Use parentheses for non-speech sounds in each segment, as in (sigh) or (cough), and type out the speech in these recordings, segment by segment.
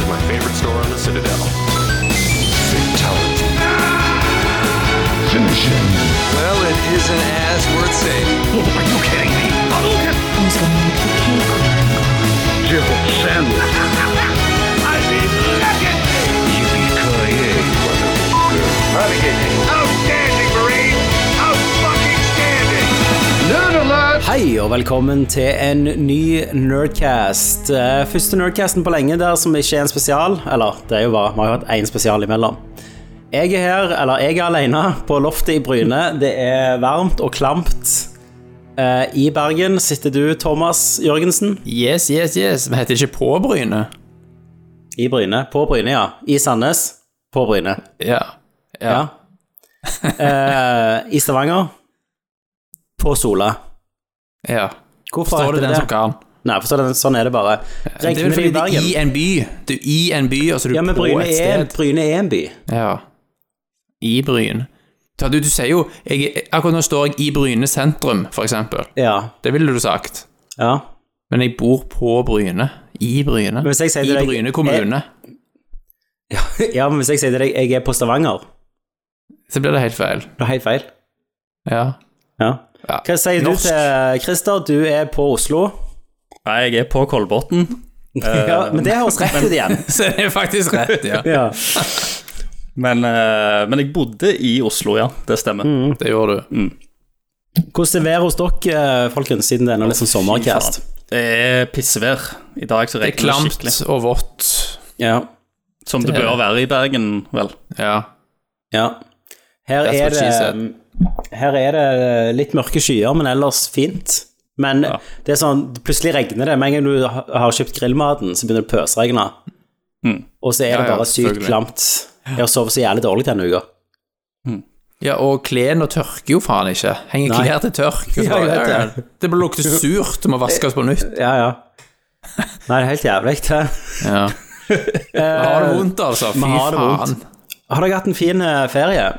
store on the Citadel. Fatality. Finish him. Well, it isn't as worth saying. Are you kidding me? Who's gonna make the cake? Jill Sandler. I mean, legacy. Yippee-ki-yay, motherfucker. Outstanding, Marine. Out-fucking-standing. Nerd alert. Hei og velkommen til en ny Nerdcast. Eh, Første Nerdcasten på lenge der som ikke er en spesial. Eller, det er jo bare, vi har jo hatt én spesial imellom. Jeg er her, eller jeg er alene, på loftet i Bryne. Det er varmt og klamt. Eh, I Bergen sitter du, Thomas Jørgensen. Yes, yes, yes. Vi heter ikke På Bryne. I Bryne. På Bryne, ja. I Sandnes. På Bryne. Ja. ja. Ja. Eh, I Stavanger. På Sola. ja. Hvorfor Står det den som kan? Nei, forstår du, sånn er det bare. Det er vel fordi det er i en by. Du er i en by, og så er du Ja, men på Bryne et er, sted. Bryne er en by. Ja. I Bryn. Ta, Du, du sier jo jeg, er- Akkurat nå står jeg i Bryne sentrum, for eksempel. Ja. Det ville du sagt. ja. Men jeg bor på Bryne. I Bryne. hvis jeg sier I til deg- Bryne kommune. Ja, men hvis jeg sier til deg jeg er på Stavanger, Så blir det helt feil. det er helt feil. Ja. Ja. ja. Hva sier Norsk. du til Christer? Du er på Oslo. Nei, jeg er på Kolbotn. ja, Eh, men det høres rett ut igjen. (laughs) Så det er faktisk rett, ja. (laughs) Ja. Men, eh, men jeg bodde i Oslo, ja. Det stemmer. Det gjorde Mm. du. Hvordan er været hos dere, eh, folkens, siden det er nå litt sånn sommercast? Det er pissevær i dag, så Det er regner det klamt skikkelig. og vått. Ja. Som det Det er bør være i Bergen, vel. Ja. ja. Her That's er, what she det, mm, her er det litt mørke skyer, men ellers fint. Men det er sånn, plutselig regner det. Med en gang du ha- har kjøpt grillmaten, så begynner det å pøsregne. Og så er Mm. Ja, det ja, bare sykt selvfølgelig. klamt. Jeg har sovet så jævlig dårlig denne uka. Ja, og klærne tørker jo faen ikke. Henger Nei. klær til tørk. og så Ja, bare, jeg vet det. (laughs) ja, Det blir lukte surt, du må vaske oss på nytt. Ja, ja. Nei, det er helt jævlig. det. Ja. Vi har det vondt, altså. Fy vi har det vondt. faen. Har dere hatt en fin eh, ferie?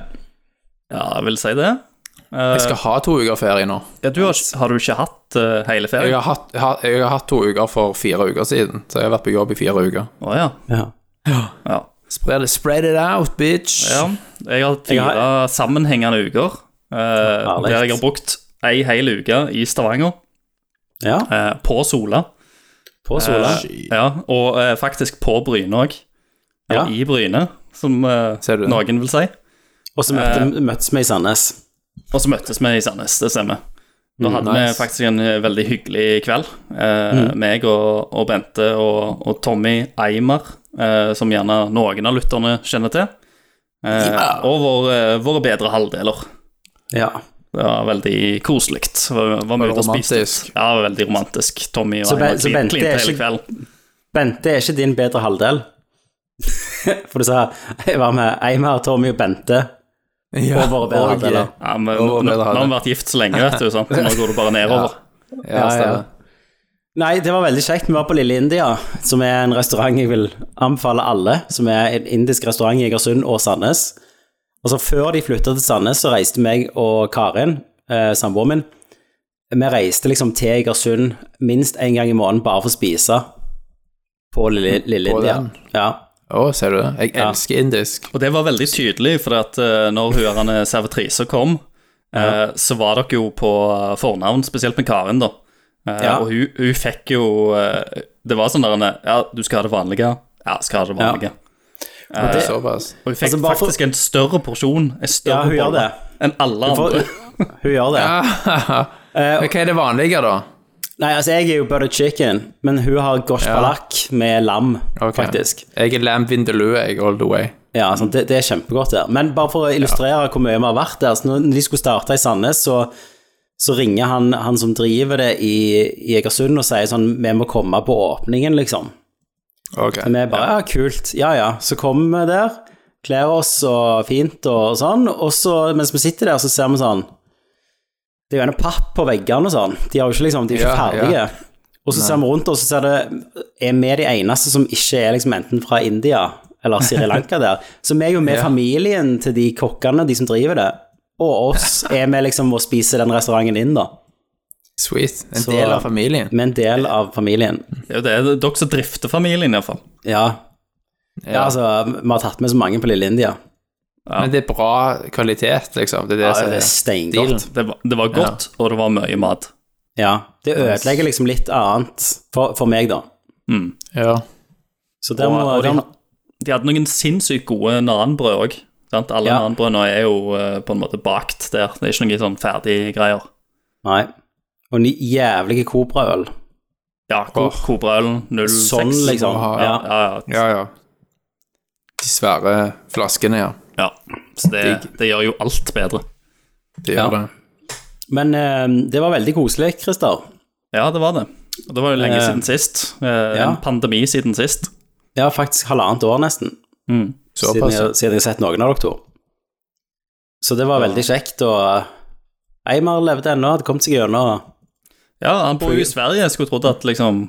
Ja, jeg vil si det. Jeg skal ha to uker ferie nå. Ja, du har, har du ikke hatt eh, hele Jeg ferien? har, hatt, jeg har- jeg har hatt to uker for fire uker siden, så jeg har vært på jobb i fire uker. Å ja. Ja. ja. Spread it, spread it out, bitch. ja. Jeg har hatt Jeg fire har- sammenhengende uker eh, herlig. der jeg har brukt ei hel uke i Stavanger, ja. eh, på Sola. På Sola. Ja, og eh, faktisk på Bryne òg. Ja. Eller i Bryne, som eh, Ser du det? noen vil si. Og så Eh, møtte, møttes vi i Sandnes. Og så møttes vi i Sandnes, det stemmer. Da hadde nice. vi faktisk en eh, veldig hyggelig kveld. Eh, Meg og, og Bente og, og Tommy Eimer, eh, som gjerne noen av lytterne kjenner til. Eh, Ja. Og vår, eh, våre bedre halvdeler. Ja. Det var veldig koselig. Var, var Var mye det ute og spiste. romantisk? Ja, veldig romantisk. Tommy og Så Be- Eimer så klin- Bente er klinte hele ikke- kvelden. Bente er ikke din bedre halvdel. (laughs) For du sa jeg var med Eimar, Tommy og Bente. Ja, Og våre bedre og- halvdeler. Ja, men Og nå, våre nå, bedre nå har halvdeler. vi vært gift så lenge, vet du, sant? så nå går det bare nedover. Ja, stemmer. Nei, det var veldig kjekt. Vi var på Lille India, som er en restaurant jeg vil anbefale alle. Som er en indisk restaurant i Egersund og Sandnes. Og så før de flytta til Sandnes, så reiste meg og Karin, eh, samboeren min, vi reiste liksom til Egersund minst én gang i måneden bare for å spise på Lille, Lille På India. den? Ja. Å, ser du det? Jeg elsker indisk. Og det var veldig tydelig, for at eh, når hun herne servitrisa kom, eh, så var dere jo på eh, fornavn, spesielt med Karin, da. Eh, Ja. Og hun, hun fikk jo eh, Det var sånn der henne, Ja, du skal ha det vanlige. Ja, skal ha det vanlige. Det er såpass. Og hun fikk Altså, bare for- faktisk en større porsjon en Ja, større hun gjør bolle det. enn alle For, andre. (laughs) hun gjør det. Eh, Men hva er Ah, det vanlige, da? Nei, altså, jeg er jo butter chicken, men hun har gosh palak med lam, Ok. faktisk. Jeg er lam vindaloo, jeg, all the way. Ja, sant, det, det er kjempegodt der. Men bare for å illustrere hvor mye vi har vært der, så når de skulle starte i Sandnes, så, så ringer han, han som driver det i, i Egersund og sier sånn, vi må komme på åpningen, liksom. Ok. Og vi bare, ja, kult, ja, ja. Så kommer vi der, kler oss og fint og sånn, og så mens vi sitter der, så ser vi sånn, det er jo en papp på veggene og sånn, de er jo ikke, liksom, de er jo ikke Ja, ja. ferdige. Og så ser vi rundt, og så ser det, er vi de eneste som ikke er liksom enten fra India eller Sri Lanka der. Så vi er jo med familien til de kokkene, de som driver det, og oss er med liksom og spiser den restauranten inn da. Sweet. En Så- del av familien. Med en del av familien. Det er jo det. det er Dere som drifter familien, iallfall. Ja. Ja, altså, vi har tatt med så mange på Lille India. Men det er bra kvalitet, liksom. Det er det Ja, Altså, som det er er steingodt. Det var, det var godt, og det var mye mat. Ja, det ødelegger liksom litt annet for, for meg, da. Ja. Så der Og- må og de- der må- De hadde noen sinnssykt gode nanbrød òg. Alle Ja. nanbrødene er jo eh, på en måte bakt der. Det er ikke noen sånn ferdige greier. Nei. Og den jævlige Cobra-øl. Ja, ko- Åh. Kobraølen 06. Sånn, liksom. Ja. Åh, Ja, ja, ja. ja, ja. De svære flaskene, ja. ja. Så det, det gjør jo alt bedre. Det gjør Ja. det. Men eh, det var veldig koselig, Christer. Ja, det var det. Og det var jo lenge Eh, siden sist. Eh, ja. En pandemi siden sist. Ja, faktisk halvannet år nesten, siden Såpass. jeg, siden jeg har sett noen av dere to. Så det var veldig kjekt, og eh, Eimar levde ennå, hadde kommet seg gjennom. Ja, han bor jo i Sverige. Jeg skulle trodd at liksom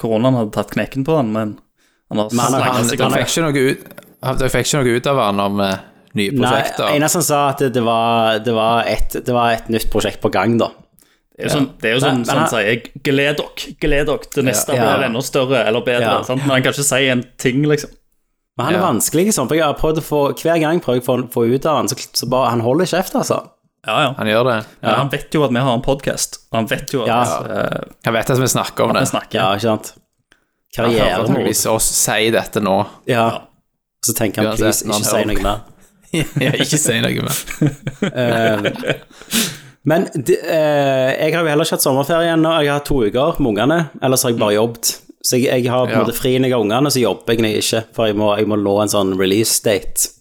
koronaen hadde tatt knekken på han, men han har han- slanget Han, seg de opp. fikk ikke noe ut, han- de fikk ikke noe ut av han om eh, nye Nei, prosjekter. eneste han sa at det var, det, var et, det var et nytt prosjekt på gang, da. Det er jo sånn, det er jo sånn, Men- men sånn han- sier Gled dere, gled dere til neste Ja. blir enda større eller bedre. Ja. Sant? Men han kan ikke si en ting, liksom. Men han er Ja. vanskelig, sånn, for jeg har prøvd å få, hver gang prøver jeg å få, få ut av han, så, så bare, han holder kjeft, altså. Ja, ja. Han gjør det. Men han vet jo at vi har en podkast. Han vet jo at Ja. eh, Han vet at vi snakker om det. vi snakker. Ja, ikke sant? Han hører Karriere. antageligvis oss si dette nå. (laughs) Ja. Så tenker han, please, Uansett, når han ikke si hører noe mer. Ja, ikke si noe mer. Men de, eh, jeg har jo heller ikke hatt sommerferie ennå. Jeg har hatt to uker med ungene, ellers har jeg bare jobbet. Så jeg, jeg har på en Ja. måte fri når jeg har ungene, så jobber jeg når jeg ikke, for jeg må, jeg må nå en sånn release date.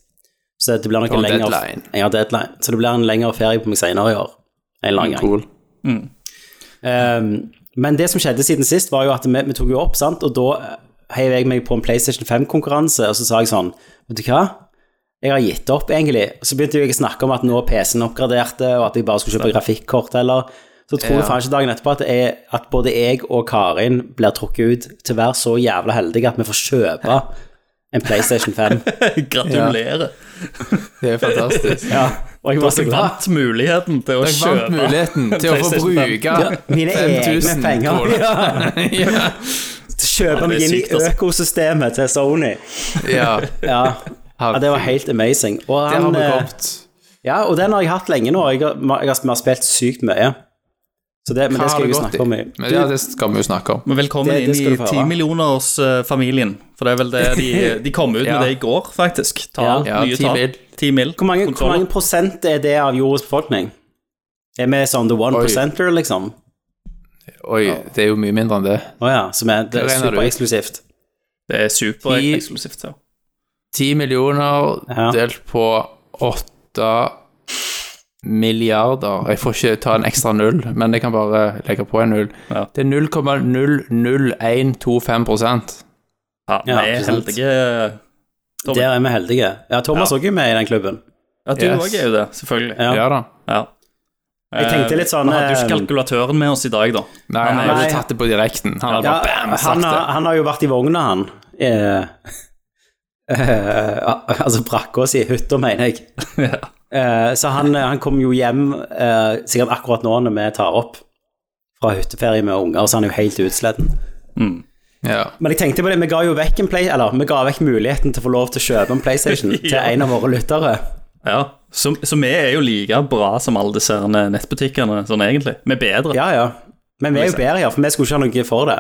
Så det blir nok Du en har lengre deadline. Jeg har deadline. Så det blir en lengre ferie på meg senere i år. En eller annen gang. Cool. Um, men det som skjedde siden sist, var jo at vi, vi tok jo opp, sant? og da eh, heiv jeg meg på en PlayStation 5-konkurranse, og så sa jeg sånn Vet du hva? Jeg har gitt opp, egentlig. Og så begynte jo jeg å snakke om at nå PC-en oppgraderte, eh, og at jeg bare skulle kjøpe grafikkort heller. Så tror jeg Ja. faen ikke dagen etterpå at, det er, at både jeg og Karin blir trukket ut til å være så jævla heldige at vi får kjøpe (laughs) en PlayStation 5. (laughs) Gratulerer. Det er fantastisk. ja, og jeg var så Dere glad. vant muligheten til å Dere kjøpe vant muligheten til å få PlayStation fem. bruke Ja, mine egne 5000 penger. kroner. Ja, (laughs) Ja. kjøpe meg inn i sykt, altså. økosystemet til Sony. ja. Ja. ja, det var helt amazing. Og, Det har han, vi eh, kommet. ja, og den har jeg hatt lenge nå. og Jeg har, jeg har, vi har spilt sykt mye. Så det, men Hva det skal vi har jo det gått snakke om. i- i? Men ja, det skal vi jo snakke om. Men velkommen Det- det skal inn du få i høre. timillionersfamilien. eh, For det er vel det (laughs) de, de kom ut Ja. med det i går, faktisk. Tall, Ja, nye 10 tall. mil. 10 mil. Hvor mange, hvor Kontroller. mange prosent er det av jordas befolkning? Er vi sånn the one Oi. percenter, liksom? Oi, det er jo mye mindre enn det. Å ja, som er, det er Hva regner du? supereksklusivt. Det er Ti- supereksklusivt. Ja. 10 millioner Ja. delt på 8 milliarder. Jeg får ikke ta en ekstra null, men jeg kan bare legge på en null. Ja. Det er 0,00125 prosent. Ja, vi Ja, er ikke sant. heldige. Tommy. Der er vi heldige. Ja, Thomas Ja. òg er med i den klubben. Ja, du Yes. òg er jo det, selvfølgelig. Ja. Ja da. Ja. Jeg tenkte litt sånn, Vi hadde jo eh, ikke kalkulatøren med oss i dag, da. Nei, han har Nei. ikke tatt det på direkten. Han har Ja, bare bam, sagt han, har, det. han har jo vært i vogna, han. Eh, (laughs) eh, altså brakka si, hytta, mener (laughs) jeg. Eh, så han, han kom jo hjem eh, sikkert akkurat nå når vi tar opp fra hytteferie med unger, så han er jo helt utsletten. Ja. Men jeg tenkte på det, vi ga jo vekk en play, eller vi ga vekk muligheten til å få lov til å kjøpe en (laughs) PlayStation til en av våre lyttere. Ja. Så, så vi er jo like bra som alle disse her nettbutikkene, sånn egentlig. Vi er bedre. Ja, ja. Men vi er jo bedre, ja, for vi skulle ikke ha noe for det.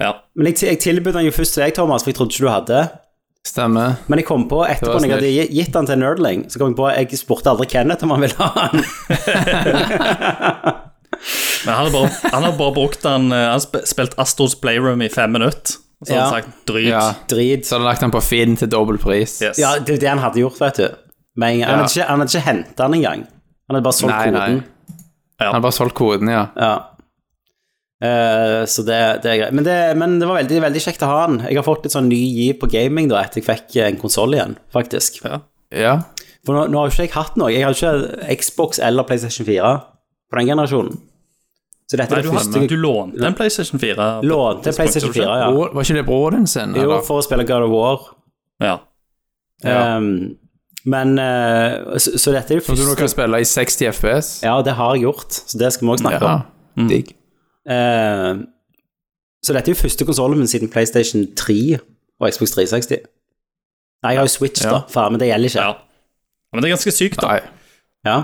Ja. Men jeg, jeg tilbød den jo først til deg, Thomas, for jeg trodde ikke du hadde. Stemmer. Men jeg kom på etterpå var når jeg hadde gi- gitt han til Nerdling, så kom jeg på jeg spurte aldri Kenneth om han ville ha han. Men han har bare, han har bare brukt den eh, Han har spilt Astros Playroom i fem minutter, og så har han Ja. sagt dryt. Ja. Drit. Så har han lagt den på Finn til dobbel pris. Yes. Ja, det er jo det han hadde gjort, vet du. Men han hadde Ja. ikke, han hadde ikke hentet han engang. Han hadde bare solgt Nei, nei. koden. Han har bare solgt koden, ja. Ja. Eh, så det, det er greit. Men det, men det var veldig, veldig kjekt å ha han. Jeg har fått litt sånn ny giv på gaming da, etter jeg fikk eh, en konsoll igjen, faktisk. Ja. Ja. For nå, nå har jo ikke jeg hatt noe. Jeg har ikke Xbox eller PlayStation 4 på den generasjonen. Så dette Nei, er du, det har, første du jeg lånte en PlayStation 4? lånte PlayStation 4, ja. Bror- Var ikke det broren din sin? Jo, eller? for å spille God of War. ja. Ja. Um, men eh, så, så dette er jo Som du nå første kan spille i 60 FPS? Ja, Mm. det har jeg gjort, så det skal vi også snakke om. Digg. Eh, så dette er jo første konsollen min siden PlayStation 3 og Xbox 360. Nei, jeg har jo Switch, Ja. da. Faen, men det gjelder ikke. Ja. Men det er ganske sykt, da. Nei. Ja.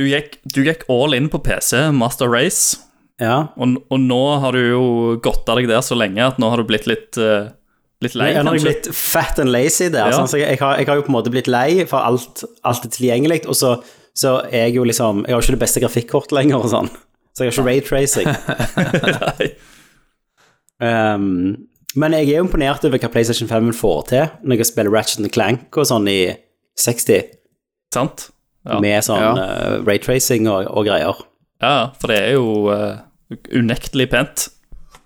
Du gikk, du gikk all in på PC, Master Race, ja. og, og nå har du jo gått av deg der så lenge at nå har du blitt litt, eh, litt lei, Jeg har kanskje. blitt fat and lazy der. Ja. sånn, så jeg, jeg, har, jeg har jo på en måte blitt lei for alt, alt er tilgjengelig, og så, så er jeg jo liksom Jeg har jo ikke det beste grafikkortet lenger og sånn, så jeg har ikke raytracing. (laughs) Nei. Um, men jeg er jo imponert over hva PlayStation 5 -en får til når jeg spiller Ratchet Clank og sånn i 60, Sant? Ja. med sånn Ja. eh, raytracing og, og greier. ja, for det er jo eh, unektelig pent.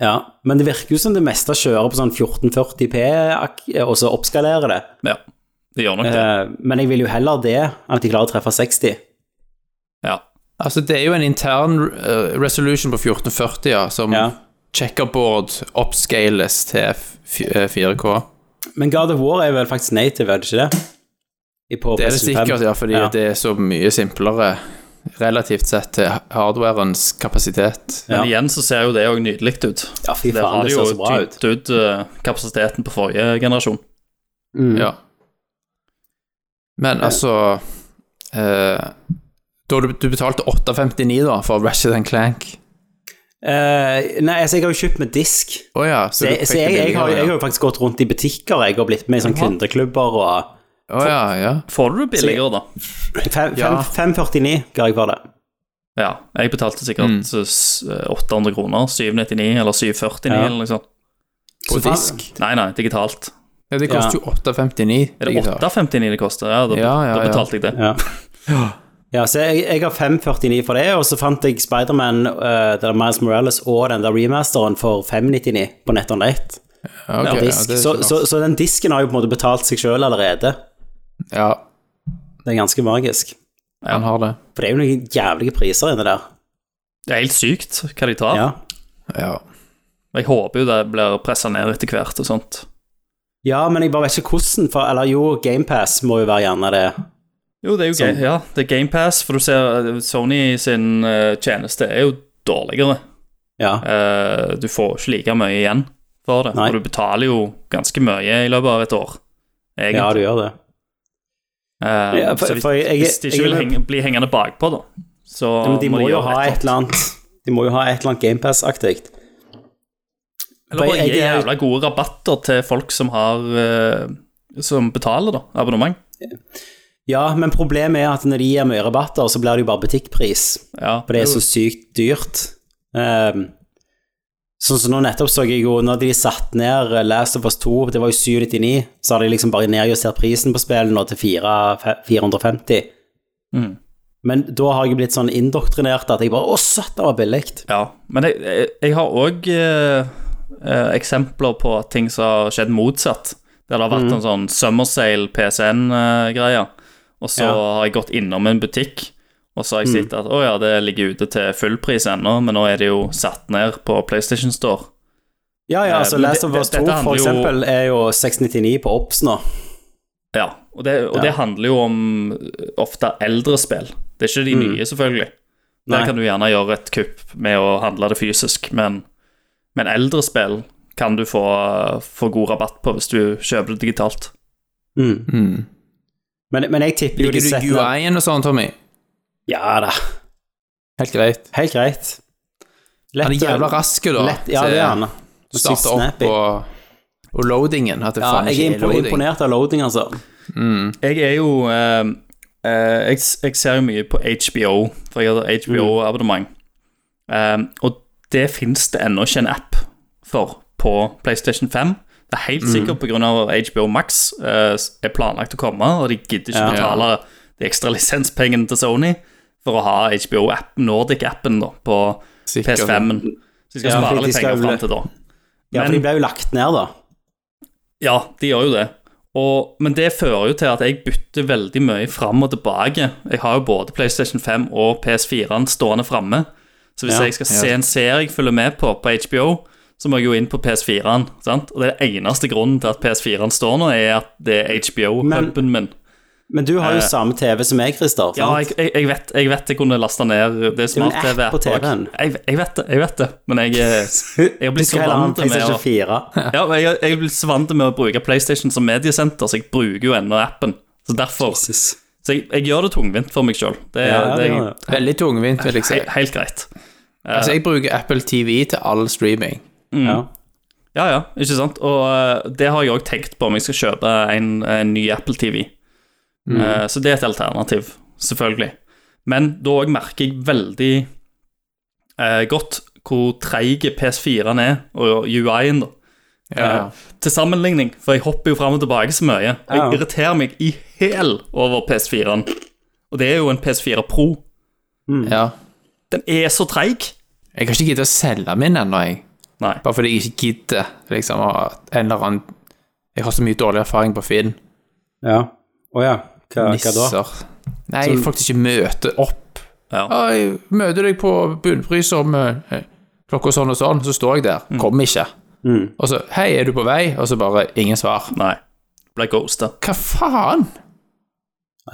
Ja, men det virker jo som det meste kjører på sånn 1440P, ak- og så oppskalerer det. Ja, det gjør nok det. Eh, men jeg vil jo heller det enn at de klarer å treffe 60. Ja. Altså, det er jo en intern eh, resolution på 1440, ja, som Ja. checkerboard oppscales til f eh, 4K. Men God of War er vel faktisk native, er det ikke det? I- på Det er det PlayStation 5. sikkert, ja, fordi Ja. det er så mye simplere relativt sett til hardwarens kapasitet. Men Ja. igjen så ser jo det òg nydelig ut. Ja, fy Det faen, har det jo ser så bra ut. tynt ut eh, kapasiteten på forrige generasjon. Mm. Ja. Men altså eh, Da du, du betalte 8,59 da for Ratchet and Clank Eh, nei, altså, jeg har jo kjøpt med disk, Å ja, så, så du jeg, fikk så jeg, det jeg, har, billigere, jeg har jo faktisk gått rundt i butikker, jeg har blitt med i sånne kundeklubber og ja. Å ja, ja. Får du det billigere, da? Fem- Ja. fem- 549 ga jeg for det. Ja, jeg betalte sikkert eh, Mm. s- 800 kroner. 799 eller 749 Ja. eller noe sånt. På Så faen- disk? Nei, nei, digitalt. Ja, det koster jo 8,59. Er det 8,59 det koster? Ja, da, Ja, ja, da ja. betalte jeg det. Ja. ja, så jeg, jeg har 549 for det, og så fant jeg Spiderman, uh, den der Miles Morales og den der remasteren for 599 på nettonlate. Ja, ok, ja, det er disk. så, ikke så, så den disken har jo på en måte betalt seg sjøl allerede. verst. ja, Det er ganske magisk. han har det. For det er jo noen jævlige priser inni der. Det er helt sykt hva de Ah. tar. Ja. Ja. Jeg håper jo det blir pressa ned etter hvert og sånt. ja, men jeg bare vet ikke hvordan, for Eller jo, GamePass må jo være gjerne det. Jo, det er jo Sånn. Ga- ja, det er GamePass, for du ser eh, Sony sin eh, tjeneste er jo dårligere. Ja. Eh, du får ikke like mye igjen for det. Nei. Og du betaler jo ganske mye i løpet av et år, egentlig. ja, du gjør det. Eh, Ja, for- så hvis, for jeg- hvis de jeg- ikke vil jeg- henge, bli hengende bakpå, da, så Ja, men de må jo gjøre ha et eller annet De må jo ha et eller annet GamePass-aktig. Eller for bare jeg- gi jeg- jævla gode rabatter til folk som har eh, Som betaler, da. Abonnement. Ja, men problemet er at når de gir mye rabatter, så blir det jo bare butikkpris. Ja. For det er så sykt dyrt. Ehm, sånn som nå nettopp så jeg jo, når de satt ned eh, Last of Us 2, det var jo 799, så hadde de liksom bare nedjustert prisen på spillet nå til 4, fe- 450. Mm. Men da har jeg blitt sånn indoktrinert at jeg bare Å, søtt, det var billig. Ja, men jeg, jeg, jeg har òg eksempler på at ting som har skjedd motsatt. Der det har Mm. vært en sånn Summersail PCN-greie, eh, og så Ja. Mm. har jeg gått innom en butikk, og så har jeg sett at å ja, det ligger ute til fullpris ennå, men nå er det jo satt ned på PlayStation Store. Ja, ja, Eh, altså men Last det- of Us det- 2 dette for handler jo- eksempel er jo 699 på Ops nå. Ja, og det, og Ja. det handler jo om ofte eldre spill. Det er ikke Mm. de nye, selvfølgelig. Der Nei. kan du gjerne gjøre et kupp med å handle det fysisk, men, men eldre spill kan du få, få god rabatt på hvis du kjøper det digitalt. Mm. Mm. Men, men jeg tipper jo de Liker du setter ned UI-en og sånn, Tommy? Ja da, Helt greit. helt greit. Han er Lett- jævla rask, da. lett, Ja, til det er han. å Starte opp og, og loadingen. At det Ja, faen jeg ikke er er impo- loading. imponert av loading, altså. Mm. Jeg er jo eh, eh, jeg, s- jeg ser jo mye på HBO, for jeg har Mm. HBO-abonnement. Eh, og det fins det ennå ikke en app for på PlayStation 5. Det er Mm. helt sikkert på grunn pga. HBO Max eh, s- er planlagt å komme, og de gidder ikke Ja. betale de ekstra (laughs) lisenspengene til Sony for å ha HBO-app, Nordic-appen da, på Sikkert. PS5-en. Så de skal Ja, fordi de spare litt skal penger vel- fram til da. Ja, for de Men- ble jo lagt ned, da. Ja, de gjør jo det. Og, men det fører jo til at jeg bytter veldig mye fram og tilbake. Jeg har jo både PlayStation 5 og PS4-en stående framme. Så hvis Ja, jeg skal ja. se en serie jeg følger med på på HBO, så må jeg jo inn på PS4-en. sant? Og det eneste grunnen til at PS4-en står nå, er at det er HBO-puben min. Men du har jo Eh, samme TV som meg, Christer. Ja, sant? jeg, jeg, jeg, vet, jeg vet jeg kunne lasta ned Det er en smart-TV. app på også. TV-en. Jeg, jeg vet det, jeg vet det, men (laughs) jeg, eh, jeg Du har blitt så skal heller ha en vant til med PlayStation å 4. ja, men jeg, jeg er blitt så vant til med å bruke PlayStation som mediesenter, så jeg bruker jo ennå appen. Så derfor Jesus. Så jeg, jeg gjør det tungvint for meg sjøl. Det, er- Ja, det er ja, ja. Veldig tungvint, vil jeg si. he- helt greit. Altså, jeg bruker Apple TV til all streaming. Ja. Ja, ja, ikke sant? Og eh, det har jeg òg tenkt på om jeg skal kjøpe en, en ny Apple TV. Eh, så det er et alternativ, selvfølgelig. Men da òg merker jeg veldig eh, godt hvor treig PS4-en er, og UI-en, da. Ja. Eh, til sammenligning, for jeg hopper jo fram og tilbake så mye. Og jeg Ja. irriterer meg i hæl over PS4-en. Og det er jo en PS4 Pro. Hmm. ja. Den er så treig. Jeg har ikke giddet å selge min ennå, jeg. Nei. Bare fordi jeg ikke gidder, liksom, å en eller annen Jeg har så mye dårlig erfaring på Finn. Ja. Å ja. Hva, hva da? Nisser. Nei, jeg folk ikke møter opp. Ja. «Å, Jeg møter deg på Bunnpris om eh, klokka sånn og sånn, så står jeg der. Kom ikke. Og så 'Hei, er du på vei?' Og så bare ingen svar. Nei. Ble ghosta. Hva faen?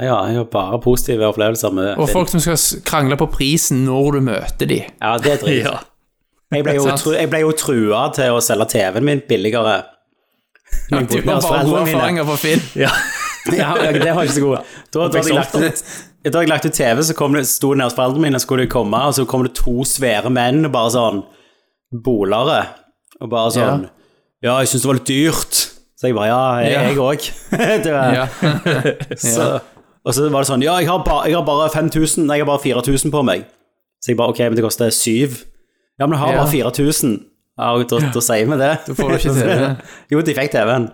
Ja, jeg har bare positive opplevelser med Og film. folk som skal s- krangle på prisen når du møter de. Ja, det er drit. (laughs) Ja. Jeg ble, jo Sant. tru, jeg ble jo trua til å selge TV-en min billigere. Ja, Men de hvor- har hos bare foreldrene gode mine. erfaringer fra Finn. Ja, ja, det var ikke så god. Da, da, hadde jeg lagt ut, da hadde jeg lagt ut TV, så kom det, sto det nede hos foreldrene mine, skulle de komme, og så kom det to svære menn, og bare sånn Bolere. Og bare sånn Ja, jeg syns det var litt dyrt. Så jeg bare Ja, Ja. jeg òg. (laughs) Ja. Ja. Så, og så var det sånn Ja, jeg har, ba, jeg har bare 5000, nei, jeg har bare 4000 på meg. Så jeg bare Ok, men det koster syv. Ja, men jeg har Ja. bare 4000. Ja, og da, da sier vi det. Da får du (laughs) ikke TV. jo, de fikk TV-en.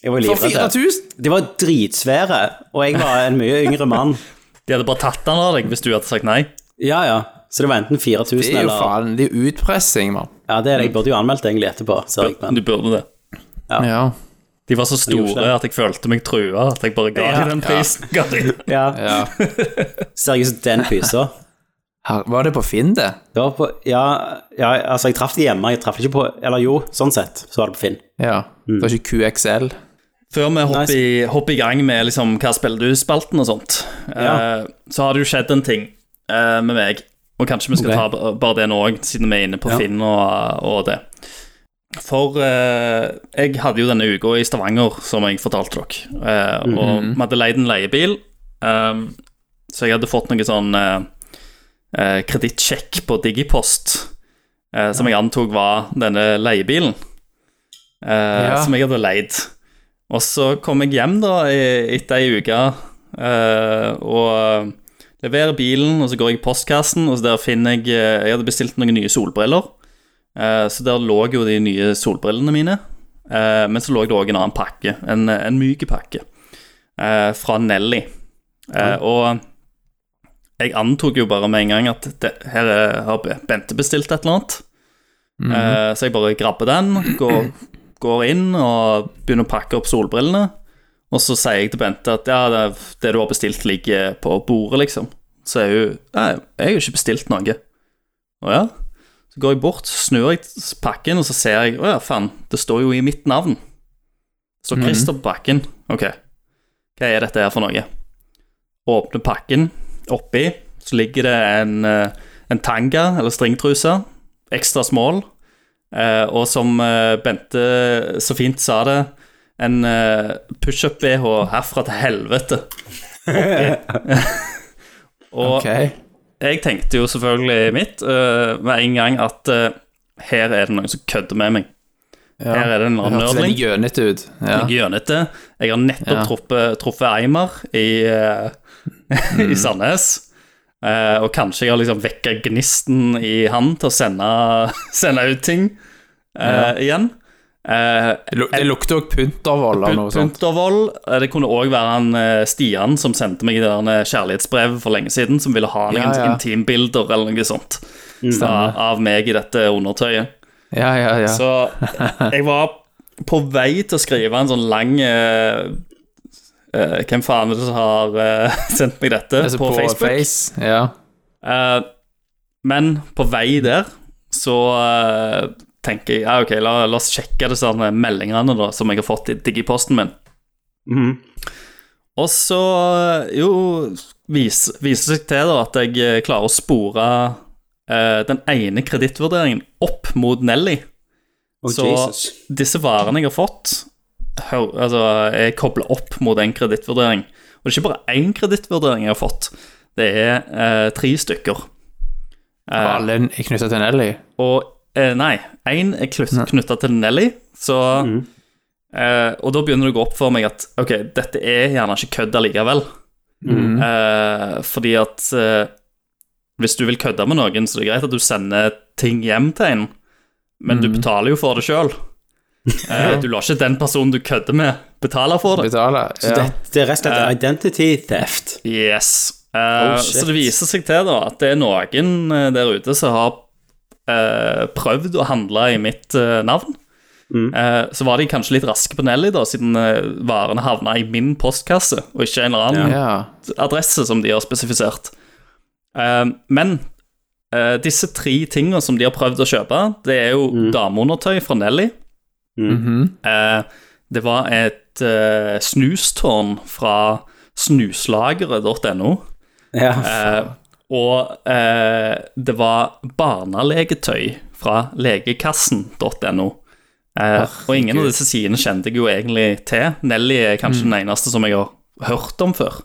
Jeg var For livredd. 4000? De var dritsvære, og jeg var en mye yngre (laughs) mann. De hadde bare tatt den av deg hvis du hadde sagt nei. Ja, ja. Så det var enten 4000 Det er jo eller faen, det er jo utpressing, mann. Ja, det er det. Jeg burde jo anmeldt det egentlig etterpå. ser jeg, men- (laughs) Du burde det. Ja. De var så gjorde ikke store det. at jeg følte meg trua. At jeg bare ga Ja. dem den prisen. Ga dem. Ja, ja. Seriøst, den pysa. Her, var det på Finn, det? Det var på Ja, ja altså, jeg traff de hjemme. Jeg traff ikke på Eller jo, sånn sett, så var det på Finn. Ja. Det var ikke QXL? (laughs) Før vi hopper, Nice. i, hopper i gang med liksom, hva spiller du-spalten og sånt, Ja. eh, så har det jo skjedd en ting eh, med meg. Og kanskje vi skal Ok. ta b- bare det nå òg, siden vi er inne på Ja. Finn og, og det. For eh, jeg hadde jo denne uka i Stavanger, som jeg fortalte dere. Eh, Og Mhm. vi hadde leid en leiebil, ehm, så jeg hadde fått noe sånn uh, kredittsjekk på Digipost, eh, som jeg antok var denne leiebilen eh, Ja. som jeg hadde leid. Og så kom jeg hjem da i- etter ei uke eh, og eh, leverer bilen, og så går jeg i postkassen, og så der finner jeg eh, Jeg hadde bestilt noen nye solbriller, eh, så der lå jo de nye solbrillene mine. Eh, men så lå det òg en annen pakke, en, en myk pakke, eh, fra Nelly. Eh, og jeg antok jo bare med en gang at det, her er- har Bente bestilt et eller annet. Eh, så jeg bare grabber den, går, går inn og begynner å pakke opp solbrillene. Og så sier jeg til Bente at ja, det, det du har bestilt, ligger på bordet, liksom. Så er hun Nei, jeg har jo ikke bestilt noe. Å ja? Så går jeg bort, så snur jeg pakken, og så ser jeg Å ja, faen, det står jo i mitt navn. Det står Christer på pakken. Ok, hva er dette her for noe? Åpner pakken. Oppi så ligger det en, eh, en tanga, eller stringtruse, ekstra smål. Eh, og som eh, Bente så fint sa det, en eh, pushup-BH herfra til (laughs) helvete. Oppi. og Ok. jeg tenkte jo selvfølgelig mitt eh, med en gang at eh, her er det noen som kødder med meg. Ja. Her er det en eller Det annen hørtes nerdling. veldig gjønete ut. Ja. Jeg gjør dette. Jeg har nettopp Ja. truffet, truffet Eimer i, eh, (laughs) Mm. i Sandnes. Eh, og kanskje jeg har liksom vekka gnisten i han til å sende, (laughs) sende ut ting eh, igjen. Uh, Det lu- Det lukter òg puntervoll eller noe sånt. Puntervold. Eh, Det kunne òg være han eh, Stian som sendte meg det der eh, kjærlighetsbrevet for lenge siden, som ville ha noen Ja, ja. intimbilder eller noe sånt av, av meg i dette undertøyet. Ja, ja, ja. Så jeg var på vei til å skrive en sånn lang eh, eh, Hvem faen er det som har eh, (laughs) sendt meg dette? Altså, på, Facebook. Face. Ja. Eh, men på vei der så eh, tenker jeg ja, ok, la, la oss sjekke disse her meldingene da, som jeg har fått i digiposten min. Og så eh, jo vis- viser det seg til da at jeg eh, klarer å spore eh, den ene kredittvurderingen opp mot Nelly. Oh, så Jesus. disse varene jeg har fått, hør, altså, er kobla opp mot en kredittvurdering. Og det er ikke bare én kredittvurdering jeg har fått, det er eh, tre stykker. Eh, Og alle er knytta til Nelly. og eh, nei, én er knytta til Nelly, så eh, Og da begynner det å gå opp for meg at ok, dette er gjerne ikke kødd allikevel. Mm. Eh, fordi at eh, hvis du vil kødde med noen, så er det greit at du sender ting hjem til en, men du betaler jo for det sjøl. Eh, du lar ikke den personen du kødder med, betale for det. Betaler. Så Ja. det, det er rett og slett identity theft. Yes. Eh, Oh, shit. så det viser seg til da at det er noen eh, der ute som har eh, prøvd å handle i mitt eh, navn. Mm. Eh, så var de kanskje litt raske på Nelly, da, siden eh, varene havna i min postkasse, og ikke en eller annen Ja. adresse som de har spesifisert. Eh, men eh, disse tre tingene som de har prøvd å kjøpe, det er jo Mm. dameundertøy fra Nelly. Mhm. Eh, det var et eh, snustårn fra snuslageret.no. Ja. Eh, og eh, det var barnelegetøy fra legekassen.no. Eh, og ingen av disse sidene kjente jeg jo egentlig til. Nelly er kanskje Mm. den eneste som jeg har hørt om før.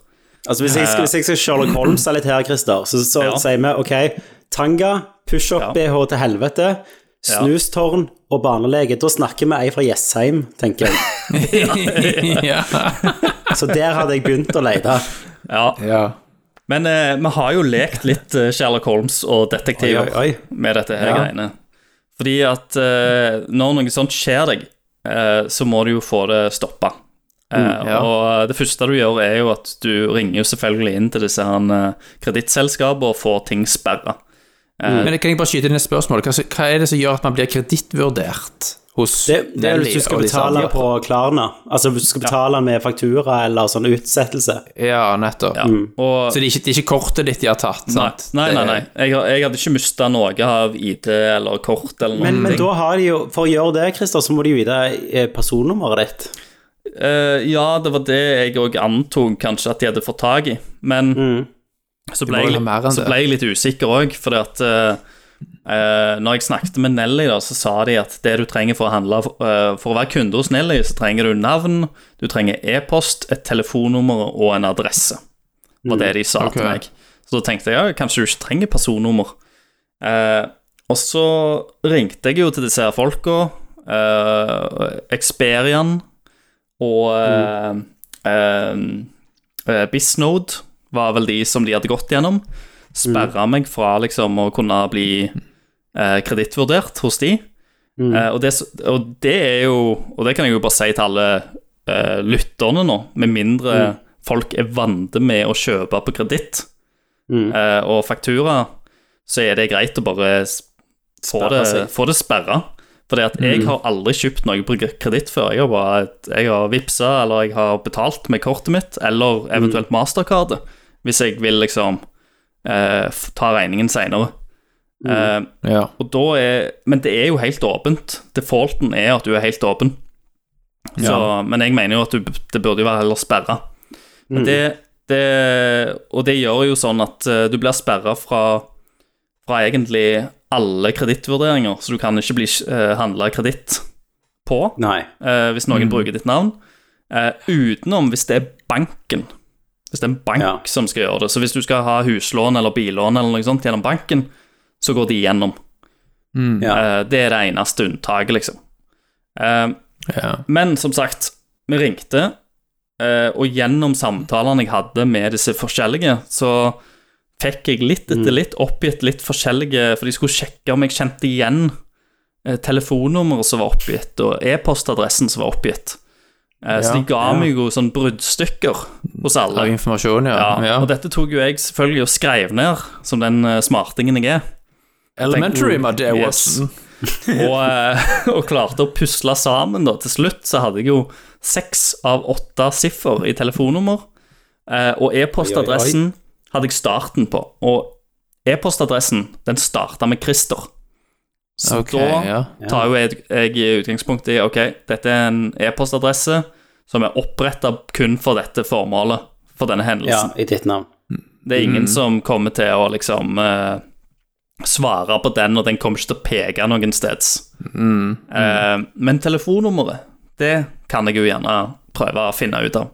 Altså hvis jeg, skal, hvis jeg skal Sherlock Holmes litt her, Christer, så, så Ja. sier vi ok, tanga, push-up-BH til helvete, snustårn og barnelege. Da snakker vi ei fra Jessheim, tenker jeg. ja. (laughs) Så der hadde jeg begynt å lete. Ja, ja. Men eh, vi har jo lekt litt eh, Sherlock Holmes og detektiver Oi, oi, oi. med dette her Ja. greiene. Fordi at eh, når noe sånt skjer deg, eh, så må du jo få det stoppa. Eh, Mm, ja. Og det første du gjør, er jo at du ringer jo selvfølgelig inn til disse her, eh, kredittselskapene og får ting sperra. Men kan jeg bare skyte inn et spørsmål? Hva, hva er det som gjør at man blir kredittvurdert hos Det, det er hvis Nelly du skal og disse betale andre? på Klarna. Altså hvis du skal betale med faktura eller sånn utsettelse. Ja, nettopp. Ja. Og Så det er, ikke, det er ikke kortet ditt de har tatt? Nei, sant? nei, Det nei. er- nei. Jeg, har- jeg hadde ikke mista noe av ID eller kort eller noe. Men, men da har de jo, for å gjøre det, Christer, så må de jo vite eh, personnummeret ditt. Eh, ja, det var det jeg òg antok kanskje at de hadde fått tak i, men så, Mm. ble må jeg, vel ha mer enn litt- så det. ble jeg litt usikker òg, fordi at eh, eh, når jeg snakket med Nelly, da, så sa de at det du trenger for å handle eh, For å være kunde hos Nelly, så trenger du navn, du trenger e-post, et telefonnummer og en adresse. Det var det de sa Ok. til meg. Så da tenkte jeg ja, kanskje du ikke trenger personnummer. Eh, og så ringte jeg jo til disse her folka, eh, Experian og eh, eh, eh, Bisnode var vel de som de hadde gått gjennom. Sperra meg fra liksom å kunne bli eh, kredittvurdert hos de. Mm. Eh, og, det, s- og det er jo Og det kan jeg jo bare si til alle eh, lytterne nå, med mindre Mm. folk er vante med å kjøpe på kreditt Mm. eh, og faktura, så er det greit å bare s- få Sperre det, seg. Mm. få det sperra. Fordi at jeg har aldri kjøpt noe på kreditt før. Jeg har bare jeg har vippsa, eller jeg har betalt med kortet mitt, Mm. eller eventuelt mastercardet, hvis jeg vil liksom eh, f- ta regningen Eh, seinere. Mm. Ja. Og da er, men det er jo helt åpent. Defaulten er at du er helt åpen. Så, Men jeg mener jo at du, det burde jo være heller sperra. Men det, det, og det gjør jo sånn at eh, du blir sperra fra, fra egentlig alle kredittvurderinger, så du kan ikke bli uh, handla kreditt på Nei. eh, hvis Mm. noen bruker ditt navn. Eh, utenom hvis det er banken. Hvis det er en bank Ja. som skal gjøre det. Så hvis du skal ha huslån eller billån eller noe sånt gjennom banken, så går de igjennom. Mm. Ja. Eh, det er det eneste unntaket, liksom. Eh, ja. men som sagt, vi ringte, eh, og gjennom samtalene jeg hadde med disse forskjellige, så fikk jeg litt etter Mm. litt oppgitt litt forskjellige For de skulle sjekke om jeg kjente igjen eh, telefonnummeret som var oppgitt, og e-postadressen som var oppgitt. Eh, så Ja, de ja. ga meg jo sånn bruddstykker hos alle. Av informasjon, ja. Ja, ja. Og dette tok jo jeg selvfølgelig og skrev ned, som den eh, smartingen jeg er. Elementary, my dear Yes. Watson. og, eh, (laughs) og klarte å pusle sammen. Da. Til slutt så hadde jeg jo seks av åtte siffer i telefonnummer. eh, Og e-postadressen hadde jeg starten på. Og e-postadressen den starta med Christer. Så Ok, da ja. tar jo jeg, jeg i utgangspunktet i ok, dette er en e-postadresse som er oppretta kun for dette formålet, for denne Ja, hendelsen. i ditt navn. Det er ingen som kommer til å liksom eh, svare på den, og den kommer ikke til å peke noen steds. Eh, men telefonnummeret, det kan jeg jo gjerne prøve å finne ut av.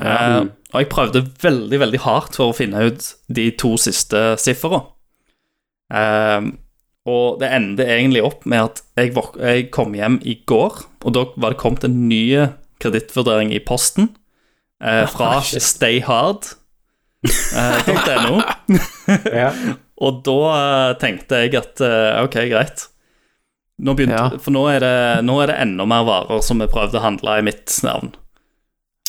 Eh, og jeg prøvde veldig, veldig hardt for å finne ut de to siste siffera. Eh, og det endte egentlig opp med at jeg, våk- jeg kom hjem i går, og da var det kommet en ny kredittvurdering i posten eh, fra stayhard.no. Eh, Ja. Og da eh, tenkte jeg at eh, ok, greit. Nå begynte, Ja. For nå er, det, nå er det enda mer varer som er prøvd å handle i mitt navn. Kan,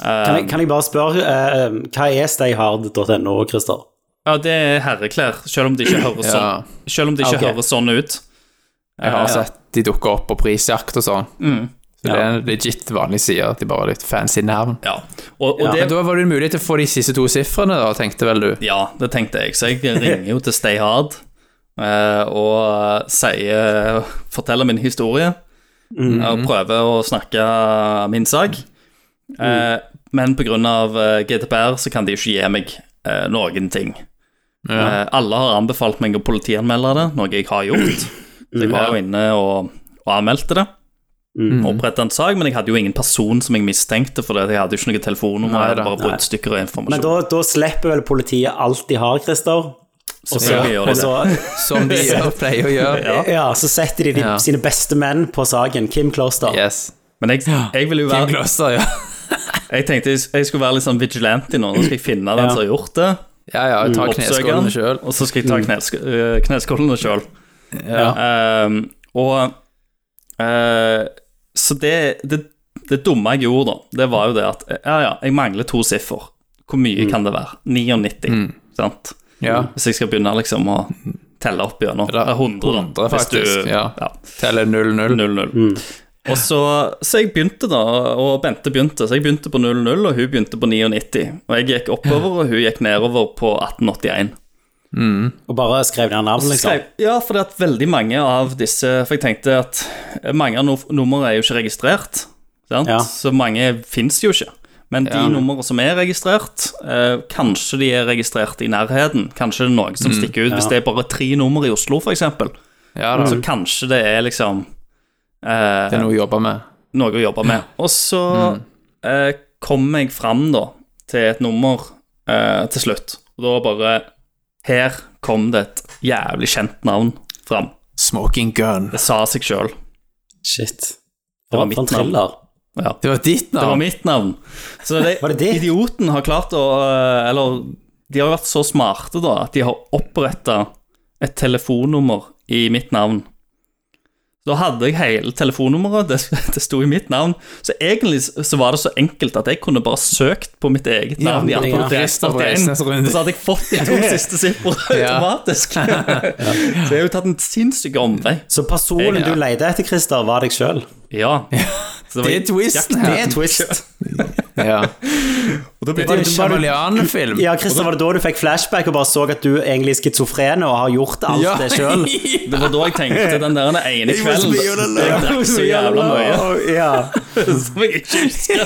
Um, jeg, kan jeg bare spørre, eh, hva er stayhard.no, Christer? Ja, det er herreklær, selv om det ikke høres, Ja. sånn, selv om det ikke Ok. høres sånn ut. Eh, Jeg har Ja. Mm. sett de dukker opp på prisjakt og sånn. Så det er en legit vanlig side at de bare har litt fancy navn. Ja. Og, og Ja. Men det da var det en mulighet til å få de siste to sifrene, da, tenkte vel du. Ja, det tenkte jeg, så jeg ringer jo til Stay Hard eh, og sier Forteller min historie Mhm. og prøver å snakke min sak. Mm. Eh, men pga. eh, GDPR så kan de ikke gi meg eh, noen ting. Ja. Eh, alle har anbefalt meg å politianmelde det, noe jeg har (clears throat) gjort. Så jeg var jo inne og, og anmeldte det. Mm. Opprettet en sak, men jeg hadde jo ingen person som jeg mistenkte, for jeg hadde jo ikke noe telefonnummer. Nei jeg da, hadde bare bruddstykker og informasjon. Men da, da slipper vel politiet alt de har, Christer? Og så, Selvfølgelig gjør de og så, Som de gjør, pleier å gjøre. (laughs) ja, så setter de, de Ja. sine beste menn på saken. Kim Kloster. Yes. Men jeg, jeg ville jo Kim være Kloster, ja. Jeg tenkte jeg- jeg skulle være litt sånn vigilante nå. Nå skal jeg finne den Ja. som har gjort det, Ja, ja, ta oppsøke den, kneskålene Mm. sjøl. og så skal jeg ta knesk øh, kneskålene sjøl. Ehm, og eh, Så det, det, det dumme jeg gjorde, da, det var jo det at Ja, ja, jeg mangler to siffer. Hvor mye Mm. kan det være? 99, sant? Ja. Hvis jeg skal begynne liksom å telle opp gjennom. Eller Eller 100, da, 100 hvis du- Mm. faktisk, ja. ja. Teller 0-0. 0-0. Og så, så jeg begynte da, og Bente begynte. Så jeg begynte på 0-0, og hun begynte på 99. Og jeg gikk oppover, og hun gikk nedover på 1881. Mm. Og bare skrev ned navn, liksom. Skrev, ja, for det at veldig mange av disse For jeg tenkte at mange av no- numrene er jo ikke registrert. Sant? Ja. Så mange fins jo ikke. Men de numrene som er registrert, eh, kanskje de er registrert i nærheten. Kanskje det er noe som Mm. stikker ut. Hvis det er bare tre nummer i Oslo, f.eks., eksempel Ja da. så kanskje det er liksom eh, Det er noe å jobbe med. noe å jobbe med. Og så Mm. eh, kom jeg fram da til et nummer eh, til slutt. Og da bare Her kom det et jævlig kjent navn fram. Smoking gun. Det sa seg sjøl. Shit. Det Det var var mitt en thriller. Ja. Det var ditt Det var navn. mitt navn. Så det, Var det ditt? idioten har klart å eh, Eller de har vært så smarte, da, at de har oppretta et telefonnummer i mitt navn. Da hadde jeg hele telefonnummeret, det, (laughs) det sto i mitt navn. Så egentlig så var det så enkelt at jeg kunne bare søkt på mitt eget Ja, navn. i ja. 1881, Reisnes rundt. og så hadde jeg fått de to siste sifrene Ja. automatisk. (laughs) Så jeg har jo tatt en sinnssyk omvei. Så personen Ja. du leide etter, Christer, var deg sjøl? Ja. Så Det er twisten Det er her. twist. Ja. Og da Det ble er det en Chameleon-film. Ja, Christer, var det da du fikk flashback og bare så at du egentlig er schizofren og har gjort alt det sjøl? Det var da jeg (laughs) tenkte den der den ene kvelden Jeg drakk så (laughs) jævla mye Ja. som jeg ikke husker.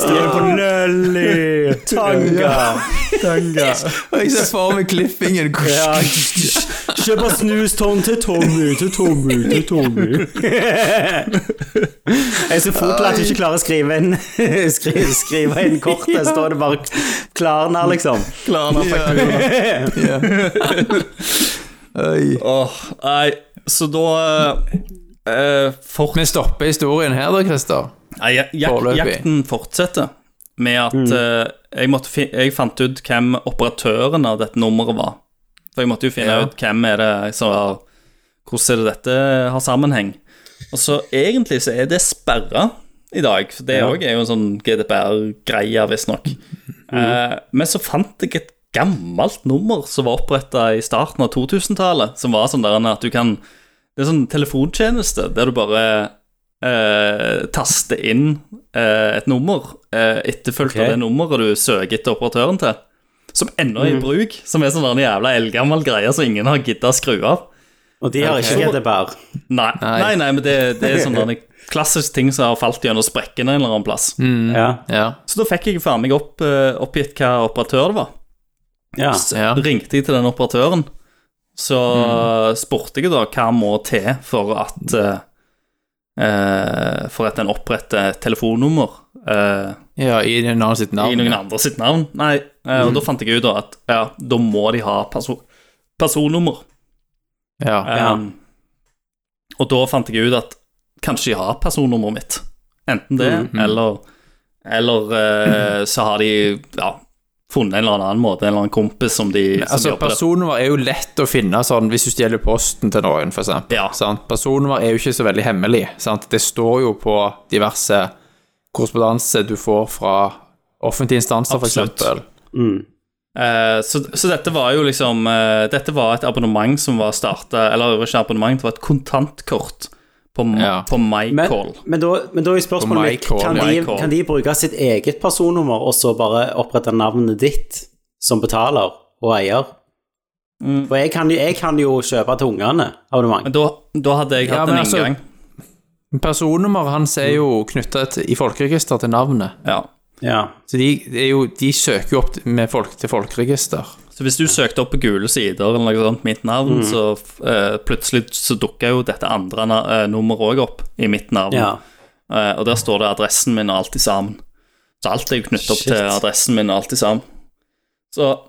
Stil på Nelly, (laughs) Tanga, Tanga. Jeg ser for meg klippingen. Ja. (laughs) Kjøp en snustonn til Tommy, til Tommy, til Tommy. (laughs) Jeg er så fort til at du ikke klarer å skrive (laughs) inn, skrive, skrive inn kortet. Står det bare 'Klarna', liksom. Klarna faktura. (laughs) Åh, nei, så da eh, fort, Vi stopper historien her da, Christer. nei, jak, jak, Foreløpig. Mm. Jakten fortsetter med at eh, jeg, måtte fin, jeg fant ut hvem operatøren av dette nummeret var. For jeg måtte jo finne Ja. ut hvem er det som har Hvordan er det dette har sammenheng? Og så egentlig så er det sperra i dag. For det òg er jo en sånn GDPR-greie, visstnok. Mm. Eh, men så fant jeg et gammelt nummer som var oppretta i starten av 2000-tallet. Som var sånn der at du kan Det er sånn telefontjeneste der du bare eh, taster inn eh, et nummer uh, etterfulgt Ok. av det nummeret du søker etter operatøren til. Som ennå er i bruk. Som er sånn der en jævla eldgammel greie som ingen har gidda å skru av. Og de har ikke GDPR. Nei, nei, Nei. nei, men det, det er sånn der klassisk ting som har falt gjennom sprekkene en eller annen plass. Mm. Ja. Ja. Så da fikk jeg faen meg opp, eh, oppgitt hva operatør det var. ja. ja. Mm. Ringte jeg til den operatøren, så spurte jeg da hva må til for at eh, eh, For at en oppretter et telefonnummer eh, ja i en annen sitt navn. Mm. i noen andre sitt navn. Nei, eh, og da fant jeg ut da at ja, da må de ha perso personnummer. Ja. Ja. Um, og da fant jeg ut at kanskje de har personnummeret mitt. Enten det, Mm, eller, eller eh, så har de ja, funnet en eller annen måte, en eller annen kompis som de som Altså, jobber der. personnummer er jo lett å finne sånn, hvis du stjeler posten til noen, for eksempel. Ja. Sant? Personnummer er jo ikke så veldig hemmelig. Sant? Det står jo på diverse korrespondanse du får fra offentlige instanser, for Absolutt. eksempel. Eh, så, så dette var jo liksom eh, Dette var et abonnement som var starta Eller det var ikke et abonnement, det var et kontantkort på, ma- Ja. på Men, MyCall. men, da, men da er spørsmålet På mitt MyCall, kan, de- MyCall. kan de bruke sitt eget personnummer og så bare opprette navnet ditt som betaler og eier? For jeg kan, jo- jeg kan jo kjøpe til ungene abonnement. Men da, da hadde jeg Ja, hatt men en altså- inngang. Personnummer hans er jo knyttet til- i folkeregister til navnet. Ja. Ja. Så de, det er jo, de søker jo opp til- med folk til folkeregister. Så hvis du søkte opp på gule sider eller noe sånt, mitt navn, så eh, plutselig så dukka jo dette andre na eh, nummeret òg opp i mitt navn. ja. Eh, og der står det adressen min og alt i sammen. Så alt er jo knyttet opp Shit. til adressen min og alt i sammen. Så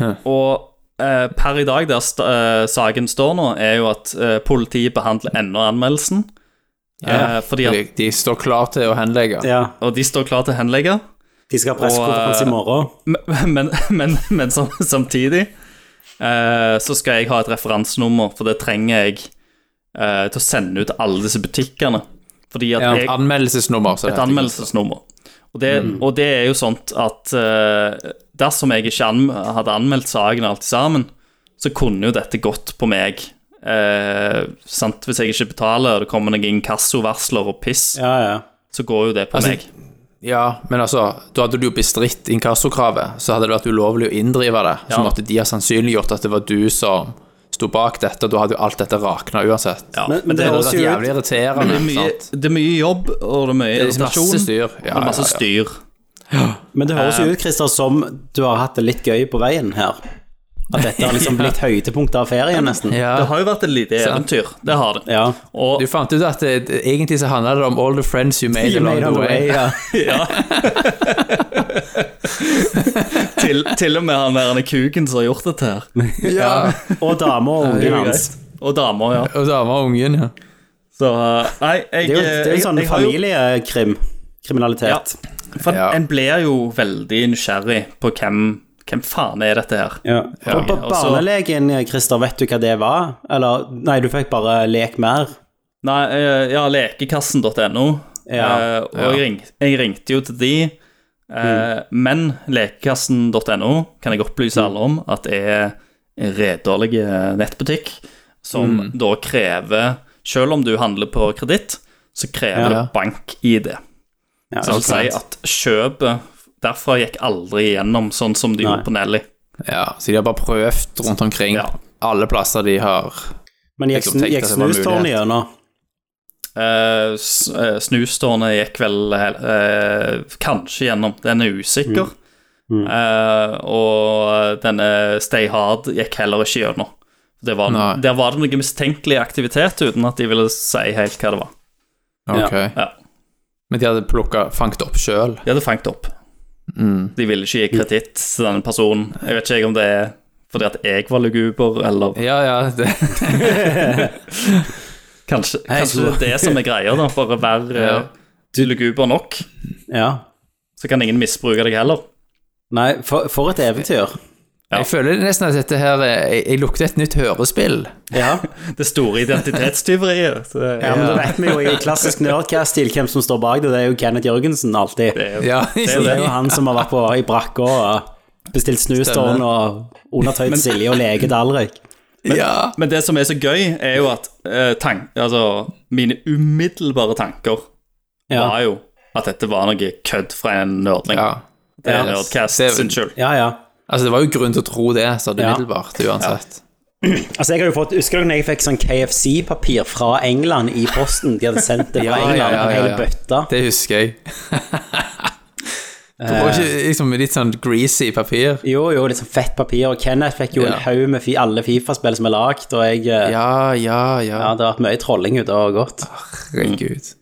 Hæ. Og eh, per i dag, der st eh, saken står nå, er jo at eh, politiet behandler ennå anmeldelsen. Ja. Eh, fordi De, at, de står klar til å henlegge. ja. og de står klar til å henlegge. De skal ha pressekonferanse eh, i morgen. Men, men, men, men sam, samtidig eh, så skal jeg ha et referansenummer, for det trenger jeg eh, til å sende ut til alle disse butikkene. Fordi at Ja, jeg, anmeldelsesnummer. så det et heter. anmeldelsesnummer. Og det, og det er jo sånt at eh, dersom jeg ikke anm hadde anmeldt saken alt sammen, så kunne jo dette gått på meg. Eh, sant? Hvis jeg ikke betaler, og det kommer noen inkassovarsler og piss, Ja, ja. så går jo det på Altså, meg. Ja, men altså, da hadde du jo bestridt inkassokravet, så hadde det vært ulovlig å inndrive det. Så Ja. måtte de ha sannsynliggjort at det var du som sto bak dette, og da hadde jo alt dette rakna uansett. Ja, Men, men det Det hadde høres vært jo jævlig ut irriterende. Det er, mye, Mm. sant? det er mye jobb, og det er mye Det er irritasjon. masse styr. Ja, og det er ja, masse ja. styr. Men det høres jo Eh. ut, Christer, som du har hatt det litt gøy på veien her. At dette har (laughs) liksom blitt høydepunktet av ferien, nesten. Ja. Det har jo vært et lite Sant. eventyr. Det har det. Ja. Og Du fant ut at det, det- egentlig så handla det om all the friends you made along the way. (laughs) ja. til, til og med han der han er kuken som har gjort dette (laughs) her. Ja. Og dama og det ungen er jo hans. Og dama, ja. Og dama og ungen, ja. Så eh, Nei, jeg Det er jo, det er jeg- jo sånn jeg har jo- familiekrim. Kriminalitet. For Ja. en blir jo veldig nysgjerrig på hvem, hvem faen er dette her. Ja. Og på Ja, og så- barnelegen, Christer, vet du hva det var? Eller nei, du fikk bare lek mer. Nei, eh, ja, lekekassen.no. Ja, Mm. Eh, og Jeg, ring, jeg ringte jo til de, eh, men lekekassen.no kan jeg opplyse alle om at er en redelig eh, nettbutikk som Mm. da krever Selv om du handler på kreditt, så krever Ja. det bank-ID. Ja, Så det vil si sant. at kjøpet derfra gikk aldri igjennom, sånn som de Nei. gjorde på Nelly. ja. Så de har bare prøvd rundt omkring Ja. alle plasser de har Men gikk, liksom snu- tenkte gikk at det var snustårnet mulighet. gjennom? Eh, s- eh, snustårnet gikk vel eh, kanskje gjennom. Den er usikker. Mm. Eh, og denne Stay Hard gikk heller ikke gjennom. Det var, Nei. der var det noe mistenkelig aktivitet uten at de ville si helt hva det var. Ok. Ja. Men de hadde plukka Fangt opp sjøl. De hadde fangt opp. Mm. De ville ikke gi kreditt til denne personen. Jeg vet ikke om det er fordi at jeg var luguber, eller Ja, ja. Det. kanskje, Hei, kanskje det så- er det som er greia, da. Bare vær eh, (laughs) Ja. luguber nok, Ja. så kan ingen misbruke deg heller. Nei, for, for et eventyr. Ja. Jeg føler nesten at dette her er- Jeg, jeg lukter et nytt hørespill. Ja. Det store identitetstyveriet. så det- ja, men da vet vi jo i klassisk Nerdcast-stil hvem som står bak det. Det er jo Kenneth Jørgensen alltid. Det er jo- Ja, Så det er jo han som har vært på, i brakka og bestilt snustårn og undertøyd Silje og leget Alrik. ja. Men det som er så gøy, er jo at eh, tank, altså, mine umiddelbare tanker var Ja, jo at dette var noe kødd fra en nerdling. ja. det er ja. Nerdcast Det- sin skyld. ja. ja. Altså, det var jo grunn til å tro det, sa du Ja. umiddelbart, uansett. Altså, jeg har jo fått, Husker dere når jeg fikk sånn KFC-papir fra England i posten? De hadde sendt det fra Ja, ja, England, ja, en ja, hel ja. bøtte. Det (laughs) husker jeg. Du får ikke liksom, litt sånn greasy papir. Jo, jo, litt sånn fett papir. Og Kenneth fikk jo Ja. en haug med fi, alle Fifa-spill som er lagd, og jeg eh, Ja, ja, ja. Ja, det har vært mye trolling ute og gått. Herregud.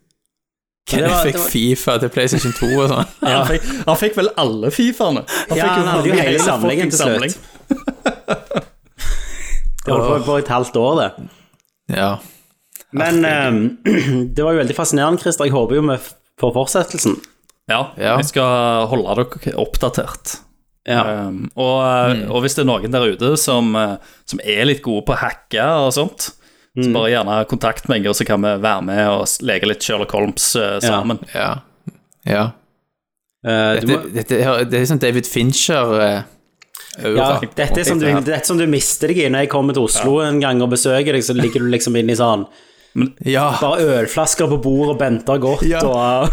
Men det Jeg var- det fikk var- Fifa til PlayStation 2 og (laughs) sånn. Han, fikk, han fikk vel alle Fifaene? Han Ja, fikk han hadde jo hele samlingen til fucking slutt. Det holdt på på et halvt år, det. Ja. Men ehm, (clears throat) det var jo veldig fascinerende, Christer. Jeg håper jo vi f- får fortsettelsen. Ja, Ja. jeg skal holde dere oppdatert. Ja. Um, og, og hvis det er noen der ute som, eh, som er litt gode på å hacke og sånt, så bare gjerne kontakt meg, og så kan vi være med og s- leke litt Sherlock Holmes eh, sammen. Ja. ja. Eh, du Dette, må, dette, er- det er liksom David Fincher eh, aura. ja dette, er som du, dette er som du mister deg i når jeg kommer til Oslo en gang og besøker deg, så ligger du liksom inne i sånn Ja. Bare ølflasker på bordet, og Bente har gått, Ja. og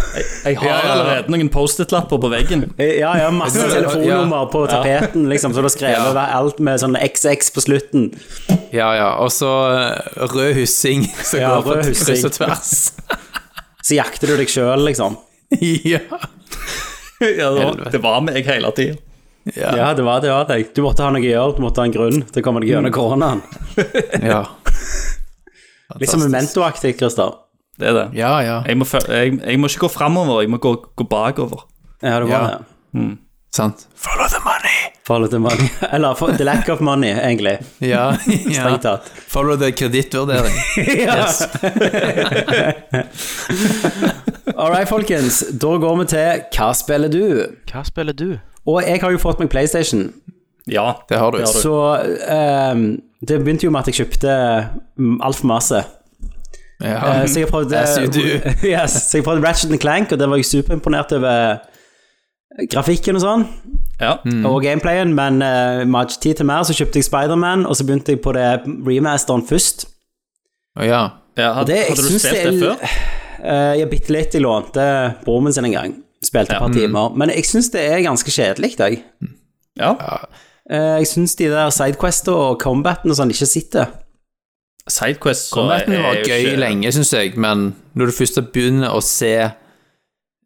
Ja, Jeg har ja, ja. allerede noen Post-It-lapper på veggen. Ja, ja, masse Ja. telefonnummer på tapeten, liksom, så du har skrevet Ja. alt med sånn XX på slutten. ja, ja. Og så eh, rød hyssing som Ja, går på rød hyssing. kryss og tvers. (laughs) Så jakter du deg sjøl, liksom. ja. ja, det, var, Helvete. det var meg hele tida. Ja, det var det. var det. Mm. Du måtte ha noe å gjøre, du måtte ha en grunn til å komme deg gjennom koronaen. ja. Litt som Memento-aktig, Christer. Det er det. Ja, ja. Jeg, må, fø- jeg, jeg må ikke gå framover, jeg må gå, gå bakover. Ja, det var Ja. det. Sant. Follow the money. Forholdet til money. (laughs) Eller for, the lack of money, egentlig. Ja. (laughs) ja. Strengt tatt. Follow the kredittvurdering. Yes. (laughs) All right, folkens. Da går vi til Hva spiller du? Hva spiller du? Og jeg har jo fått meg PlayStation, Ja. Det har du. så ehm, det begynte jo med at jeg kjøpte mm, altfor masse. Ja. Eh, så jeg prøvde As you do. (laughs) yes, Så jeg prøvde Ratchet and Clank, og det var jeg superimponert over grafikken og sånn, ja. og gameplayen, men uh, hadde ikke tid til mer, så kjøpte jeg Spiderman, og så begynte jeg på det remasteren først. Å, ja. ja hadde, det- jeg hadde du synes spilt det er- det før? Eh, Jeg bitte litt, jeg lånte broren min sin en gang. Spilte et par timer. Mm. Men jeg syns det er ganske kjedelig, jeg. Ja. Eh, Jeg syns de der sidequesta og combaten og sånn ikke sitter. Sidequest så Combaten er var jo gøy ikke- lenge, syns jeg, men når du først begynner å se eh,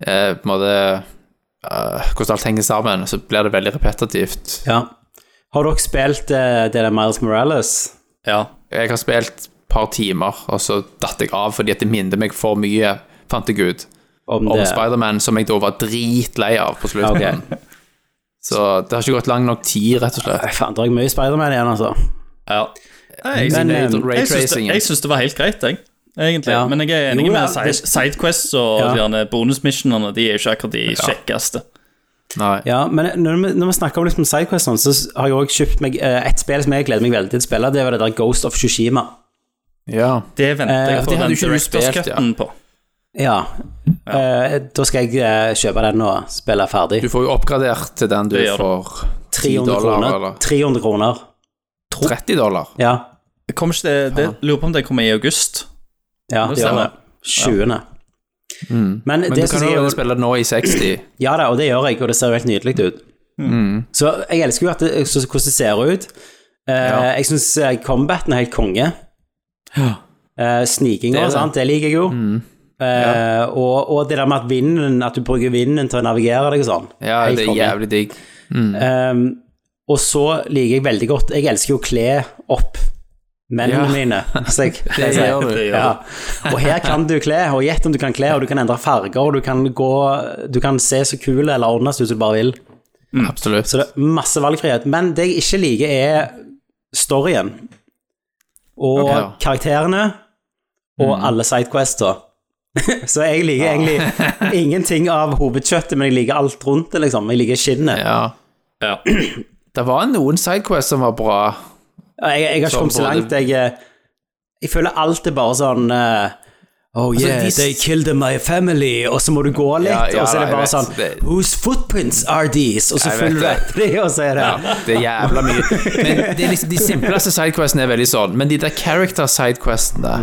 på en måte eh, hvordan alt henger sammen, så blir det veldig repetitivt. Ja. Har dere spilt eh, det der Miles Morales? Ja. Jeg har spilt et par timer, og så datt jeg av fordi at det minnet meg for mye, fant jeg ut, Om om det? Spiderman, som jeg da var dritlei av på slutten. Ja, Så det har ikke gått lang nok tid, rett og slett. Nei, Faen, det er mye Spiderman igjen, altså. ja. Nei, jeg, Men, jeg, eh, Ray syns det, tracingen. jeg syns det var helt greit, jeg. Egentlig. Ja. Men jeg er Jo, enig med ja, side, det- Sidequests og Ja. de derne bonusmissionene. De er jo ikke akkurat de kjekkeste. Nei. Ja, men eh, når vi, når vi snakker om liksom sidequest, sånn, så har jeg òg kjøpt meg eh, et spill som jeg gleder meg veldig til å spille. Det var det der Ghost of Tsushima Ja. Det venter Eh, jeg for på det hadde den jo ikke du Directors spilt, ja. Cutten på. Ja. Eh, da skal jeg eh, kjøpe den og spille ferdig. Du får jo oppgradert til den du Det gjør du. får 10 300 dollar, kroner. eller 300 kroner. 30 dollar. Ja. Det Kommer ikke det, det, lurer på om det kommer i august. Ja, Det det gjør stemmer. det. 20. Men, Men det du syns kan jeg jo er spille nå i (clears throat) 60. Ja da, og det gjør jeg, og det ser jo helt nydelig ut. Så jeg elsker jo at det, så, hvordan det ser ut. Eh, Ja. Jeg syns combaten er helt konge. Eh, Det Snikinger, er det. sant, det liker jeg jo. Eh, og, og det der med at vinden At du bruker vinden til å navigere deg og sånn. Ja, Helt det er konge. jævlig digg. Ehm, og så liker jeg veldig godt Jeg elsker jo å kle opp mennene Ja. mine. Så (laughs) jeg, Det jeg- gjør du. Ja. Og her kan du kle, og gjett om du kan kle, og du kan endre farger, og du kan gå Du kan se så kul eller ordnes ut som du bare vil. Absolutt. Mm. Så det er masse valgfrihet. Men det jeg ikke liker, er storyen. Og Ok, ja. Mm. karakterene, og alle sidequester. (laughs) så jeg liker (laughs) egentlig ingenting av hovedkjøttet, men jeg liker alt rundt det, liksom. Jeg liker skinnet. Ja. Ja. Det var noen sidequests som var bra. Jeg, jeg har ikke Som kommet så både- langt. Jeg, eh, jeg føler alt er bare sånn eh, Oh yeah, Altså, de s- they killed my family, og så må du gå litt, Ja, ja, og så er det jeg bare vet, sånn det- Whose footprints are these? Og så Jeg vet følger du det. etter dem, og så er det Ja, det er jævla mye. Men det er liksom, de simpleste sidequestene er veldig sånn, men de der character-sidequestene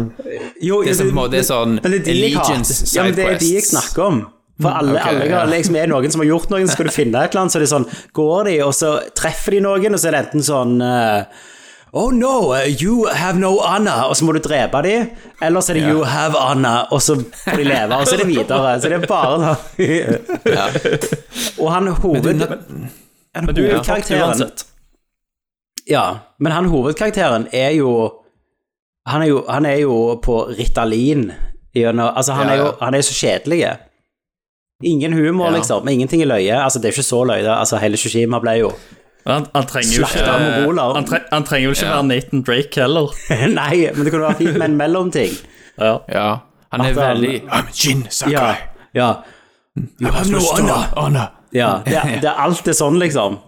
Jo, Det er jo, som på en måte sånn men det er de jeg hater. allegiance Ja, men det er de jeg sidequests. Mm, snakker om. For alle, ok, alle ja. er liksom, er det noen som har gjort noe, så skal du finne et eller annet, så er det sånn Går de, og så treffer de noen, og så er det enten sånn eh, Å, Oh no, uh, you have no honor, og så må du drepe dem. Eller så er det you have honor, og så får de leve, og så er det videre. Så det er bare da. (laughs) Og han hoved... han Men du er jo fucked hovedkarakteren uansett. Ja, men han hovedkarakteren er jo Han er jo, han er jo på Ritalin gjennom Altså, han Ja, er jo ja. han er så kjedelig. Ingen humor, Ja. liksom. Ingenting er løye. Altså, det er ikke så løye. da. Altså, hele Shishima ble jo (laughs) Han, han trenger jo ikke, Slakta mongoler. han tre, han trenger jo ikke være Nathan Drake heller. Nei, men det kunne vært fint med en mellomting. Ja. Ja. Han er At um, han- veldig I'm Jin Sakai. Ja. ja. You have no honor. honor. (laughs) Ja, det, er- det er alt er sånn, liksom.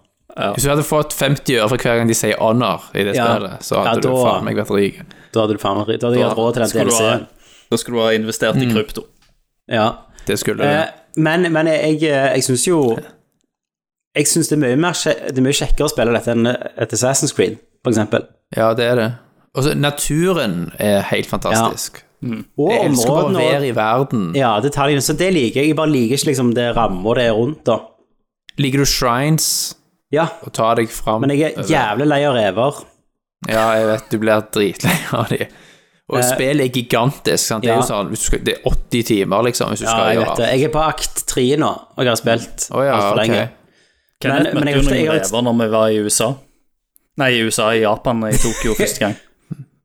Hvis du hadde fått 50 øre for hver gang de sier honor i det Ja. spillet, så hadde Ja, da- du faen meg vært rik. Da hadde du faen meg Da hadde jeg hatt råd til den Skulle du ha, DLC-en. da skulle du ha investert i krypto. Ja. Det skulle du. Eh, men, men jeg, eh, jeg syns jo Jeg syns det er mye, mer, kje- det er mye kjekkere å spille dette enn eh, et Assassin's Creed, for eksempel. Ja, det er det. Og så naturen er helt fantastisk. Og Jeg elsker bare å områdene og være i verden. ja, detaljene. Så det liker jeg. Jeg bare liker ikke liksom det ramma det er rundt, da. Liker du shrines Ja, og tar deg fram men jeg er over- jævlig lei av rever. Ja, jeg vet, du blir dritlei av de. Og spillet er gigantisk. sant? Det er Eh, ja. jo sånn, hvis du skal, det er 80 timer, liksom, hvis du Ja, skal jeg gjøre vet det. Jeg er på akt tre nå, og jeg har spilt Å ja, altfor ok. lenge. Kenneth men møtte jeg- jo noen jeg- rever når vi var i USA. Nei, i USA, i Japan, i Tokyo første gang.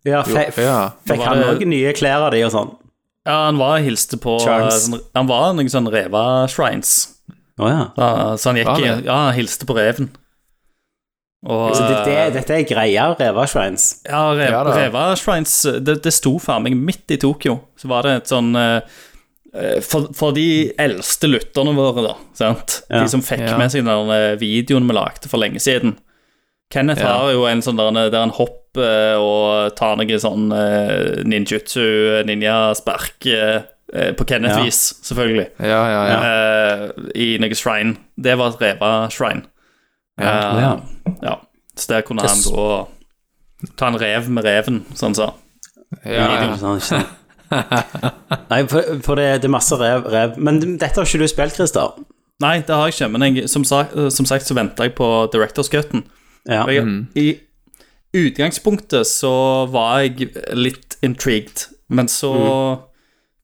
Ja, fe Ja. Da Fikk var han det- òg nye klær av de og sånn? Ja, han var og hilste på Charles. eh, sånn- Han var noen sånne reva-shrines. Å ja. Ja, så han gikk Var i det? Ja, han hilste på reven. Og Så det, det, eh, dette er greia, revashrines. Ja, rev, Ja, da. Reva-shrines eh, det, det sto faen meg midt i Tokyo. Så var det et sånn eh, eh, for, for de eldste lytterne våre, da. Sant? Ja. De som fikk Ja. med seg den der videoen vi lagde for lenge siden. Kenneth Ja. har jo en sånn der, der han hopper eh, og tar noe sånn eh, ninjutsu, ninja-spark eh, eh, på Ja. Kenneth-vis, selvfølgelig. Ja, ja, ja. Eh, I noe shrine. Det var et Reva-shrine. Ja. Eh, Ja. ja. Så der kunne han gå og ta en rev med reven, som han sa. ja, ja. Ikke sant, ikke sant. Nei, for, for det, det er masse rev, rev. Men dette har ikke du spilt, Christer. Nei, det har jeg ikke, men jeg, som, sa, som sagt så venta jeg på Directors Cut-en. Ja. Og jeg- I utgangspunktet så var jeg litt intrigued, men så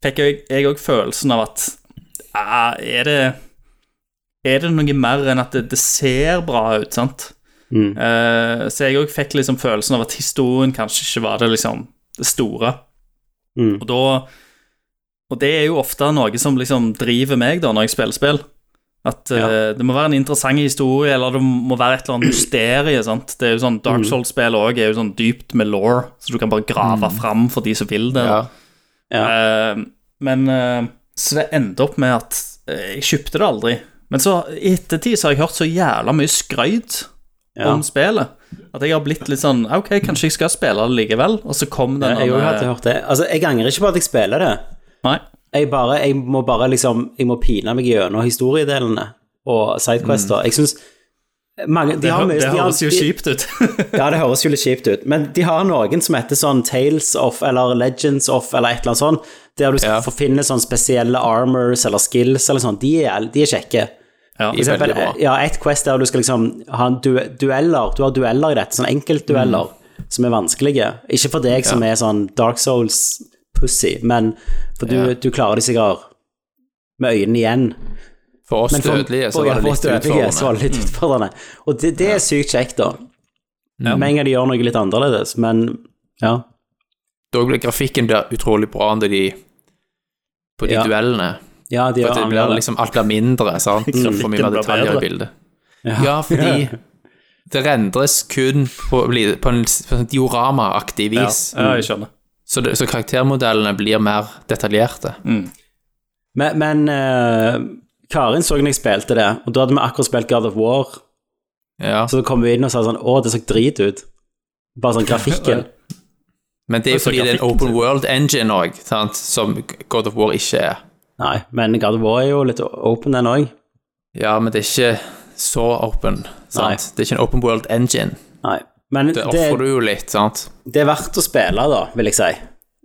fikk jeg- jeg òg følelsen av at ah, er det er det noe mer enn at det, det ser bra ut, sant? Mm, Eh, så jeg òg fikk liksom følelsen av at historien kanskje ikke var det liksom det store. Mm. Og da Og det er jo ofte noe som liksom driver meg da når jeg spiller spill. At eh, det må være en interessant historie, eller det må være et eller annet mysterium. Sant? Det er jo sånn Mm. Dark Souls-spill òg er jo sånn dypt med law, så du kan bare grave fram for de som vil det. da. ja. Mm. Ja. Eh, men eh, Så det endte opp med at eh, jeg kjøpte det aldri. Men så i ettertid så har jeg hørt så jævla mye skrøyt Ja. om spillet at jeg har blitt litt sånn Ok, kanskje jeg skal spille det likevel, og så kom den Jeg denne- har jo hørt det. Altså, jeg angrer ikke på at jeg spiller det. Nei. Jeg, bare, jeg må bare liksom Jeg må pine meg gjennom historiedelene og sidequester. Jeg syns mange de Mm. Det, har hø- mye- det de har- høres jo de- kjipt (laughs) ut. Ja, det høres jo litt kjipt ut, men de har noen som heter sånn Tales of eller Legends of eller et eller annet sånt, der du Ja. skal få finne sånne spesielle armors eller skills eller sånn. De er, de er kjekke. ja, For eksempel, bra. ja, et quest der du skal liksom ha en du dueller, du har dueller i dette, sånn enkeltdueller Mm. som er vanskelige. Ikke for deg som er sånn Dark Souls-pussy, men for du, Ja. du klarer de sikkert med øynene igjen. For oss Men for, dødelige så for- ja, var det for litt dødelige så var utfordrende. Mm. det litt utfordrende. Og det, det er sykt kjekt, da. Ja. Med en gang de gjør noe litt annerledes, men ja. Da ble grafikken blir utrolig bra når de på de Ja. duellene. Ja, de For gjør at det blir annerledes. liksom alt blir mindre, sant? For mye blir mer detaljer bedre. i bildet. Ja, (laughs) fordi det rendres kun på, på en sånn dioramaaktig Ja, vis. ja, jeg skjønner. Så, det, så karaktermodellene blir mer detaljerte. Men, men eh, Karin så når jeg spilte det, og da hadde vi akkurat spilt God of War, Ja. så da kom vi inn og sa sånn Å, det så drit ut. Bare sånn (laughs) grafikken. Men det er jo Altså, fordi det er en grafikken open til- world engine òg, som God of War ikke er. Nei, men God of War er jo litt open, den òg. Ja, men det er ikke så open. Nei. Sant? Det er ikke en open world engine. Nei. Men det, Det ofrer du jo litt, sant. det er verdt å spille, da, vil jeg si.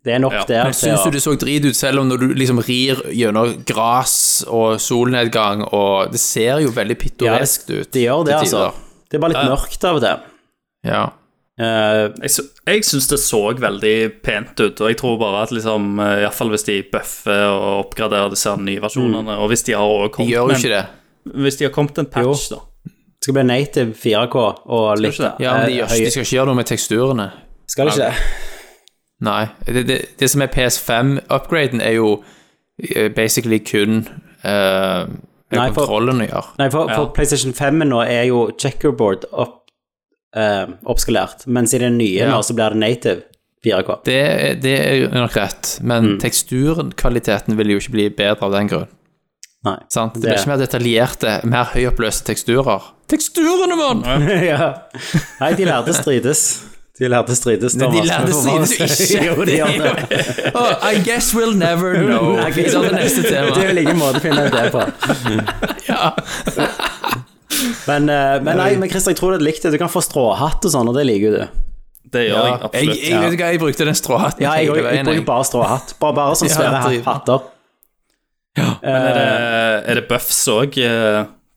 Det er nok Ja. der Men til syns å du det så drit ut, selv om når du liksom rir gjennom gress og solnedgang, og det ser jo veldig pittoresk ut. Det gjør det, til altså. tider. Det er bare litt mørkt av det. Ja. Eh, Jeg, sy- jeg syns det så veldig pent ut, og jeg tror bare at liksom eh, i hvert fall hvis de bøffer og oppgraderer disse her nye versjonene, og hvis de har også De kommet gjør jo med- ikke det. Hvis de har kommet en patch, da. det skal bli native 4K og litt ikke det? Ja, men de, eh, gjør, ikke- de høye- skal ikke gjøre noe med teksturene. Skal det ikke det? Nei. Det, det, det som er PS5-upgraden, er jo eh, basically kun eh, Nei, for- kontrollen å gjøre. Nei, for, for Ja. PlayStation 5 nå er jo checkerboard opp, eh, oppskalert, mens i den nye Ja. nå så blir det native 4K. Det, er- det er jo nok rett, Mm. men teksturen, kvaliteten, vil jo ikke bli bedre av den grunn. Nei. Sant? Det Det- blir ikke mer detaljerte, mer høyoppløste teksturer. Teksturene, mann! (laughs) ja. Nei, de lærte strides. De lærte strides. Men de Thomas. lærte strides (laughs) jo ikke. (laughs) jo, de gjør det. Oh, I guess we'll (laughs) never know. Nei, Det er det neste Det er tema. vel ingen måte å finne ut det på. Ja. Men, eh, men nei, men Christer, jeg tror det er likt. Du kan få stråhatt og sånn, og det liker du. Det gjør jeg Jeg, absolutt. jeg, vet ikke hva, jeg brukte den stråhatten Ja, jeg, hele jeg, jeg veien. bruker Jeg. bare stråhatt. Bare, bare sånne Ja, svære driv. hatter. Men er det, er det buffs òg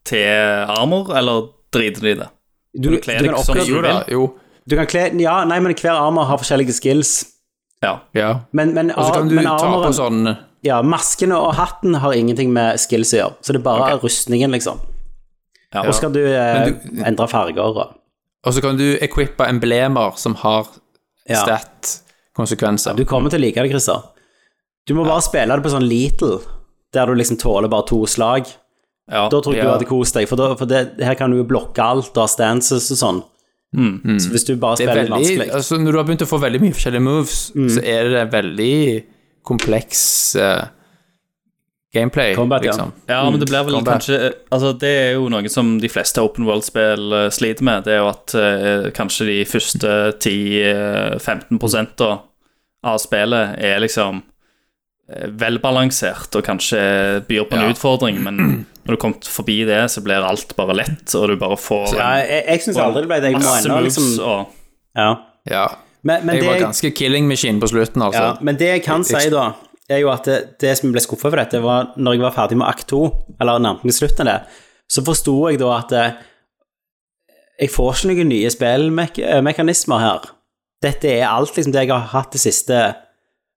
til armor, eller driter de i det? Du, du du kler kan deg som oppgradere- du Jo da, jo. Du kan kle Ja, nei, men hver armer har forskjellige skills. Ja. Ja. Men, men, Og så ar- Altså, kan du men ta på armoren sånn Ja, maskene og hatten har ingenting med skills å gjøre. Så det er bare rustningen, liksom. Ja. Og så kan du, eh, Men du- endre farger og Og så kan du equippe emblemer som har Ja. stat-konsekvenser. Du kommer til å like det, Christer. Du må bare spille det på sånn little, der du liksom tåler bare to slag. Ja. Da tror jeg du Ja. hadde kost deg, for, da, for det, her kan du jo blokke alt og ha stances og sånn. Så hvis du bare Mm. det er spiller litt veldig, vanskelig Mm. altså når du har begynt å få veldig mye forskjellige moves, så er det veldig kompleks eh, gameplay, Combat, ja. liksom. ja, men det blir vel Combat. kanskje Altså, det er jo noe som de fleste open world-spill eh, sliter med. Det er jo at eh, kanskje de første 10-15 da av spillet er liksom eh, velbalansert og kanskje byr på en Ja. utfordring, men når du kommer forbi det, så blir alt bare lett, og du bare får ja, Jeg, jeg syns aldri det ble det. Jeg må masse ennå moves liksom og ja. Ja. men, men, Jeg det, var jeg- ganske killing machine på slutten, altså. ja, men det jeg kan Jeg- si, da, er jo at det, det som jeg ble skuffa over dette, var når jeg var ferdig med akt to, eller nærmest slutten av det, så forsto jeg da at eh, jeg får ikke noen nye spillmekanismer her. Dette er alt liksom det jeg har hatt det siste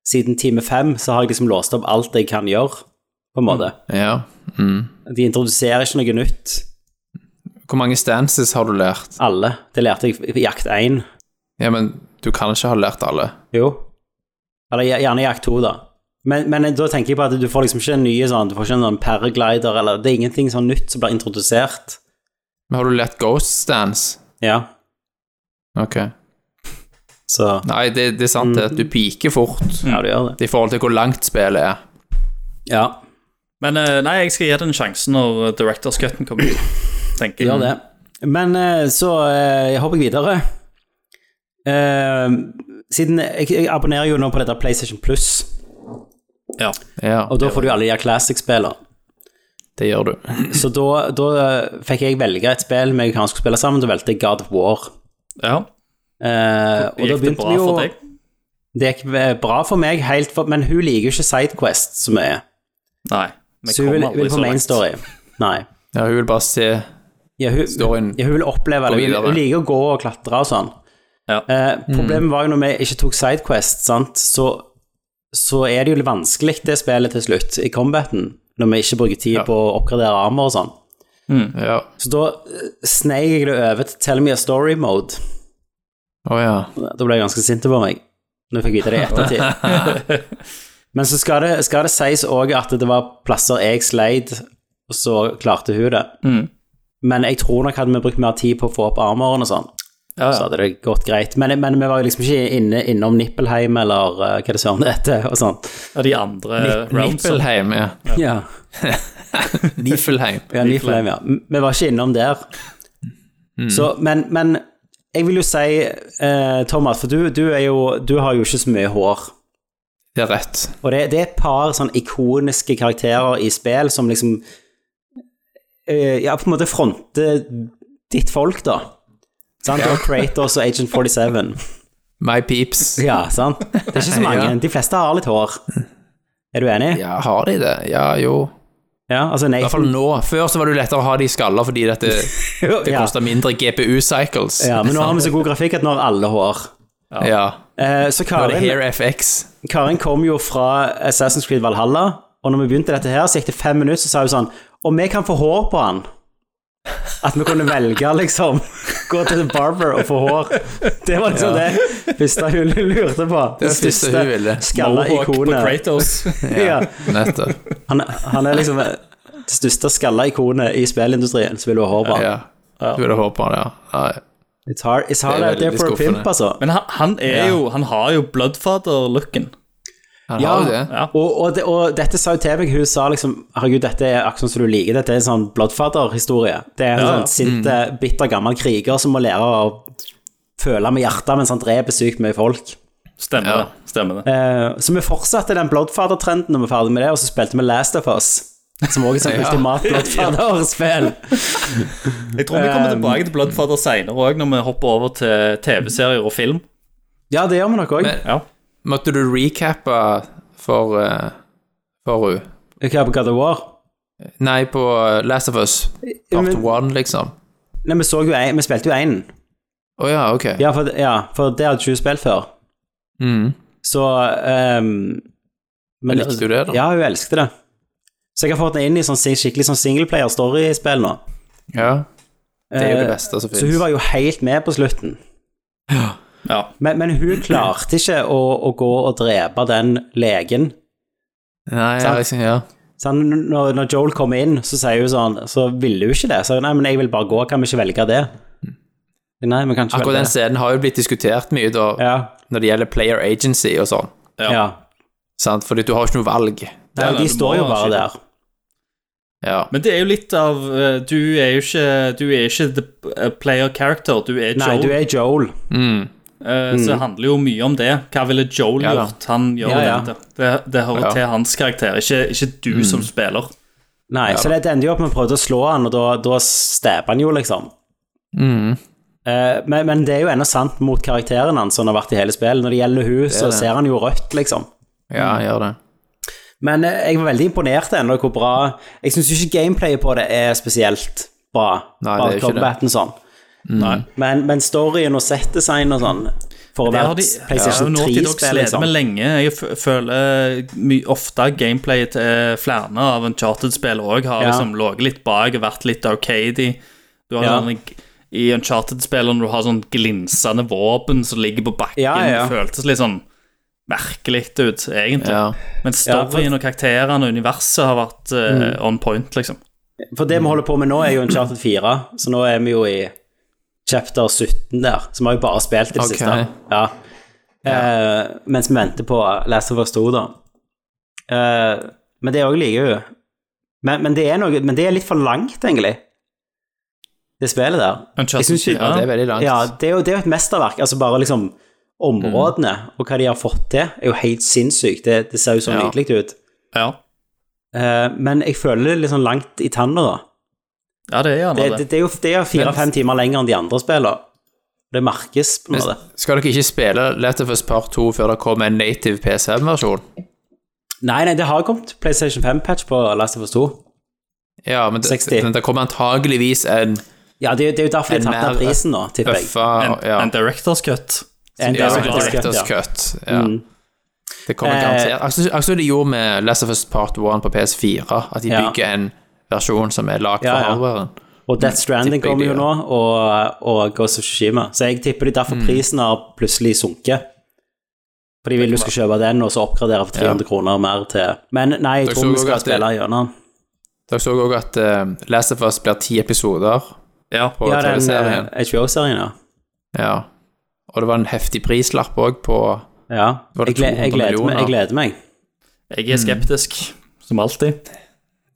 Siden time fem så har jeg liksom låst opp alt jeg kan gjøre, på en måte. Ja. Mm. De introduserer ikke noe nytt. Hvor mange stances har du lært? Alle. Det lærte jeg i jakt 1. Ja, men du kan ikke ha lært alle. Jo. Eller gjer- gjerne jakt 2, da. Men, men da tenker jeg på at du får liksom ikke en ny sånn, du får ikke en sånn paraglider, eller det er ingenting sånn nytt som blir introdusert. Men har du lært ghost stance? Ja, Ok. så Nei, det, det er sant det, at du piker fort Ja, du gjør det. i forhold til hvor langt spillet er. Ja, Men eh, nei, jeg skal gi det en sjanse når eh, Directors Cut-en kommer ut, tenker jeg. gjør det. Men eh, så eh, jeg hopper jeg videre. Eh, siden jeg, jeg abonnerer jo nå på dette PlayStation Plus, Ja. Ja, og da får du alle de her Classic-spillene. det gjør du. Så da, da eh, fikk jeg velge et spill vi kan skulle spille sammen, da valgte jeg God of War. ja. Eh, og da Gikk det begynte bra vi jo for deg? Det gikk eh, bra for meg, helt for, men hun liker jo ikke Sidequest så mye. Nei. vi Så hun kom vil, aldri vil så på main langt. story. Nei. Ja, hun vil bare se Ja, hun, storyen. ja, hun vil oppleve Gå det. Hun, videre. hun liker å gå og klatre og sånn. Ja. Eh, problemet var jo når vi ikke tok Sidequest, sant, så, så er det jo litt vanskelig det spillet til slutt, i combaten, når vi ikke bruker tid Ja. på å oppgradere armer og sånn. Ja. Så da eh, sneik jeg det over til Tell me a story mode. Å ja. Da ble jeg ganske sint på meg når jeg fikk vite det i ettertid. (laughs) Men så skal det, skal det sies òg at det var plasser jeg sleit, og så klarte hun det. Mhm. Men jeg tror nok hadde vi brukt mer tid på å få opp armoren og sånn, så Ja, ja. hadde det gått greit. Men, men vi var jo liksom ikke inne, innom Nippelheim eller eh, hva det søren heter, og sånn. Av de andre rounds. Nippelheim, ja. Ja. Nifelheim. ja, Nippelheim, ja. M- Vi var ikke innom der. Mm. Så, men, men jeg vil jo si, eh, Thomas, for du, du er jo Du har jo ikke så mye hår. Det er rett. Og det, det er et par sånn ikoniske karakterer i spill som liksom eh, Ja, på en måte fronter ditt folk, da. Sant? Og Kratos og Agent 47. My peeps. Ja, sant? Det er ikke så mange. Ja. De fleste har litt hår. Er du enig? Ja, har de det? Ja, jo. Ja, altså I hvert fall Nathan nå. Før så var det jo lettere å ha de i skaller fordi dette, (laughs) det ja. koster mindre GPU-cycles. ja, men nå har vi så god grafikk at nå har alle hår. Ja. Eh, så Nå er det Karin, Hair FX. Karin kom jo fra Assassin's Creed Valhalla, og når vi begynte dette her, så gikk det fem minutter, så sa hun sånn Om vi kan få hår på han At vi kunne velge, liksom. (laughs) Gå til en barber og få hår. Det var liksom det første hun lurte på. Det, første hun ville. skalla Mohawk på ikonet. (laughs) Kratos. Ja. Nettopp. Han, han er liksom det største skalla ikonet i spillindustrien, så vil du ha hår på han. Ja. Du ville håpe på det, ja. Nei. It's hard, it's hard Det er out there veldig for a skuffende. pimp, altså. Men han, han er Ja. jo Han har jo Bloodfather-looken. Han har jo det. Ja. Og, og, det, og dette sa jo til meg, hun sa liksom Herregud, dette er akkurat sånn som du liker, dette er en sånn Bloodfather-historie. Det er en Ja. sånn sint, Mm. eh, bitter gammel kriger som må lære å føle med hjertet mens han dreper sykt mye folk. Stemmer Ja. det. Stemmer det. Eh, så vi fortsatte den Bloodfather-trenden når vi var ferdig med det, og så spilte vi Last of Us. Som også er sånn (laughs) Ja. ultimat Bloodfather-spill. Jeg tror vi kommer tilbake til Bloodfather seinere òg, når vi hopper over til TV-serier og film. Ja, det gjør vi nok òg. Men- Ja. Måtte du recappe for eh, For hun? Hva på God of War? Nei, på eh, Last of Us. Part Men- one, liksom. Nei, vi, så jo en, vi spilte jo én. Å ja, ok. Ja, for, ja, for det hadde ikke hun spilt før. Mm. Så ehm, men- Likte du det, da? Ja, hun elsket det. Så jeg har fått henne inn i sånn, sing- skikkelig sånn singleplayer-story-spill nå. ja. Det er jo det Eh, beste som Så hun fins. var jo helt med på slutten. ja. Men, men hun klarte ikke å, å gå og drepe den legen. Nei, ja, liksom, ja. Så han, når, når Joel kom inn, så sier hun sånn Så ville hun ikke det. Så hun, nei, men jeg vil bare gå, kan vi ikke velge det? Nei, vi kan ikke Akkurat den velge det. scenen har jo blitt diskutert mye da, Ja, når det gjelder player agency og sånn. ja. Sant? Fordi du har ikke noe valg. Nei, Nei, nei, de du står må jo bare skyte. der. Ja. Men det er jo litt av eh, Du er jo ikke Du er ikke the eh, player character, du er Nei, Joel. du er Joel. Mm. Eh, Så det handler jo mye om det. Hva ville Joel Ja da. gjort? Han gjør Ja, ja. dette. Det, det hører Ja. til hans karakter, ikke, ikke du som spiller. Nei, så det endte jo opp med å prøve å slå han, og da, da stabber han jo, liksom. Mm. Eh, men, men det er jo ennå sant mot karakteren hans som har vært i hele spillet. Når det gjelder hun, så det. ser han jo rødt, liksom. Ja, gjør det. Men eh, jeg var veldig imponert ennå hvor bra Jeg syns ikke gameplayet på det er spesielt bra. Nei, Bare det er jo ikke det. combaten sånn. Nei. Men, men storyen og settdesign og sånn For å Det være har de, et ja, PlayStation Naughty Dog 3-spill, slitt liksom. med lenge. Jeg f- føler eh, my, ofte gameplayet til eh, flere av Uncharted-spill òg har Ja. liksom ligget litt bak, vært litt arcadey. Du har Ja. sånne g- I Uncharted-spillene du har sånn glinsende våpen som ligger på bakken. Ja, ja. Det føltes litt sånn merkelig ut, egentlig. Ja. Men storyen og karakterene og universet har vært eh, Mm. on point, liksom. For det vi holder på med nå, er jo Uncharted 4, så nå er vi jo i chapter 17 der, så vi har jo bare spilt det Ok. siste. Ja. Eh, mens vi venter på Last of Us 2, da. Eh, men det òg liker hun. Men, men, det er noe, men det er litt for langt, egentlig, det spillet der. Uncharted Jeg synes ikke- 4. ja, det er veldig langt. Ja, det er jo, det er jo et mesterverk. Altså bare liksom områdene og hva de har fått til, er jo helt sinnssykt. Det, det ser jo så Mm. Ja. nydelig ut. Ja. Eh, men jeg føler det er litt sånn langt i tanna, da. ja, det er gjerne Det, det. det, det er jo, det er jo fire-fem timer lenger enn de andre spillene. Det merkes på en måte. Men skal dere ikke spille Let of Us Part 2 før det kommer en native PS5-versjon? Nei, nei, det har kommet PlayStation 5-patch på Last of Us 2. Ja, men det, 60. men det kommer antageligvis en Ja, det, er- det er jo derfor de En har tatt ned mer prisen nå, tipper jeg. bøffa En, ja. en director's cut. En Ja, director's cut, Directors ja. Cut. Ja. Mm. Det kommer Eh, garantert. Akkurat som- Akkurat som de gjorde med Last of Us Part 1 på PS4, at de Ja. bygger en versjon som er lagd Ja, for ja. hardwaren. Og Death Stranding Mm, tipper jeg kommer jo de nå, og, og Ghost of Tsushima. Så jeg tipper de Mm. derfor prisen har plutselig sunket. For de vil du skal kjøpe den, og så oppgradere for 300 kroner mer til Men nei, jeg Dere tror så vi også skal at det- spille gjennom. Dere så òg at eh, Last of Us blir ti episoder Ja. på Ja, den TV-serien. eh, HBO-serien, ja. Ja. Og det var en heftig prislapp òg på ja. Jeg, Var det gle- jeg, 200 gleder meg, millioner? jeg gleder meg. Jeg er Mm. skeptisk, som alltid.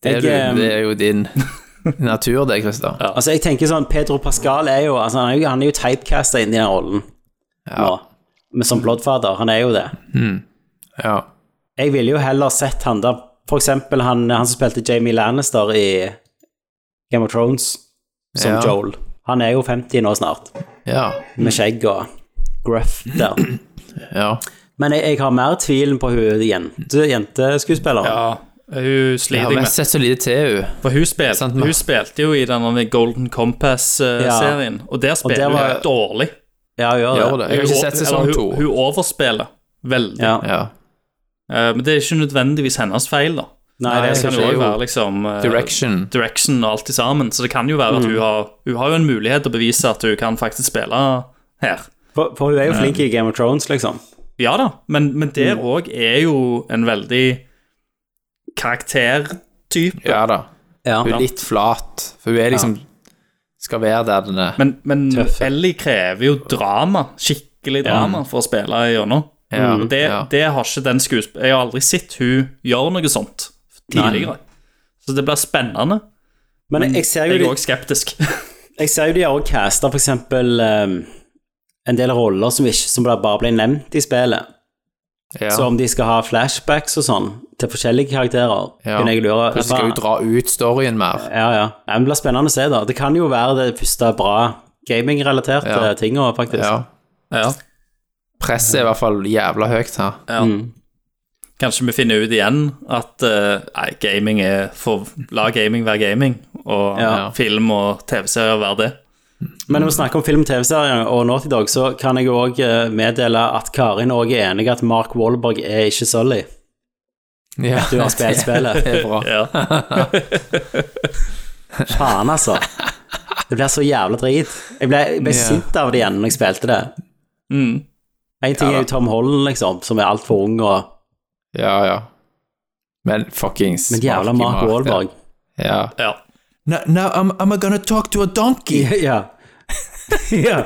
det, er Jeg, eh, du, det er (laughs) jo din natur, det, Christer. Ja. Altså, jeg tenker sånn, Pedro Pascal er jo altså, han er jo, han er jo typecasta inn i den rollen nå, men som Bloodfather. Han er jo det. ja. Jeg ville jo heller sett han der For eksempel han, han som spilte Jamie Lannister i Game of Thrones, som Ja. Joel. Han er jo 50 nå snart, Ja. med skjegg og gruff der. ja. Men jeg, jeg har mer tvilen på hun jente, jenteskuespilleren. Ja, Hun Jeg sliter har jeg med. mest sett så lite til henne. For hun, spil, Sant, men- hun spilte jo i den Golden Compass-serien, og der spiller der var- hun dårlig. Ja, gjør det. Gjør det. Jeg har Hun- ikke sett sesong eller to. Hun, hun overspiller veldig. Ja. Ja. Eh, men det er ikke nødvendigvis hennes feil, da. Nei, Nei, det Det skal det kan jo er også jo være liksom eh, Direction. Mm. direction og alt i sammen, så det kan jo være at hun har Hun har jo en mulighet til å bevise at hun kan faktisk spille her. For, for hun er jo flink i Game of Thrones, liksom. Ja da, men, men Mm. der òg er jo en veldig karaktertype. Ja da. Ja. Hun er litt flat, for hun er liksom Skal være der den er. Men, men Tøff. Ellie krever jo drama, skikkelig drama, for å spille gjennom. Ja, Og det, ja. det har ikke den skuespilleren Jeg har aldri sett hun gjør noe sånt tidligere. Så det blir spennende. Men jeg, jeg ser jo Jeg er de, òg skeptisk. (laughs) jeg ser jo de har også casta for eksempel ehm, en del roller som, ikke, som bare ble nevnt i spillet. Ja. Så om de skal ha flashbacks og sånn til forskjellige karakterer, Ja. kunne jeg lure Hvordan skal hun dra ut storyen mer? Ja, ja. Nei, men det blir spennende å se, da. Det kan jo være det første bra gaming-relaterte Ja. tinga, faktisk. Ja. Ja. Presset er i hvert fall jævla høyt her. Ja. Mm. Kanskje vi finner ut igjen at eh, nei, gaming er for, La gaming være gaming, og Ja. film og TV-serier være det. Men når vi snakker om film, TV-serier og Naughty Dog, så kan jeg òg meddele at Karin òg er enig i at Mark Wahlberg er ikke Sully. Ja. (laughs) Du (laughs) har spilt spillet. Det er bra. Ja. Faen, altså. Det blir så jævla drit. Jeg ble, jeg ble Ja. sint av det igjen når jeg spilte det. Mm. En ting Ja da. er jo Tom Holland, liksom, som er altfor ung, og Ja, ja. Men fuckings Men jævla Marky Mark Mark, Wahlberg. Ja. ja. (laughs) Now, now I'm, I'm gonna talk to a donkey. Ja. (laughs) ja.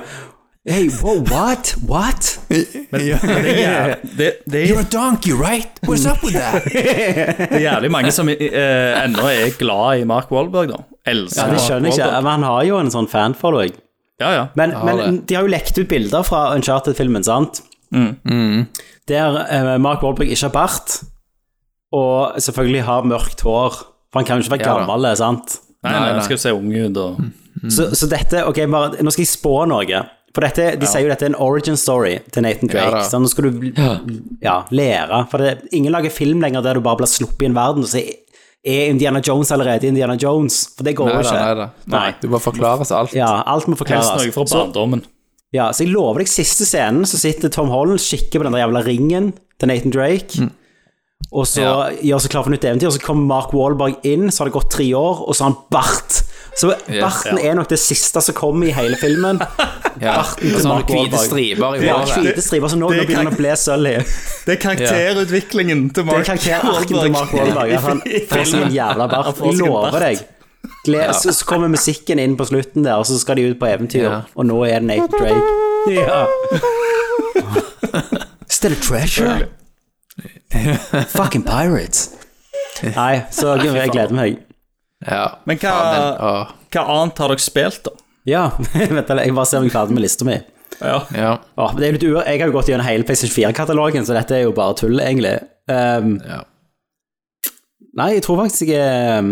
Hey, whoa, what? What? Det, er, jæv- det, det, er, a donkey, right? What's up with that? det er jævlig mange som eh, ennå er glad i Mark Wahlberg, da. Ja, Elsker det Mark skjønner jeg ikke. Wahlberg. Men han har jo en sånn fanfollowing. Ja, ja. Men, har men de har jo lekt ut bilder fra Uncharted-filmen, sant? Mm. Der eh, Mark Wahlberg ikke har bart, og selvfølgelig har mørkt hår. For han kan jo ikke være Ja da. gammel, sant? Nei, nei, nå skal jo se ung ut og Mm. Så, så dette Ok, bare, nå skal jeg spå noe. For dette, de sier jo dette er en origin story til Nathan Ja Drake. da. så nå skal du ja. lære. For det, ingen lager film lenger der du bare blir sluppet i en verden og sier Er Indiana Jones allerede Indiana Jones? For det går Nei jo da, ikke. nei da. Nei. Du må forklare oss alt. Ja, alt må Helst forklares. noe fra Så, barndommen. ja, så jeg lover deg, siste scenen så sitter Tom Holland kikker på den der jævla ringen til Nathan Drake. Mm. Og så Ja. gjør seg klar for nytt eventyr, og så kommer Mark Wahlberg inn, så har det gått tre år, og så har han bart. Så barten er nok det siste som kommer i hele (laughs) filmen. Ja. Barten til Sånne Mark hvite Wahlberg. striper i Ja, håret. hvite striper, så nå, Det nå begynner han å bli sølv i. Det er karakterutviklingen til Det er karakterarken til Mark Wahlberg. at Han får seg en sånn jævla Han bart. får Jeg seg en lover bart. deg. Gled, så, så kommer musikken inn på slutten der, og så skal de ut på eventyr, Ja. og nå er det Nate Drake. Ja. (laughs) Still a treasure. Fucking pirates. Nei, så jeg gleder meg. Ja. Men hva- Faen, den- åh. Hva annet har dere spilt, da? Ja, (laughs) vent da, jeg bare ser meg ferdig med lista mi. Ja. Ja. Åh, men det er litt ur... Jeg har jo gått gjennom hele PlayStation 4-katalogen, så dette er jo bare tull, egentlig. Um, Ja. Nei, jeg tror faktisk jeg um,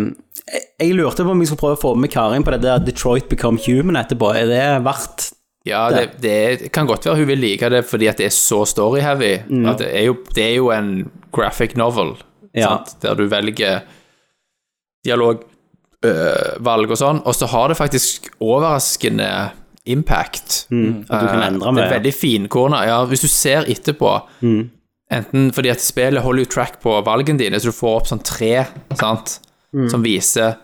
Jeg, jeg lurte på om jeg skulle prøve å få med Karin på det der Detroit Become Human etterpå. Er det verdt Ja, det, det kan godt være hun vil like det fordi at det er så story-heavy. Mm. At det, er jo, det er jo en graphic novel, Ja. sant? der du velger dialog, øh, valg og sånn, og så har det faktisk overraskende impact. Mm. at du kan Eh, endre Det med? Mm. er veldig finkorna. Ja, hvis du ser etterpå, enten fordi at spillet holder jo track på valgene dine, så du får opp sånn tre, sant, Mm. som viser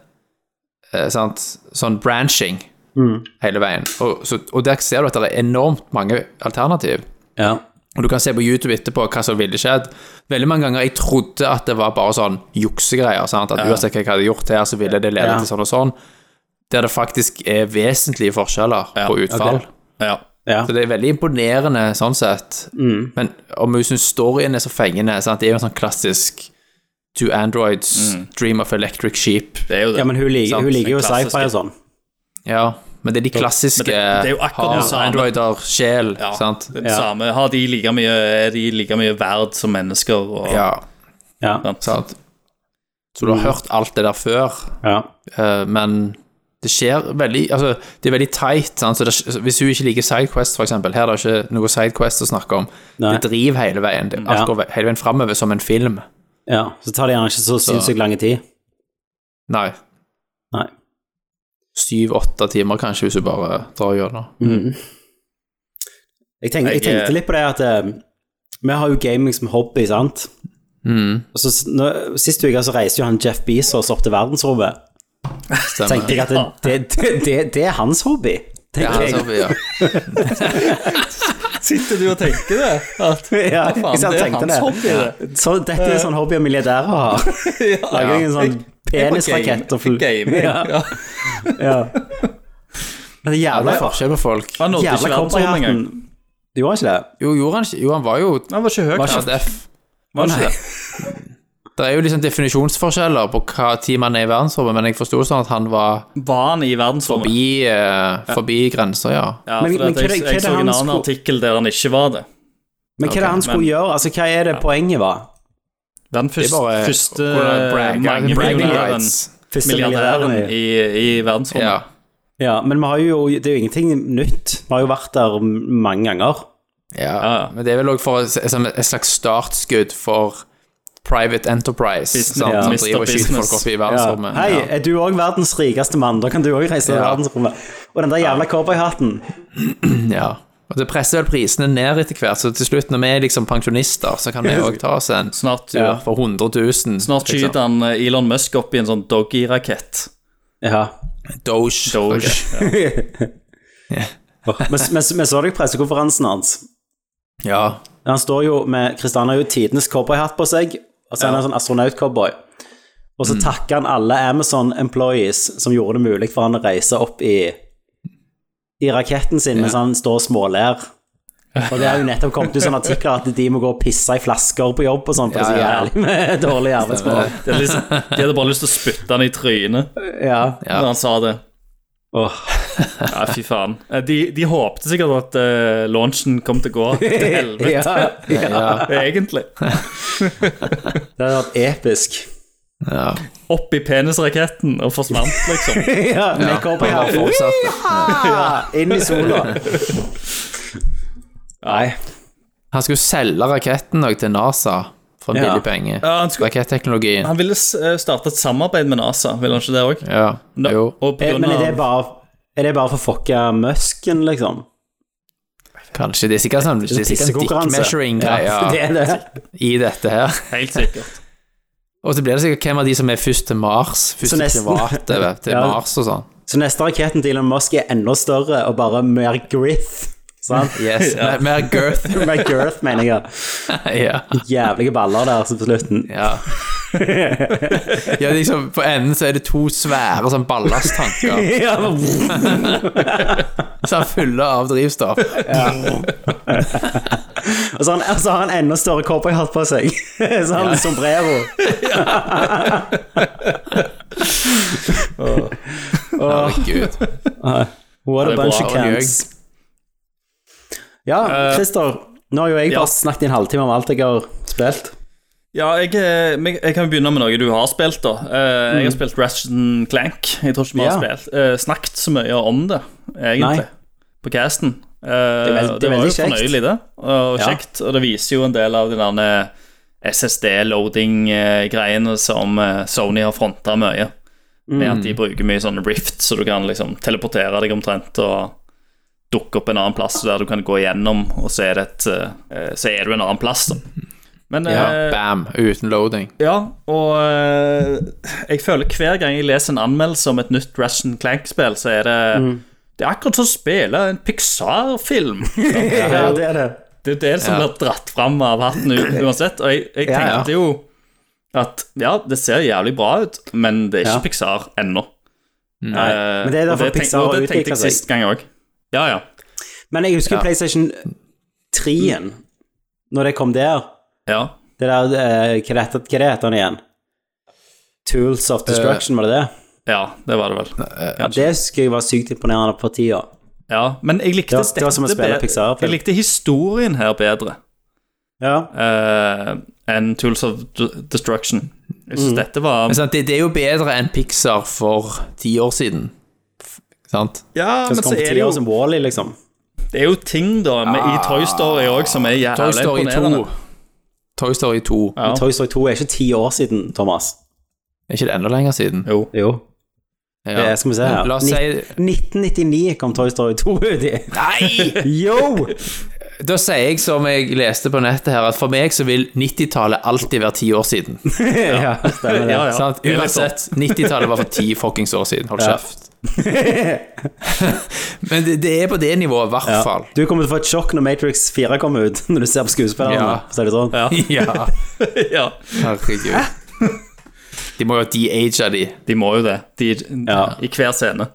eh, sant, sånn branching Mm. hele veien. Og, så, og der ser du at det er enormt mange alternativ. Ja. Og du kan se på YouTube etterpå hva som ville skjedd. Veldig mange ganger jeg trodde at det var bare sånn juksegreier. Sant? At uansett hva jeg hadde gjort her, så ville det lede Ja. til sånn og sånn. Der det faktisk er vesentlige forskjeller på utfall. ok. ja. Mm. ja. Så det er veldig imponerende sånn sett. Men om hun syns storyen er så fengende sant? Det er jo en sånn klassisk To Androids, Mm. Dream of Electric Sheep. Det er jo det. ja, men hun, liker- Sant, hun liker jo den klassiske. sci-fi og sånn. Ja, men det er de klassiske det er jo akkurat det har samme. Androider, sjel, Ja, sant? det er det samme. Har de like mye, er de like mye verd som mennesker? Og, Ja, Ja. sant. Så Mm. du har hørt alt det der før, ja. eh, men det skjer veldig Altså, det er veldig tight, sant? Så det, hvis hun ikke liker Sidequest, for eksempel, her er det ikke noe Sidequest å snakke om. Nei. Det driver hele veien. Det, alt Ja. går ve- hele veien framover som en film. Ja, så tar det gjerne ikke så sinnssykt lang tid. Nei, Nei. syv-åtte timer kanskje, hvis du bare drar gjennom. Jeg, tenk, jeg Jeg, eh, tenkte litt på det at eh, vi har jo gaming som hobby, sant? Mm, Og så, s- nå, sist uke så reiste jo han Jeff Bezos opp til verdensrommet. Så stemmer. tenkte jeg at det, det, det, det, det er hans hobby. Ja, Tenkte jeg. altså, ja. (laughs) Sitter du og tenker det? At, (laughs) Ja, Hva jeg faen, det er tenkte hans det. hobby, det. Så dette er en sånn hobby milliardærer har. Lager en sånn penisrakett og fly- Game. Ja, Ja. ja. Men det er Ja, det jævla er forskjell på folk. Han nådde ikke Jævla verdensrommet engang. cowboyhatten. Du gjorde ikke det? Jo, gjorde han ikke Jo, han var jo Han var ikke høy. var han. ikke F. Var han ikke det? Det er jo liksom definisjonsforskjeller på hva tid man er i verdensrommet, men jeg forsto sånn at han var Var han i verdensrommet? forbi, eh, forbi grenser, ja. Ja, Men- men for at hva er det- hva jeg, er det jeg så han en annen skulle- artikkel der han ikke var det. Men hva er det han skulle men- gjøre? Altså, hva er det poenget var? Den Det er første, bare første brag- mange bragging millionæren- rights. Første milliardæren milliardæren i- i, i verdensrommet. Ja. Ja, men vi har jo, det er jo ingenting nytt. Vi har jo vært der m- mange ganger. Ja, ja. men det er vel òg for som et slags startskudd for private enterprise. Business, sant? ja. Som driver og Mr. skyter folk Business. opp i Ja. verdensrommet. Hei, ja. er du òg verdens rikeste mann? Da kan du òg reise til Ja. verdensrommet. Og den der jævla cowboyhatten. eh- Ja. Og det presser vel prisene ned etter hvert, så til slutt, når vi er liksom pensjonister, så kan vi òg ta oss en Snart, tur for 100 000. snart skyter han eh, Elon Musk opp i en sånn doggy-rakett. Ja. Doge. Doge. Men s- men s- men så dere pressekonferansen hans. (laughs) Ja. Han står jo med Kristian har jo tidenes cowboyhatt på seg, og så er han en sånn astronautcowboy. Og så takker han alle Amazon employees som gjorde det mulig for han å reise opp i, i raketten sin mens han står og småler. Og det har (laughs) jo nettopp kommet ut sånne artikler at de må gå og pisse i flasker på jobb og sånn, for Ja, det er så ja, ja. jævlig med dårlig arbeidsmoral. Det er (laughs) liksom, de hadde bare lyst til å spytte han i trynet Ja. Ja. når han sa det. Åh. Ja, fy faen. Eh, De, de håpte sikkert at eh, launchen kom til å gå (laughs) til helvete, ja. ja. egentlig. Det hadde vært episk. ja. Opp i penisraketten og forsvant, (laughs) liksom. Ja, med Ja, cowboyhatt. fortsatt. Ja, inn i sola. Nei. Han skulle selge raketten også til NASA for en Ja. billig penge. Ja, han skulle- Raketteknologien. Han ville s- eh, starte et samarbeid med NASA, ville han ikke det òg? Ja. Jo. Eh, Men er det bare, er det bare for å fucke musken, liksom? Kanskje. Det er sikkert sånn det er sikkert en dick Pissekonkurranse. Ja, (laughs) det measuring-greie er det. i dette her. Helt sikkert. Og så blir det sikkert hvem av de som er først til Mars. Først Så nesten- private vet, til Ja. Mars og sånn. Så neste raketten til Elon Musk er enda større og bare mer girth. Sant? Yes. (laughs) mer- Mer girth. (laughs) Mer girth, mener jeg. ja. Jævlige baller der så på slutten. Ja. ja, liksom På enden så er det to svære sånn ballasttanker Ja, men- som er fulle av drivstoff. og så har han, og så har han enda større cowboyhatt på seg. Så har han sombrero. Herregud. What Ja, det a er bunch bra. of Det var cans. Ja, Christer. Nå har jo jeg Eh, ja. bare snakket i en halvtime om alt jeg har spilt. Ja, jeg, eh, men jeg kan jo begynne med noe du har spilt, da. Eh, Jeg har spilt Ratchet and Clank. Jeg tror ikke vi har Mm. Ja. spilt, eh, snakket så mye om det, egentlig, Nei. på casten. Eh, er veld- det er det var jo veldig kjekt. fornøyelig, det. Og Ja. kjekt. Og det viser jo en del av den der SSD-loading-greiene som eh, Sony har fronta mye. Med at Mm. de bruker mye sånn rift, så du kan liksom teleportere deg omtrent og dukke opp en annen plass der du kan gå igjennom, og så er, det et, eh, så er du en annen plass. Da. Men Ja, eh, bam. Uten loading. ja, og øh, jeg føler hver gang jeg leser en anmeldelse om et nytt Russian Clank-spill, så er det Mm. Det er akkurat som å spille en (laughs) Pixar-film. Ja, det er det. Det er det som blir dratt fram av hatten u- uansett. Og jeg, jeg Ja, ja. tenkte jo at ja, det ser jævlig bra ut, men det er ikke Ja. Pixar ennå. Eh, Men det er og derfor tenk- Pixar og har Det tenkte utviklet jeg seg. sist gang òg. Ja, ja. Men jeg husker Ja. PlayStation 3-en, når det kom der. ja. Det der, eh, hva det heter hva det heter den igjen? Tools Eh, of Destruction, var det det? Ja, det var det vel. Ja, det husker jeg var sykt imponerende på tida. Ja, men jeg likte Det var- det var som å dette spille bedre- Pixar-film. Jeg likte historien her bedre. Ja. eh, enn Tools of D- Destruction. Jeg synes dette var Men sant, det, det er jo bedre enn Pixar for ti år siden. F- Sant? Ja, Hva som kom på tida som Wall-E, liksom. det er jo ting da med, i Toy Story òg som er jævla Toy Story 2. imponerende. Toy Story 2. Ja. Toy Story 2 er ikke ti år siden, Thomas. Er ikke det enda lenger siden? Jo. Jo. Ja. Det skal vi se her. La oss si Nitt- 1999 kom Toy Story 2 ut i. Nei! (laughs) Yo! Da sier jeg som jeg leste på nettet her, at for meg så vil 90-tallet alltid være ti år siden. ja, stemmer det. Ja, (laughs) ja. sant? Det er litt Uansett, 90-tallet var for ti fuckings år siden. Hold kjeft. Men det, det er på det nivået, i hvert fall. Du kommer til å få et sjokk når Matrix 4 kommer ut, (laughs) når du ser på skuespillerne. Ja. Så er det sånn. Ja, (laughs) ja. herregud. De må jo de-age de. De må jo det. De, Ja. I hver scene.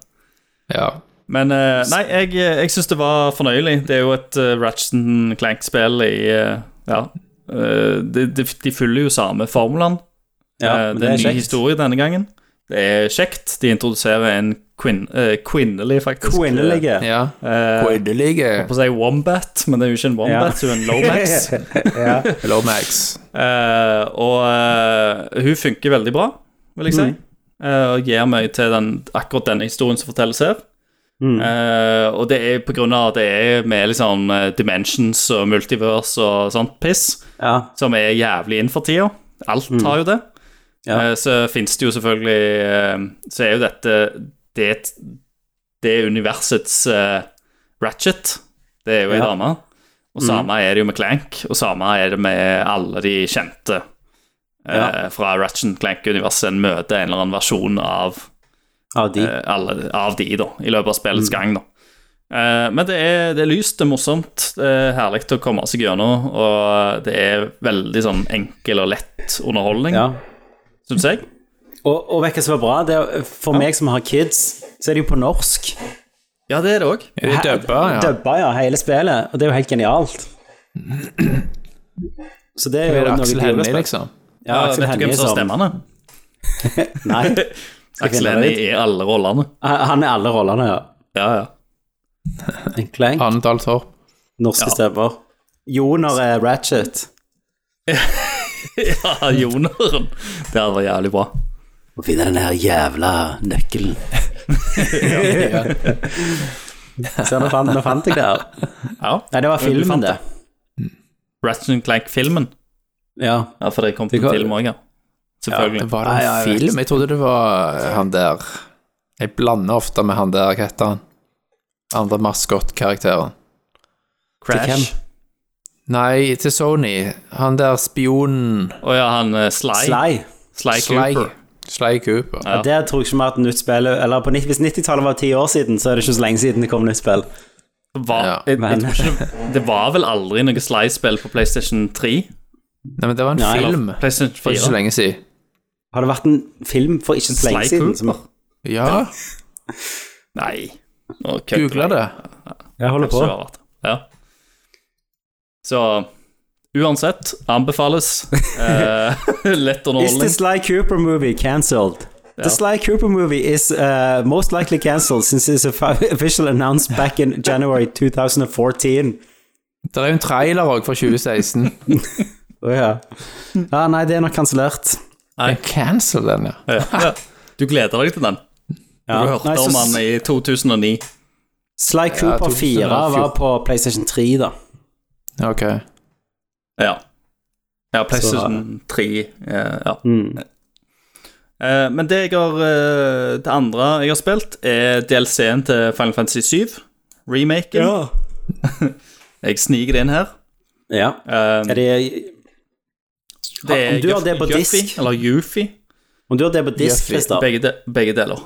Ja. Men eh, nei, jeg, jeg syns det var fornøyelig. Det er jo et uh, Ratchet Clank-spill i eh, Ja. Eh, de, de, de følger jo samme formelen. Ja, Eh, men det er en ny kjekt. historie denne gangen. Det er kjekt. De introduserer en kvinn, eh, kvinnelig, faktisk. Quinnelige. ja. eh, Kvinnelige på å si Wombat, men det er jo ikke en Wombat, hun er en (laughs) Lomax. ja. Lomax. Eh, og eh, hun funker veldig bra, vil jeg si. Eh, og gir meg til den, akkurat denne historien som fortelles her. Eh, og det er på grunn av at det er med liksom eh, dimensions og multiverse og sånt piss, Ja. (laughs) som er jævlig inn for tida. Alt har jo det. Mm. Ja. Eh, så fins det jo selvfølgelig eh, Så er jo dette det, det er universets eh, Ratchet. Det er jo ei Ja. Mm. dame. Og samme er det jo med Clank, og samme er det med alle de kjente eh, Ja. fra Ratchet and Clank-universet. En møter en eller annen versjon av, Av de. eh, alle, av de, da, i løpet av spillets Mm. gang, da. Eh, men det er, det er lyst, det er morsomt, det er herlig å komme seg gjennom, og det er veldig sånn enkel og lett underholdning, Ja. syns jeg. Og, og vet du hva som er bra? Det er, for meg som har kids, så er det jo på norsk. Ja, det er det òg. Er det dubba, ja? Dubba, ja, hele spillet. Og det er jo helt genialt. Så det er Er jo det noe Aksel julespill. Hennie, liksom? Ja, Aksel vet du hvem Hennie som har som (laughs) stemmene? Nei, Aksel finne det Hennie i alle rollene. han er alle rollene, ja. Ja, (laughs) ja. Klenk, Arne Dahl Torp. norske stemmer. Joner er eh, Ratchet. ja Joneren. Det hadde vært jævlig bra. Å finne den her jævla nøkkelen. (laughs) Se, nå fant, nå fant jeg det her. Ja. Nei, det var Du fant filmen, det. Ratchet Clank-filmen. Ja. Ja, for det kom Det til kan- film òg, ja. Selvfølgelig. Var det en Ja, ja, jeg vet. film? Jeg trodde det var han der Jeg blander ofte med han der, hva heter han? Andre maskottkarakteren. Crash. Nei, til Sony. Han der spionen Å ja, han eh, Sly. Sly, Sly. Sly Cooper. Sly Cooper. Ja. Der tror jeg ikke vi har hatt nytt spill Eller på, nitt- Hvis 90-tallet var ti år siden, så er det ikke så lenge siden det kom nytt spill. Var, Ja, jeg, men- jeg tror ikke, det- det var vel aldri noe Sly-spill på PlayStation 3? Nei, men det var en Nei. film Eller PlayStation for 4. ikke så lenge siden. Har det vært en film for ikke så lenge Sly siden? Cooper? Som, Ja, Nei. Nå kødder googla jeg. det. jeg holder på. Kanskje det har vært det. Ja. Så uansett, (laughs) anbefales. Eh, lett Is the underholdning. Sly Cooper movie cancelled? The Sly Cooper movie is uh, most likely cancelled since it's offi- (laughs) official announced back in January 2014. Det er jo en trailer òg fra (laughs) 2016. Å ja. ja. Nei, det er nok kansellert. Men cancel den, ja. Ja. Du gleder deg til den. Ja. Du hørte Nei, så om han i 2009. Sly Cooper 4 var 2014. på PlayStation 3, da. Ok. Ja. Ja, PlayStation 3. eh, Ja. Mm. Eh, Men det jeg har eh, Det andre jeg har spilt, er DLC-en til Final Fantasy 7. Remaken. Jeg sniker det inn her. Ja. Eh, Er det, om du har Yuff- det på Yuffie, disk? Eller Yuffie. om du har det på disk, Jeffy, Christer, Begge, de, begge deler.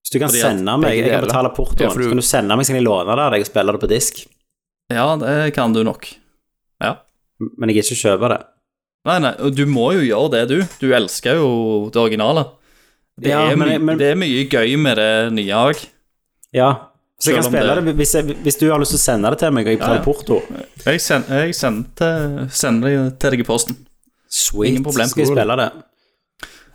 hvis du kan fordi at sende meg begge Jeg kan deler. betale portoen, Ja, for du- så kan du sende meg, så kan jeg låne det av deg og spille det på disk. Ja, det kan du nok. Men jeg gidder ikke kjøpe det. Nei, nei, og du må jo gjøre det, du. Du elsker jo det originale. Det, Ja, er, men my jeg- men- det er mye gøy med det nye òg. Ja. Så jeg kan Selv om spille det- det hvis, jeg, hvis du har lyst til å sende det til meg, og jeg Ja, ja. betaler porto. Jeg, send, jeg sender, sender det til deg i posten. Sweet. Ingen problem. Skal jeg spille det?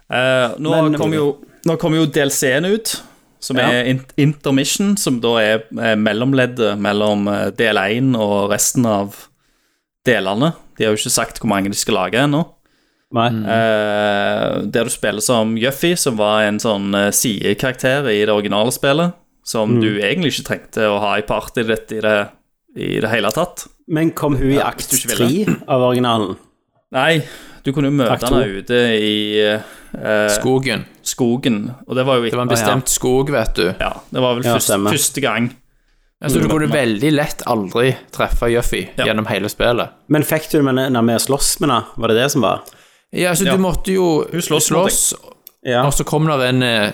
Eh, nå, Men- kom jo, nå kom jo DLC-en ut, som Ja. er in Intermission, som da er eh, mellomleddet mellom eh, del 1 og resten av delene. De har jo ikke sagt hvor mange de skal lage ennå. Nei. Mm. Eh, der du spiller som Juffy, som var en sånn Mm. eh, sidekarakter i det originale spillet, som du egentlig ikke trengte å ha i partyet ditt i det i det hele tatt. Men kom hun i akt hvis du ikke tre av originalen? Nei, du kunne jo møte Akt henne to. ute i eh, Skogen. skogen, og det var jo Det var en bestemt skog, vet du. Ja, det var vel Ja, første, stemmer. første gang. Så du kunne veldig lett aldri treffe Juffy Ja. gjennom hele spillet. Men fikk du det med når vi slåss med henne? Var det det som var? Ja, så Ja. du måtte jo Hun slåss mot slåss, Ja. og så kom det en eh,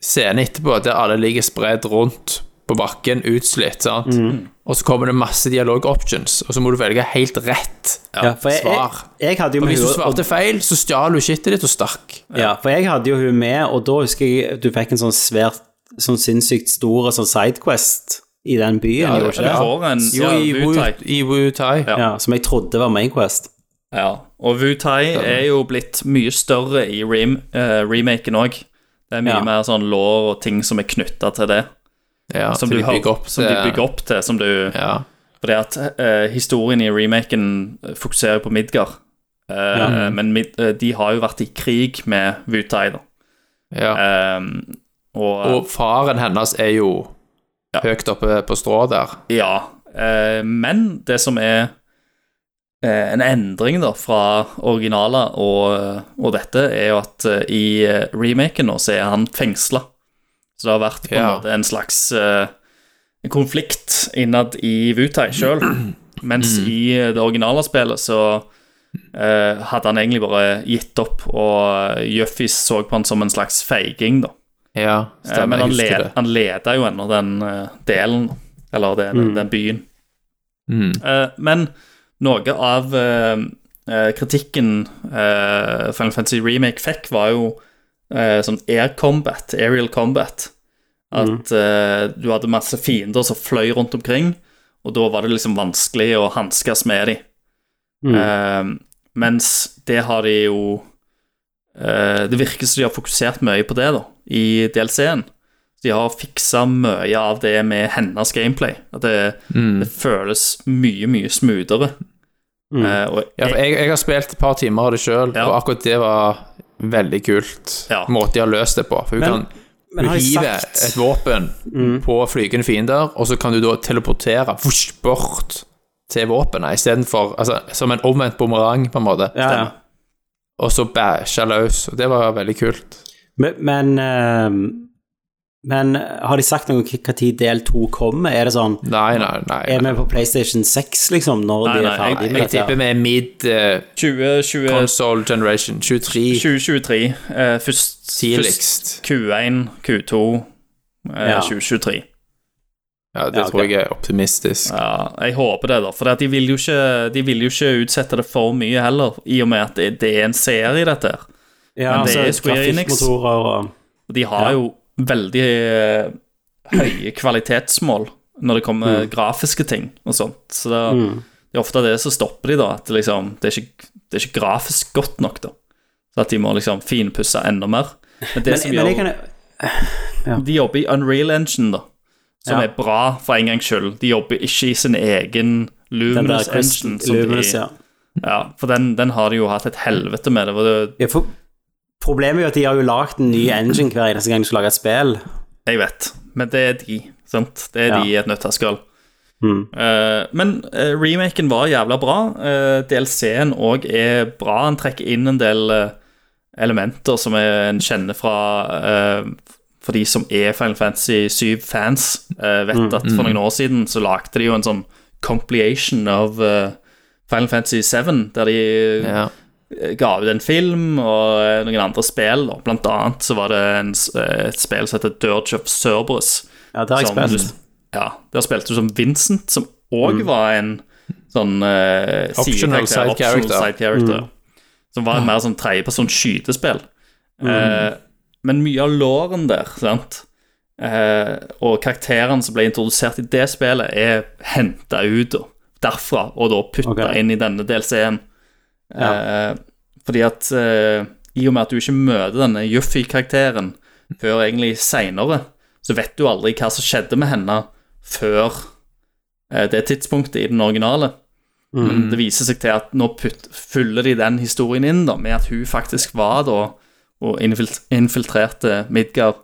scene etterpå der alle ligger spredt rundt på bakken, utslitt, sant? Mm. Og så kommer det masse dialog-options, og så må du velge helt rett Ja, for jeg, jeg, svar. jeg hadde jo Og med hvis du hun svarte feil, så stjal du shitet ditt og stakk. Ja, for jeg hadde jo hun med, og da husker jeg du fikk en sånn svært, sånn sinnssykt stor sånn sidequest i den byen, Ja, gjorde Du ikke det? får en Jo, ja, i Wu- Wu-Tai. i Wu-Tai. Ja. Ja, som jeg trodde var mainquest. Ja, og Wutai er jo blitt mye større i rem, eh, remaken òg. Det er mye Ja. mer sånn lår og ting som er knytta til det. Ja, Som, så du de bygger opp som de til- bygger opp til. Som du, Ja. Fordi at eh, historien i remaken eh, fokuserer på Midgard. Eh, Men Mid eh, de har jo vært i krig med Wutai, da. ja. Eh, og, Og faren hennes er jo høyt oppe på strå der. Ja, eh, men det som er eh, en endring da fra originaler og, og dette, er jo at eh, i eh, remaken nå så er han fengsla. Så det har vært på en Ja. måte en slags eh, konflikt innad i Wutai sjøl. (clears throat) Mens Mm. i eh, det originale spillet så eh, hadde han egentlig bare gitt opp, og Juffy så på han som en slags feiging, da. Ja, Eh, stemmer. Men han, jeg husker led, det. han leda jo ennå den eh, delen, eller den, den byen. Mm. Eh, men noe av eh, eh, kritikken eh, Final Fantasy Remake fikk, var jo eh, sånn air combat, aerial combat. At eh, du hadde masse fiender som fløy rundt omkring, og da var det liksom vanskelig å hanskes med dem. Mm, Mm. Eh, mens det har de jo eh, Det virker som de har fokusert mye på det da, i DLC-en. De har fiksa mye av det med hennes gameplay. At det er Mm. det føles mye, mye smoothere. mm. Eh, og Mm. Ja, for jeg, jeg har spilt et par timer av det sjøl, Ja. og akkurat det var veldig kult. Ja. Måten de har løst det på. For hun Men- kan Men hun har jeg hiver sagt Mm. et våpen på flygende fiender, og så kan du da teleportere vush, bort til våpenet istedenfor altså, Som en omvendt bumerang, på en måte. ja, ja. Og så bæsja løs. Og det var veldig kult. Men, men, eh, men har de sagt noe om hva tid del to kommer? Er det sånn Nei, nei, nei. Er vi på PlayStation 6, liksom, når Nei, de nei, er jeg- ferdig Jeg med tipper dette? vi er mid eh, 2020, console generation 23 2023 eh, først, først tidligst. Q1, Q2 eh, Ja. 2023. Ja, det Ja, ok. tror jeg er optimistisk. Ja, jeg håper det, da. For at de, vil jo ikke, de vil jo ikke utsette det for mye heller, i og med at det, det er en serie, dette her. Ja, Men det altså, er Square Enix. grafikkmotorer og Og de har Ja. jo veldig eh, høye kvalitetsmål når det kommer Mm. grafiske ting og sånt. Så det, det er ofte det som stopper de, da. At det liksom, det, er ikke, det er ikke grafisk godt nok, da. Så at de må liksom finpusse enda mer. Men det men, som men gjør jeg kan De jobber i Unreal Engine, da. Som Ja. er bra for en gangs skyld. De jobber ikke i sin egen Den der Luminous Engine. Christ- som de- Luminous, ja. ja, for den, den har de jo hatt et helvete med. Det var det ja for, problemet er jo at de har jo lagd en ny engine hver eneste gang de skal lage et spill. Jeg vet, men det er de, sant? Det er Ja. de i et nøtteskall. Eh, men eh, remaken var jævla bra. Eh, DLC-en òg er bra. Han trekker inn en del eh, elementer som er- en kjenner fra eh, For de som er Final Fantasy 7-fans, vet at for noen år siden så lagde de jo en sånn compliation av eh, Final Fantasy 7, der de Ja. ga ut en film og eh, noen andre spill. Da. Blant annet så var det en, s- eh, et spill som heter Dirge of Cerberus. Ja, det har jeg som du spilt. Mm. sp- Ja, Der spilte du som Vincent, som òg var en sånn eh, Optional sidekarakter, side optional character. side Mm. character Som var en mer sånn tredjeperson skytespill. Mm. Eh, men mye av låren der, sant eh, og karakterene som ble introdusert i det spillet, er henta ut da, derfra og da putta Ok. inn i denne DLC-en. Eh, fordi at eh, i og med at du ikke møter denne Juffy-karakteren før egentlig seinere, så vet du aldri hva som skjedde med henne før eh, det tidspunktet i den originale. Mm. Men det viser seg til at nå putt, fyller de den historien inn da, med at hun faktisk var da og infil- infiltrerte Midgard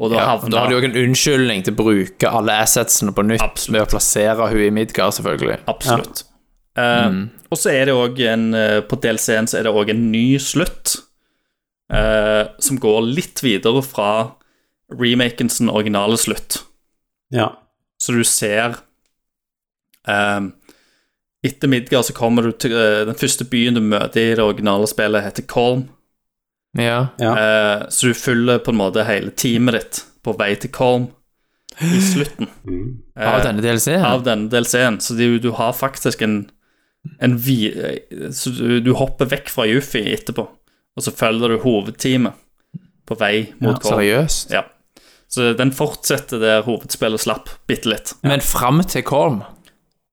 Og da Ja, og da havna har de jo en unnskyldning til å bruke alle assetsene på nytt Absolutt. med å plassere hun i Midgard, selvfølgelig. Absolutt. Eh, Og så er det òg en eh, På DLC-en så er det òg en ny slutt, eh, som går litt videre fra remakens originale slutt. Ja. Så du ser eh, Etter Midgard så kommer du til eh, den første byen du møter i det originale spillet, heter Kolm. Ja. ja. Eh, så du følger på en måte hele teamet ditt på vei til Kolm i slutten Av denne DLC-en. av denne DLC-en. Så du, du har faktisk en, en vi, eh, Så du, du hopper vekk fra Yuffie etterpå, og så følger du hovedteamet på vei mot Kolm. Seriøst. Ja. Så den fortsetter der hovedspillet slapp, bitte litt. Men fram til Kolm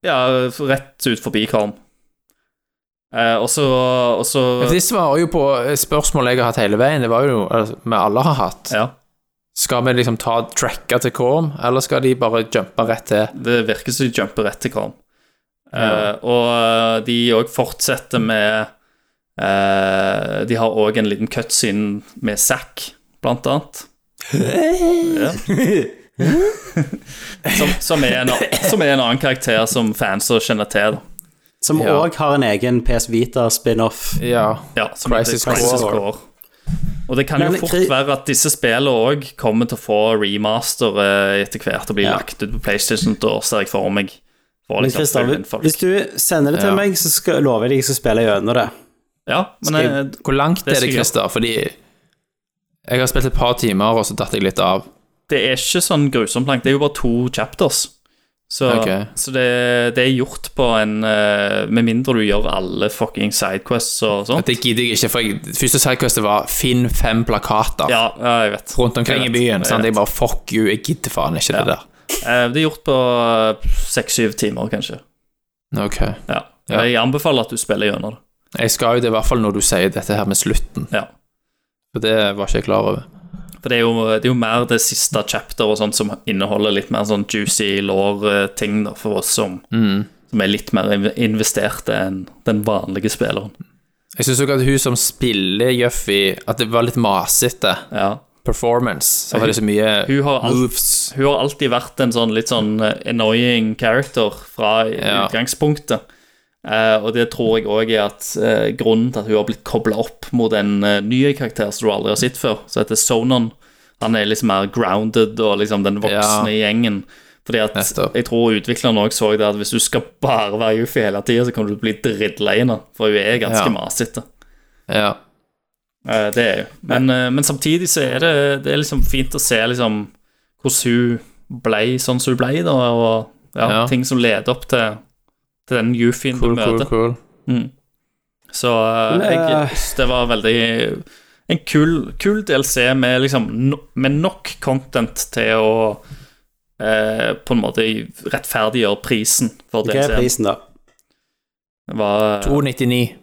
Ja, rett ut forbi Karm. Eh, og så Og så Ja, for De svarer jo på spørsmål jeg har hatt hele veien. Det var jo altså, vi alle har hatt. Ja, Skal vi liksom ta tracka til Korm, eller skal de bare jumpe rett til? det virker som de jumper rett til Karm. Eh, Og eh, de òg fortsetter med eh, De har òg en liten cutscene med Zack, blant annet. (laughs) Ja. Som, som, er en, an- som er en annen karakter som fans kjenner til. da. Som Ja. òg har en egen PS Vita-spin-off. Ja. Ja, som Crisis heter Crisis Core. Core. Og det kan jo Men fort kri- være at disse spillene òg kommer til å få remaster eh, etter hvert og bli Ja. lagt ut på PlayStation. Da ser jeg for meg. For Men liksom, Christian, følge inn folk. hvis du sender det til Ja. meg, så skal, lover jeg deg jeg skal spille gjennom det. ja, men Skal- eh, Hvor langt Det er skal det, jeg Christer? Fordi jeg har spilt et par timer, og så datt jeg litt av. det er ikke sånn grusomt langt. Det er jo bare to chapters. Så, Ok. så det, det er gjort på en eh, Med mindre du gjør alle fucking sidequests og sånn. Det gidder jeg ikke, for jeg, første sidequestet var 'finn fem plakater'. Ja, ja, jeg vet. Rundt omkring i Jeg vet, byen. jeg Sant? Jeg vet. bare 'fuck you', jeg gidder faen ikke det der. Eh, Det er gjort på seks-syv timer, kanskje. Ok. Ja. Ja. Jeg anbefaler at du spiller gjennom det. Jeg skal jo det, i hvert fall når du sier dette her med slutten. Ja. For det var ikke jeg klar over. For det er, jo, det er jo mer det siste chapter og sånt som inneholder litt mer sånn juicy lore-ting da, for oss som, Mm. som er litt mer inv- investerte enn den vanlige spilleren. Jeg syns også at hun som spiller Juffy, at det var litt masete Ja. performance. Så var det så mye Hun har, alt- moves. hun har alltid vært en sånn litt sånn eh, annoying character fra i- Ja. utgangspunktet. Eh, og det tror jeg òg er at eh, grunnen til at hun har blitt kobla opp mot en eh, ny karakter som du aldri har sett før, som heter Sonon. Han er liksom mer grounded og liksom den voksne gjengen. Fordi at Nettopp. jeg tror utvikleren òg så det at hvis du skal bare være Yuffie hele tida, så kommer du til å bli drittlei henne, for hun er Ja. ganske masete. Ja. Eh, Det er jo. Men, eh, men samtidig så er det, det er liksom fint å se liksom hvordan hun ble sånn som hun ble, da, og ja, Ja. ting som leder opp til, til den Yufien Cool, du cool, møter. Mm. cool. Så eh, Men, jeg, eh, synes det var veldig en kul, kul DLC med, liksom, no, med nok content til å eh, på en måte rettferdiggjøre prisen for Hva er DLC-en. prisen, da? Det var- eh, 299.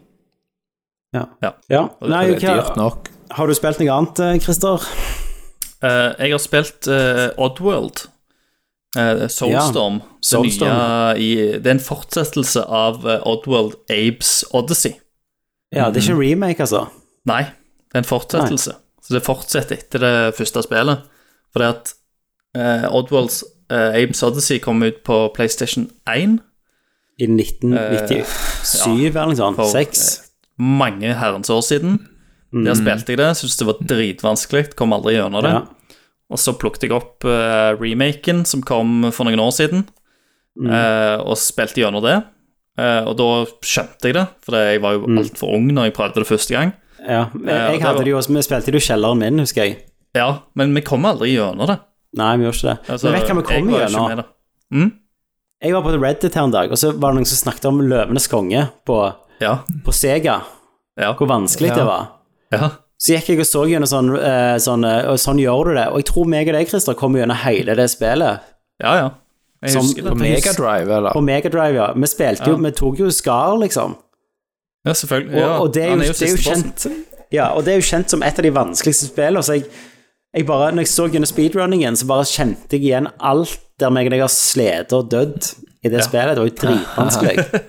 Ja. Ja. Nei, Det er hva- dyrt nok. Har du spilt noe annet, eh, Christer? Eh, jeg har spilt eh, Oddworld. Eh, Soulstorm. det, nye Soulstorm. i, det er en fortsettelse av eh, Oddworld Abes Odyssey. Ja, det er ikke en remake, altså. Nei, det er en fortsettelse. Så det fortsetter etter det første spillet. Fordi at eh, Oddworlds eh, Abes Odyssey kom ut på PlayStation 1 I 1997 eller noe sånt. Eh, for, eh, Seks. mange herrens år siden. Der spilte jeg det, syntes det var dritvanskelig, kom aldri gjennom det. Mm. Ja. Og så plukket jeg opp eh, remaken som kom for noen år siden, Mm. eh, og spilte gjennom det. Eh, og da skjønte jeg det, for jeg var jo Mm. altfor ung når jeg prøvde det første gang. ja. Jeg, Ja, det jeg hadde var- det jo også, vi spilte det jo i kjelleren min, husker jeg. Ja, men vi kom aldri gjennom det. Nei, vi gjorde ikke det. Altså, Men vet du hva vi jeg kom var jo ikke gjennom? med det. Jeg var på Reddit her en dag, og så var det noen som snakket om Løvenes konge på, Ja, på Sega. ja, Hvor vanskelig det var. ja. Så gikk jeg og så gjennom sånn, eh, sånn eh, Og sånn gjør du det. Og jeg tror meg og deg, Christer, kom gjennom hele det spillet. ja, ja. Jeg Som- husker det. På Megadrive, eller? På Megadrive, ja. Vi spilte jo, vi tok jo Skar, liksom. Ja, selvfølgelig. Og, Ja, og det, er han jo, det, er jo siste bossen. kjent, ja, og det er jo kjent som et av de vanskeligste spillene. Så jeg, jeg bare, når jeg så gjennom speedrunningen, så bare kjente jeg igjen alt der meg og deg har slitt og dødd i det spillet. Det var jo (laughs) dritvanskelig. Mm.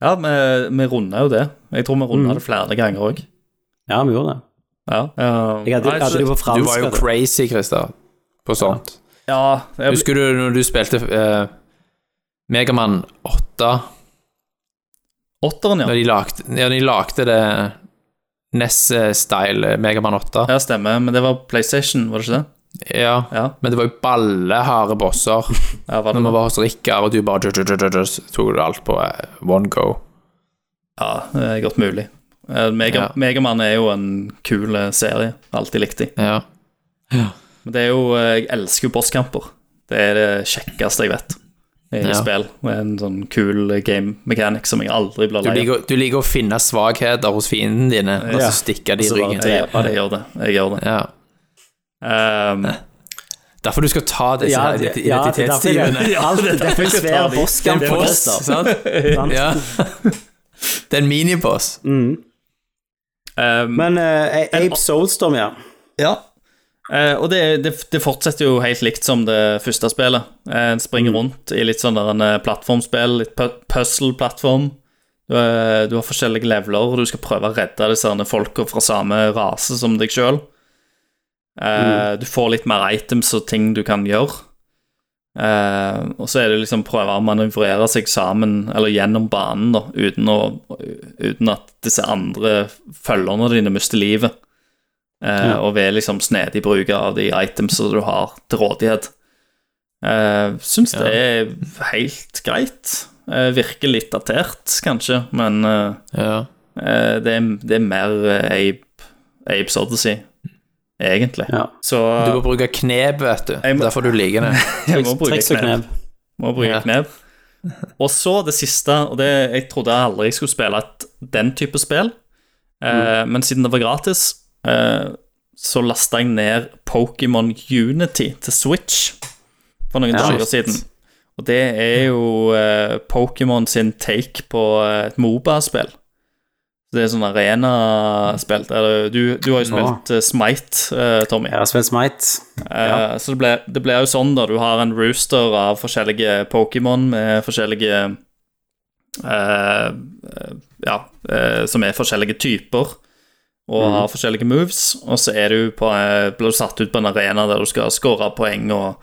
Ja, vi, vi runda jo det. Jeg tror vi runda det flere ganger òg. Ja, vi gjorde det. Ja. Um, Jeg hadde, nei, jeg hadde så- det på Du fransk. var jo vet du. crazy, Christer, på sånt. Ja, jeg, Husker du når du spilte uh, Megaman 8, åtteren, når ja. de lagde, ja, de lagde det eh, NES-style Megaman 8? Ja, stemmer. Men det var PlayStation, var det ikke det? Ja. Ja, Men det var jo balleharde (laughs) bosser ja når var det vi det? var hos Rikard, og du bare ju- ju- ju- ju- ju- tok det alt på eh, one go. Ja, det er godt mulig. Eh, Mega, Ja. Megaman er jo en kul eh, serie. Alltid likt de. Ja. Men det er jo eh, Jeg elsker jo bosskamper. Det er det kjekkeste jeg vet i Ja. spill. Det er en sånn kul eh, game mechanic som jeg aldri blir Du, lei av. liker, du liker å finne svakheter hos fiendene dine, og Ja. så stikke de Og så i bare ryggen. Jeg, jeg gjør det. Jeg gjør det. Ja. Ehm, Derfor du skal ta disse Ja, her det- identi- ja, det er derfor jeg- identitetstyvene. (laughs) alt det er derfor jeg tar svær de. boss Det er kan en få boss, det, (laughs) sant? sant? Ja. Det er en miniboss. Mm. ehm, Men eh, Ape Soulstorm, ja. ja. Eh, og det, det, det fortsetter jo helt likt som det første spillet. Eh, En springer rundt i litt sånn der en eh, plattformspill, litt pu- puzzle-plattform. Du, eh, du har forskjellige leveler, og du skal prøve å redde disse herne folka fra samme rase som deg sjøl. Du får litt mer items og ting du kan gjøre. Eh, og så er det liksom prøve å manøvrere seg sammen, eller gjennom banen, da, uten, å, uten at disse andre følgerne dine mister livet. Eh, Og ved liksom snedig bruk av de itemsene du har til rådighet. Uh, Syns det er helt greit. Eh, virker litt datert, kanskje, men eh, Ja. eh, det, er, det er mer eh, Abe, Abes Odyssey, egentlig. ja. Så Du må bruke knep, vet du. Jeg må- Derfor du liker (laughs) det. jeg må bruke Triks og knep. knep. Må bruke Ja. knep. Og så det siste, og det jeg trodde jeg aldri skulle spille et, den type spill, eh, men siden det var gratis, eh, så lasta jeg ned Pokémon Unity til Switch for noen Ja. dager siden. Og det er jo eh, Pokémon sin take på eh, et Moba-spill. Det er sånn arena-spill. der Du, du har jo spilt eh, Smite, eh, Tommy. Jeg har spilt Smite. Eh, Så det blir, det blir jo sånn da, du har en rooster av forskjellige Pokémon med forskjellige eh, eh, Ja, eh, som er forskjellige typer og har forskjellige moves, og så er du på, eh, blir du satt ut på en arena der du skal score poeng og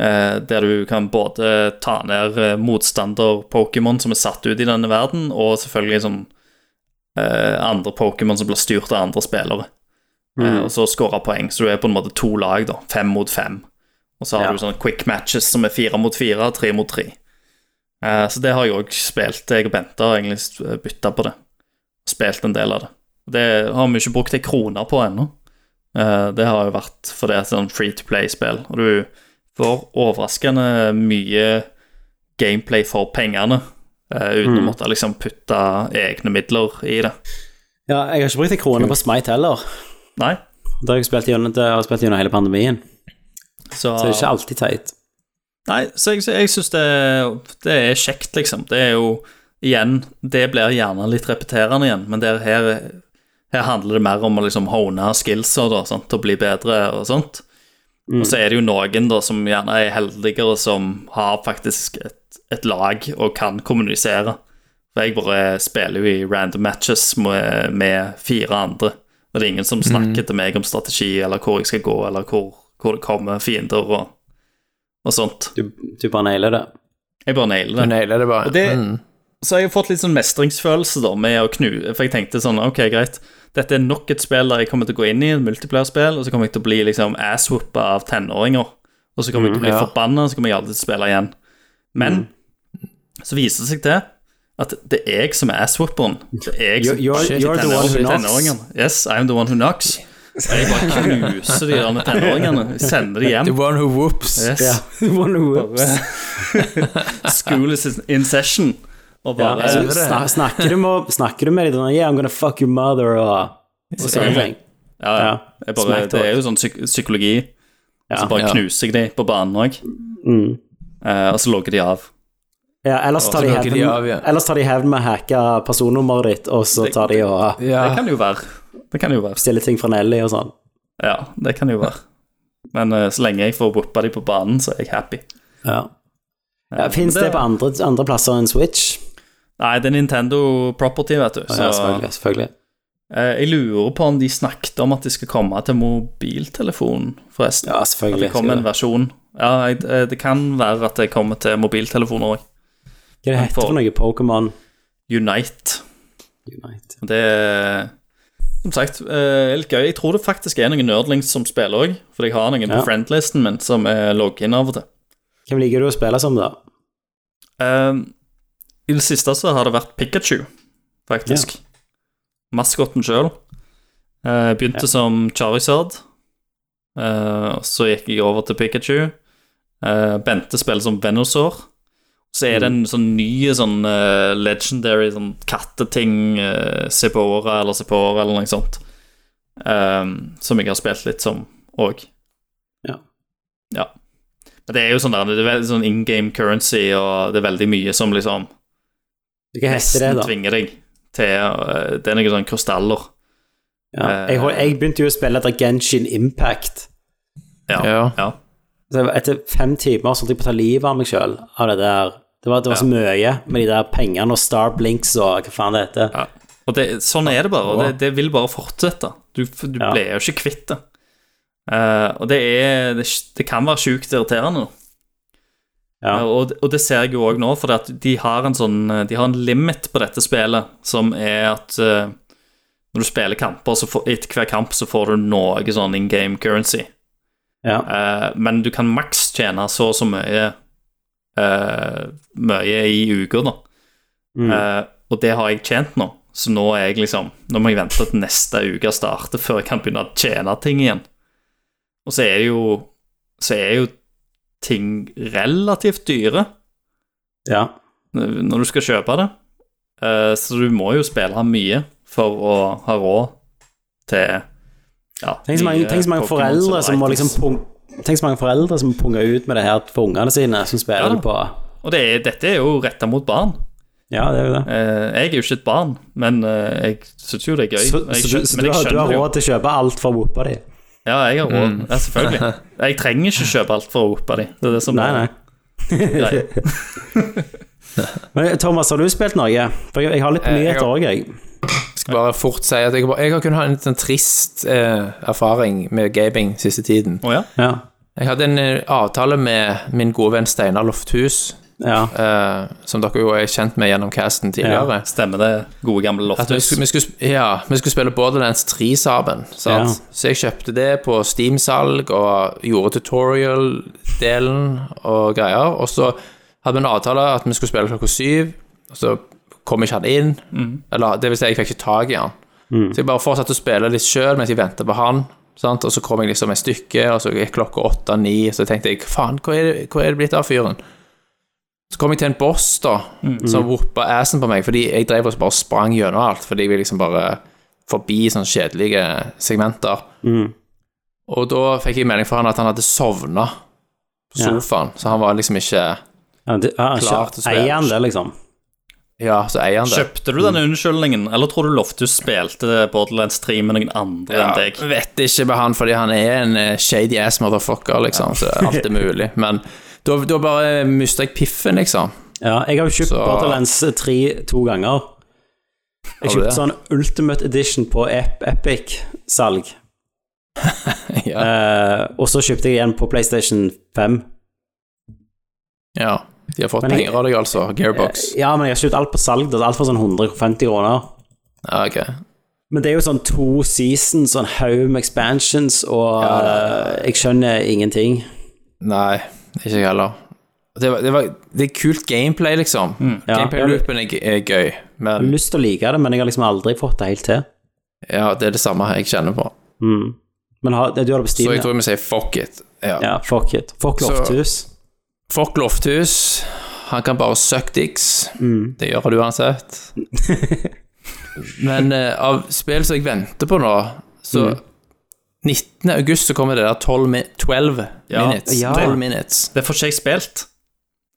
eh, der du kan både ta ned eh, motstander-Pokémon som er satt ut i denne verden, og selvfølgelig sånn eh, andre Pokémon som blir styrt av andre spillere. Eh, og så score poeng. Så du er på en måte to lag, da. Fem mot fem. Og så har Ja. du sånne quick matches som er fire mot fire, tre mot tre. Eh, så det har jeg òg spilt. Jeg og Bente har egentlig bytta på det. Spilt en del av det. Det har vi ikke brukt ei krone på ennå. Eh, det har jo vært fordi det er sånn free to play-spill, og du får overraskende mye gameplay for pengene. eh, uten Mm. å måtte liksom putte egne midler i det. Ja, jeg har ikke brukt en krone på Smite heller. Nei, Det har jeg spilt gjennom, det har jeg spilt gjennom hele pandemien, så, så det er ikke alltid teit. Nei, så jeg, så jeg syns det, det er kjekt, liksom. Det er jo Igjen, det blir gjerne litt repeterende igjen, men der, her, her handler det mer om å liksom hone skillsa da, sant, og bli bedre og sånt. Og så er det jo noen da som gjerne er heldigere, som har faktisk et, et lag og kan kommunisere. For jeg bare spiller jo i random matches med, med fire andre, og det er ingen som snakker til meg om strategi, eller hvor jeg skal gå, eller hvor, hvor det kommer fiender og, og sånt. Du, du bare nailer det. Jeg bare nailer Du det. nailer det bare. Og det- mm. Så har jeg fått litt sånn mestringsfølelse da med å knu For jeg tenkte sånn, ok, greit. Dette er nok et spill der jeg kommer til å gå inn i, et multiplayerspill, og så kommer jeg til å bli liksom asswhoppa av tenåringer. Og så kommer jeg til å bli Mm, ja. forbanna, og så kommer jeg aldri til å spille igjen. Men Mm. så viser det seg det at det er jeg som er asswhopperen. Det er jeg You're, som you're, Shit, you're the one who tenåring- knocks. tenåringene. Yes, I'm the one who knocks. Og jeg bare knuser de der med tenåringene. Jeg Sender (laughs) de The hjem. one who whoops. (laughs) Yes. Ja, the one who whoops. (laughs) School is in session. Og Ja, bare så snak- snakker, du med, snakker du med de der, yeah, I'm gonna fuck your mother, og, og sånne ting. Ja, ja. Ja, Jeg bare, smack det er talk. jo sånn psyk psykologi. Ja. Så bare Ja. knuser jeg de på banen òg, Mm. og så logger de av. Ja, ellers tar så de lukker de av, ja. hevn- ellers tar de hevn med å hacke personnummeret ditt, og så tar de og Ja. Det kan det jo være. Det kan det jo være. stiller ting fra Nelly og sånn. Ja, det kan det jo være. Men eh, så lenge jeg får whoopa de på banen, så er jeg happy. Eh, Ja. Ja, Fins men det på det- andre, andre plasser enn Switch? Nei, det er Nintendo property, vet du. Så Ja, selvfølgelig. selvfølgelig. Eh, Jeg lurer på om de snakket om at de skal komme til mobiltelefonen, forresten. Ja, at selvfølgelig. det kommer en versjon. Ja, jeg, eh, det kan være at det kommer til mobiltelefoner òg. Hva er det heter for noe? Pokémon Unite. Unite. Det er som sagt eh, litt gøy. Jeg tror det faktisk er noen nerdlings som spiller òg, for jeg har noen Ja. på friendlisten min som er login av og til. Hvem liker du å spille som, da? Eh, I det siste så har det vært Pikachu, faktisk. Maskotten sjøl. begynte som Charizard. Eh, og så gikk jeg over til Pikachu. Eh, Bente spiller som Venusaur. Så er det Mm. en sånn ny sånn eh, legendary sånn katteting, uh, Sepora eller Sepora eller noe sånt, eh, som jeg har spilt litt som òg. Ja. Ja. Men det er jo sånn der, det er veldig sånn in game currency, og det er veldig mye som liksom Hva heter det, nesten da? tvinger deg til eh, Det er noen sånne krystaller. Ja. Eh, Jeg, hol- jeg begynte jo å spille etter Genshin Impact. Ja. ja. Ja. Så jeg- etter fem timer så holdt jeg på å ta livet av meg sjøl av det der. Det var, det var så mye med de der pengene og Starblinks og hva faen det heter. Ja. Og det, sånn er det bare, og det, det vil bare fortsette. Du, du Ja. blir jo ikke kvitt det. Eh, og det er Det, det kan være sjukt irriterende. Ja. Eh, og, og det ser jeg jo òg nå, for de har en sånn eh, De har en limit på dette spillet, som er at eh, når du spiller kamper, så får, etter hver kamp så får du noe sånn in game currency. Ja. Eh, men du kan maks tjene så og så mye eh, Mye i uker, da. Mm. Eh, og det har jeg tjent nå, så nå er jeg liksom Nå må jeg vente til neste uke starter før jeg kan begynne å tjene ting igjen. Og så er det jo Så er jo ting relativt dyre ja. når du skal kjøpe det. Eh, så du må jo spille mye for å ha råd til ja, Tenk så mange, nye tenk så mange Pokémons foreldre eller som må liksom items. pung, Tenk så mange foreldre som punger ut med det her for ungene sine, som Ja spiller da. det på Og det er, dette er jo retta mot barn. Ja, det er jo det. Eh, jeg er jo ikke et barn, men eh, jeg syns jo det er gøy. Så, jeg, så, du, skjøn- så men du, jeg har, du har skjønner jo- råd til å kjøpe alt for whoopa di? Ja, jeg har råd. Ja, selvfølgelig. Jeg trenger ikke kjøpe alt for å oppe de. Det er det som Nei, nei. Nei. (laughs) Men Thomas, har du spilt noe? For jeg, jeg har litt på Eh, jeg nyheter har- òg, jeg. Skal bare fort si at jeg, bare, jeg har kunnet ha en litt sånn trist eh, erfaring med gaming siste tiden. Å ja? Ja. Jeg hadde en eh, avtale med min gode venn Steinar Lofthus, ja. eh, som dere jo er kjent med gjennom casten tidligere. Stemmer det, gode gamle At vi Loftus? skulle, vi, skulle, sp- ja, vi skulle spille Borderlands 3 sammen. Sant? Ja. Så jeg kjøpte det på Steam-salg og gjorde tutorial-delen og greier. Og så hadde vi en avtale at vi skulle spille klokka syv, og så kom ikke han inn. Eller det vil si, jeg fikk ikke tak i han. Så jeg bare fortsatte å spille litt sjøl mens jeg venta på han. Sant? Og så kom jeg liksom et stykke, og så gikk klokka åtte-ni, så tenkte jeg faen, hvor er det, hvor er det blitt av fyren? Så kom jeg til en boss da, som whoppa assen på meg, fordi jeg drev og bare sprang gjennom alt, fordi jeg ville liksom bare forbi sånne kjedelige segmenter. Og da fikk jeg melding fra han at han hadde sovna på Ja. sofaen, så han var liksom ikke ja, det, ja Klart kjø- å spille. Eier han det, liksom? Ja, så eier han det. Kjøpte du denne unnskyldningen, eller tror du Loftus spilte Borderlands 3 med noen andre Ja, enn deg? vet ikke med han, fordi han er en eh, shady ass motherfucker, liksom, så alt er mulig. Men da, da bare mista jeg piffen, liksom. (laughs) Ja, jeg har jo kjøpt Så- Borderlands 3 to ganger. Jeg Har du kjøpte det? sånn Ultimate Edition på Ep Epic-salg. Ja. Eh, og så kjøpte jeg en på PlayStation 5. ja. De har fått Men jeg- Eh, penger av deg, altså. Gearbox. Ja, men jeg har kjøpt alt på salg. Det er alt for sånn 150 kroner. Ja, ok. Men det er jo sånn to seasons, sånn haug med expansions, og Ja, ja, eh, jeg skjønner ingenting. Nei, ikke jeg heller. Det, var, det, var, det er kult gameplay, liksom. Mm, ja. Gameplay-loopen er, g- er gøy, Jeg har men lyst til å like det, men jeg har liksom aldri fått det helt til. ja, det er det samme jeg kjenner på. Mm. Men har, du har det på Så Steam? jeg ja. tror vi sier fuck it. Ja. Ja, fuck it. Fuck Så- Lofthus. Fuck Lofthus. Han kan bare suck dicks. Mm. Det gjør han uansett. (laughs) Men eh, av spill som jeg venter på nå, så Mm. 19. august så kommer det der 12, mi 12 Ja, minutes. ja. 12 minutes. Det får ikke jeg spilt.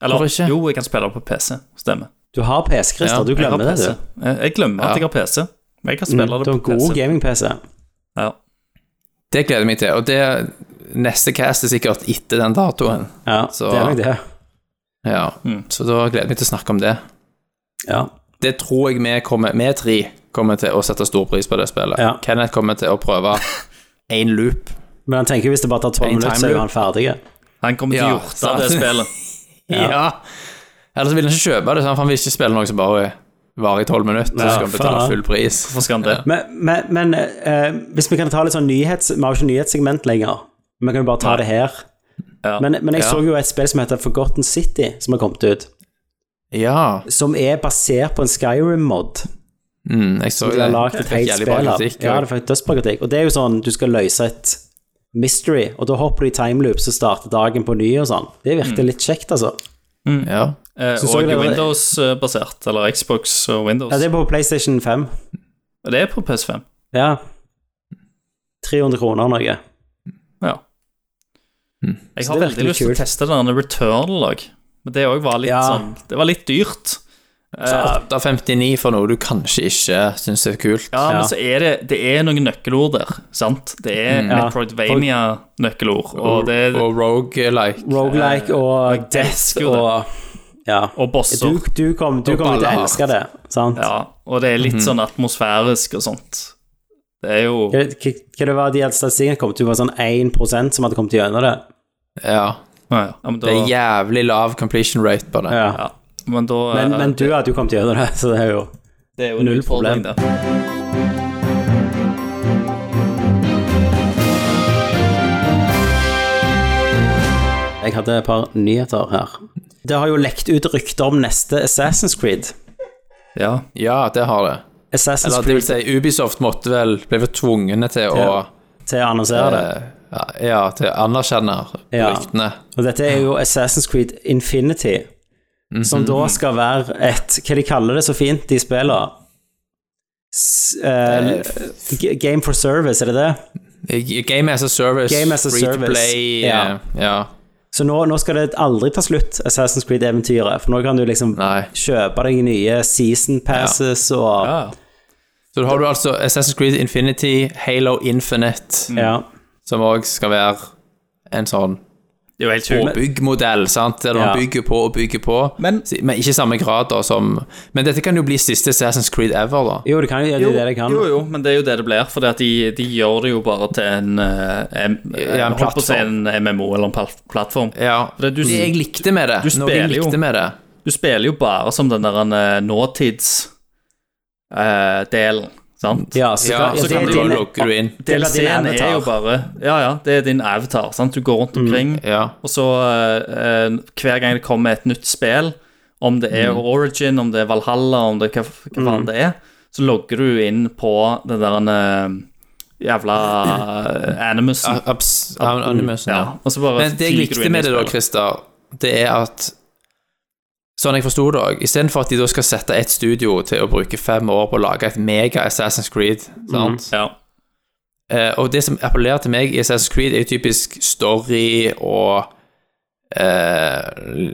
Eller Hvorfor ikke? jo, jeg kan spille det på PC. Stemmer. Du har PC, Christer. Ja, du Jeg har glemmer det, PC. du. Jeg, jeg glemmer Ja. at jeg har PC. Men jeg kan Mm, spille du det har en på god PC. gaming-PC. Ja. Det gleder jeg meg til. Og det neste cast er sikkert etter den datoen. Ja, Så- det er nok det. Ja. Mm. Så da gleder jeg meg til å snakke om det. Ja. Det tror jeg vi kommer Vi tre kommer til å sette stor pris på det spillet. Ja. Kenneth kommer til å prøve én loop. Men han tenker jo hvis det bare tar tolv En minutter, så er timeloop. jo han ferdig. Han kommer til å Ja, hjorte sant. det spillet. (laughs) Ja. Ellers vil han ikke kjøpe det, sant, for han vil ikke spille noe som bare varer i tolv minutter. Ja, så skal han betale faen. full pris. Hvorfor skal han det? Men, men, men eh, hvis vi kan ta litt sånn nyhets... Vi har jo ikke nyhetssegment lenger. Vi kan jo bare ta det her. Ja. Men, men jeg Ja. så jo et spill som heter Forgotten City, som har kommet ut. Ja. Som er basert på en Skyrim-mod. Mm, jeg så De det. har lagd Det et fikk helt jævlig spill bra her. kritikk, Ja, og- det fikk dødsbra kritikk. Og det er jo sånn, du skal løse et mystery, og da hopper du i timeloops og starter dagen på ny og sånn. Det Mm. virker litt kjekt, altså. ja. Eh, Så så og jeg det- Windows-basert, eller Xbox og Windows. Ja, det er på PlayStation 5. det er på PS5. Ja. 300 kroner og noe. Ja. Jeg Mm. Så har det veldig virker lyst til å kult. teste denne Returnal òg, men det òg var litt Ja. sånn Det var litt dyrt. Eh, Så 8,59 for noe du kanskje ikke syns er kult. ja, men Ja. så er det Det er noen nøkkelord der, sant? Det er Mm. Ja. Metroidvania-nøkkelord, og det er og roguelike. Rogelike og Death elsker jo det. og Ja. Og bosser. Du, du, kom, du Og kommer til å baller. elske det, sant? Ja, og det er litt Mhm. sånn atmosfærisk og sånt. Det er jo Hva hva det var de hadde statistikken kom til? Det var sånn 1 som hadde kommet gjennom det. Ja. Ja, men da, Det er jævlig lav completion rate på det. Ja. ja, men da eh, Men, men du hadde jo kommet gjennom det, (laughs) så det er jo det er jo en null problem. utfordring, det. Jeg hadde et par nyheter her. Det har jo lekt ut rykter om neste Assassin's Creed. Ja. Ja, det har det. Assassin's Eller det vil Creed si, Ubisoft måtte vel ble vel tvungne til å Ja. til å annonsere det. eh, ja, ja, til å anerkjenne Ja. ryktene. Og dette er jo Assassin's Creed Infinity, Mhm, som da skal være et Hva de kaller det så fint, de spiller? S, eh, g- game for service, er det det? Game as a service, Game as a free to service, play ja. ja. ja. Så nå, nå skal det aldri ta slutt, Assassin's Creed-eventyret. For nå kan du liksom Nei. kjøpe deg nye season passes og ja. Så da har du altså Assassin's Creed Infinity, Halo Infinite, ja. som òg skal være en sånn Det er jo helt sjukt. påbyggmodell, sant? Der Ja. man bygger på og bygger på, Men- Si- men ikke i samme grad da som Men dette kan jo bli siste Assassin's Creed ever, da. Jo, det kan jo det, er det det kan. Jo, jo, men det er jo det det blir. For de, de gjør det jo bare til en, eh, en, Ja, en holdt på å si plattform. en MMO eller en pal- plattform. Ja. For det- du- det jeg likte med det, du noe jeg spiller jo. likte med det Du spiller jo bare som den der eh, nåtids-delen, sant? Ja, så, Ja, ja, så det kan er du bare din- logge du inn. det er din DLC-en er jo avatar. bare Ja, ja, det er din avatar, sant? Du går rundt omkring, Ja. og så eh, eh, hver gang det kommer et nytt spill, om det er Origin, om det er Valhalla, om det er hva, hva faen det er, så logger du inn på den der eh, jævla eh, animusen. Abs an- Animusen, ja. Og så bare Men det jeg fyker du likte inn i med det da, spillet. Christer, det er at Sånn jeg forsto det òg, istedenfor at de da skal sette et studio til å bruke fem år på å lage et mega Assassin's Creed, sant? Ja. Eh, og det som appellerer til meg i Assassin's Creed, er jo typisk story og eh,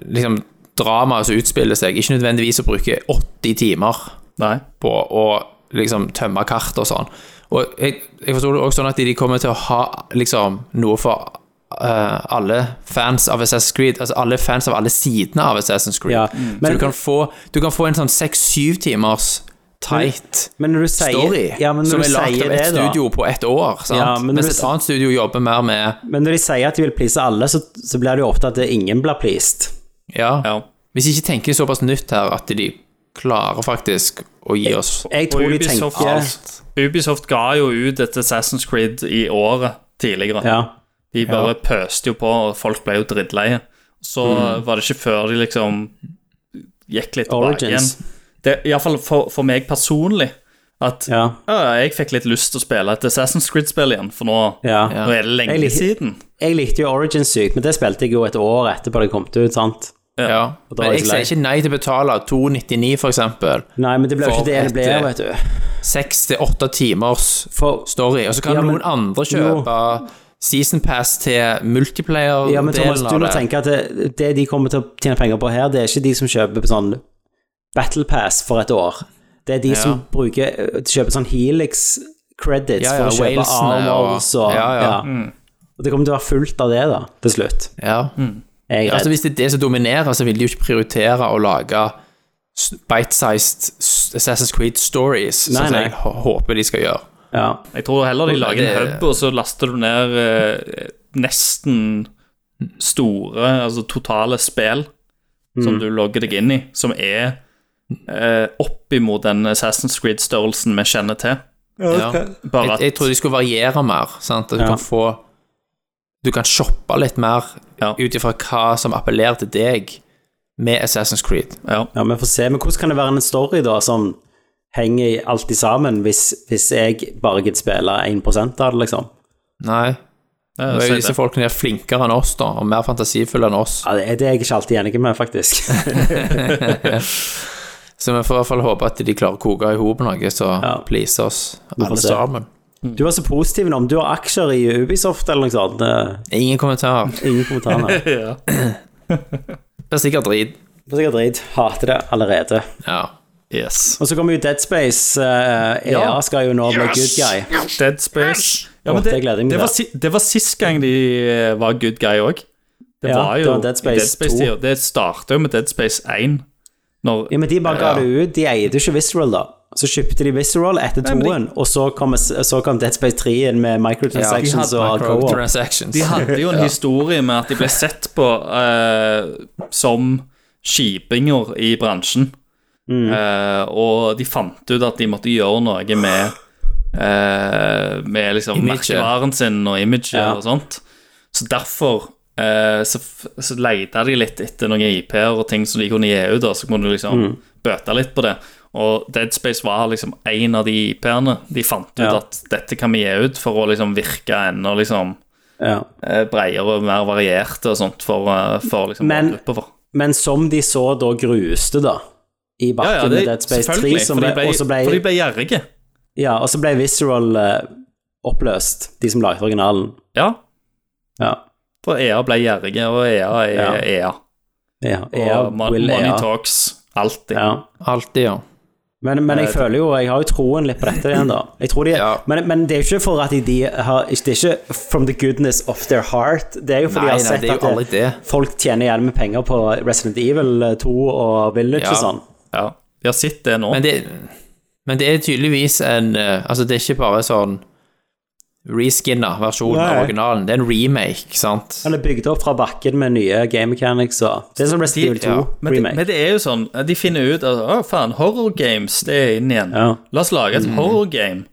liksom drama som utspiller seg. Ikke nødvendigvis å bruke 80 timer Nei. på å liksom tømme kart og sånn. Og jeg, jeg forstår det også sånn at de kommer til å ha liksom noe for eh, alle fans av Assassin's Creed, altså alle fans av alle sidene av Assassin's Creed. Ja, men- Så du kan få, du kan få en sånn seks-syv timers tight Men når du sier, story ja, men når som du er lagd sier av et det, da- studio på ett år. Sant? Ja, men når Mens du et s- annet studio jobber mer med Men når de sier at de vil please alle, så, så blir det jo ofte at det ingen blir pleased. ja, Ja. Hvis de ikke tenker såpass nytt her at de klarer faktisk å gi oss Jeg Og tror de Ubisoft tenker alt. Ubisoft ga jo ut et Assassin's Creed i året tidligere. ja, De bare pøste jo på, og folk ble jo drittleie. Så Mm. var det ikke før de liksom gikk litt tilbake igjen. Origins. Det- i hvert fall for, for meg personlig, at ja, «Å, jeg fikk litt lyst til å spille et Assassin's Creed-spill igjen, for nå, ja. nå er det lenge Jeg liker- siden. Jeg likte jo Origin sykt, men det spilte jeg jo et år etterpå det kom ut, sant? Ja. Og da er Men jeg jeg så lei. sier ikke nei til å betale 299, for eksempel. Nei, men det ble jo For ikke det det ble, et- eh, vet du. Seks til åtte timers For story, og så kan Ja, men- noen andre kjøpe season pass til multiplayer-delen Ja, men Thomas, du av må det. tenke at det, det de kommer til å tjene penger på her, det er ikke de som kjøper sånn Battle Pass for et år. Det er de som bruker, kjøper sånn Helix credits Ja, ja, for å kjøpe Walesene armors og- og Ja, ja. Og det kommer til å være fullt av det, da, til slutt. Ja. Mm. Jeg er Altså, redd. hvis det er det som dominerer, så vil de jo ikke prioritere å lage s- bite-sized s- Assassin's Creed Stories, sånn Nei, som nei. jeg hå- håper de skal gjøre. Ja. Jeg tror heller de Og lager en det- hub, og så laster du ned eh, nesten store, altså totale spill som Mm. du logger deg inn i, som er eh, oppimot den Assassin's Creed-størrelsen vi kjenner til. Ja. Bare Jeg, at jeg tror de skulle variere mer, sant? at du Ja. kan få Du kan shoppe litt mer Ja. ut ifra hva som appellerer til deg med Assassin's Creed. ja. Ja, men få se. Men hvordan kan det være en story da som henger alltid sammen, hvis, hvis jeg bare gidder spille 1 av det, liksom? Nei. Ja, Og si disse det. folkene er flinkere enn oss, da, og mer fantasifulle enn oss. Ja, det er det er jeg ikke alltid enig med, (laughs) faktisk. Så vi får i hvert fall håpe at de klarer å koke i hop noe som Ja. pleaser oss alle se. sammen. Du var så positiv nå, om du har aksjer i Ubisoft eller noe sånt. Det- Ingen kommentarer. Ingen kommentarer. (laughs) ja. Det er sikkert drit. (laughs) Det er sikkert drit. Hater det allerede. Ja. Yes. Og så kommer jo Dead Space. eh, EA Ja. skal jo nå bli good guy. Dead Space. Ja, men Åh, det gleder jeg det, meg var, til. si- det var sist gang de eh, var good guy òg. Det Ja, var det jo var Dead Space i Dead Space 2. 2. Det starta jo med Dead Space 1. Når, Ja, men de bare ga det ut. De eide jo ikke Visceral, da. Så kjøpte de Visceral etter Nei, men de- toen, og så kom, så kom Dead Space 3 inn med microtransactions Ja, de og hadde co-op. Transactions. De hadde jo en Ja. historie med at de ble sett på eh, som skipinger i bransjen. Eh, og de fant ut at de måtte gjøre noe med eh, Med liksom Imaget. merkevaren sin og imaget Ja. og sånt. Så derfor eh, så, f- så leita de litt etter noen IP-er og ting som de kunne gi ut, og så kunne du liksom bøte litt på det. Og Dead Space var liksom en av de IP-ene. De fant ut Ja. at dette kan vi gi ut for å liksom virke ennå liksom Ja. eh, bredere og mer varierte og sånt for, eh, for liksom Men- målgrupper for. Men som de så da gruste, da, i bakken med Dead Space 3, som for de ble, ble, og så ble, for de ble gjerrige. ja, og så ble Visceral eh, oppløst, de som lagde originalen. Ja, Ja. for EA ble gjerrige, og EA er Ja. EA. ja. Og EA mon- will Money EA. Talks, alltid. Ja. Alltid, ja. Men, men Eh, jeg føler jo Jeg har jo troen litt på dette igjen, da. Jeg tror de, Ja. men, men det er jo ikke for at de har Det er ikke from the goodness of their heart. Det er jo fordi Nei, de har nei, sett det er jo aldri at det, det. folk tjener igjen med penger på Resident Evil 2 og Village Ja. og sånn. Ja. Vi har sett det nå. Men det, men det er tydeligvis en eh, Altså, det er ikke bare sånn reskinna versjon av Nei. originalen. Det er en remake, sant? Han er bygd opp fra bakken med nye game mechanics og Det er som Resident Evil 2 ja, Men det, remake. men det er jo sånn, de finner ut at å faen, horror games, det er inn igjen. Ja. La oss lage et horror game.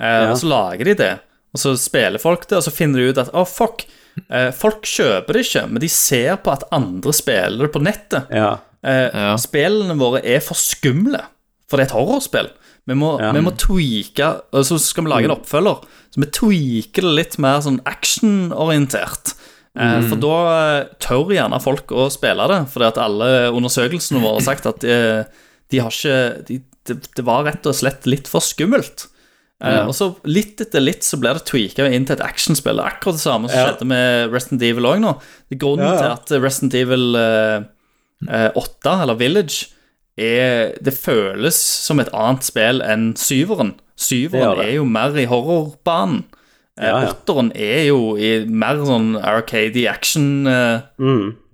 Eh, Og så lager de det, og så spiller folk det, og så finner de ut at å, fuck, eh, folk kjøper det ikke, men de ser på at andre spiller det på nettet. ja. Eh, Ja. Spillene våre er for skumle, for det er et horrorspill. Vi må, vi må tweake, og så skal vi lage en oppfølger. Så vi tweaker det litt mer sånn actionorientert. Eh, For da eh, tør gjerne folk å spille det, fordi at alle undersøkelsene våre har sagt at eh, de har ikke de, det, det var rett og slett litt for skummelt. Eh, Og så litt etter litt så blir det tweaka inn til et actionspill. Akkurat det samme som skjedde med Resident Evil òg nå. Det er Grunnen til at Resident Evil eh, eh, 8, eller Village, er, det føles som et annet spill enn syveren. Det gjør Syveren det. er jo mer i horrorbanen. Eh, Ja, ja. Åtteren er jo i mer sånn arcade action eh,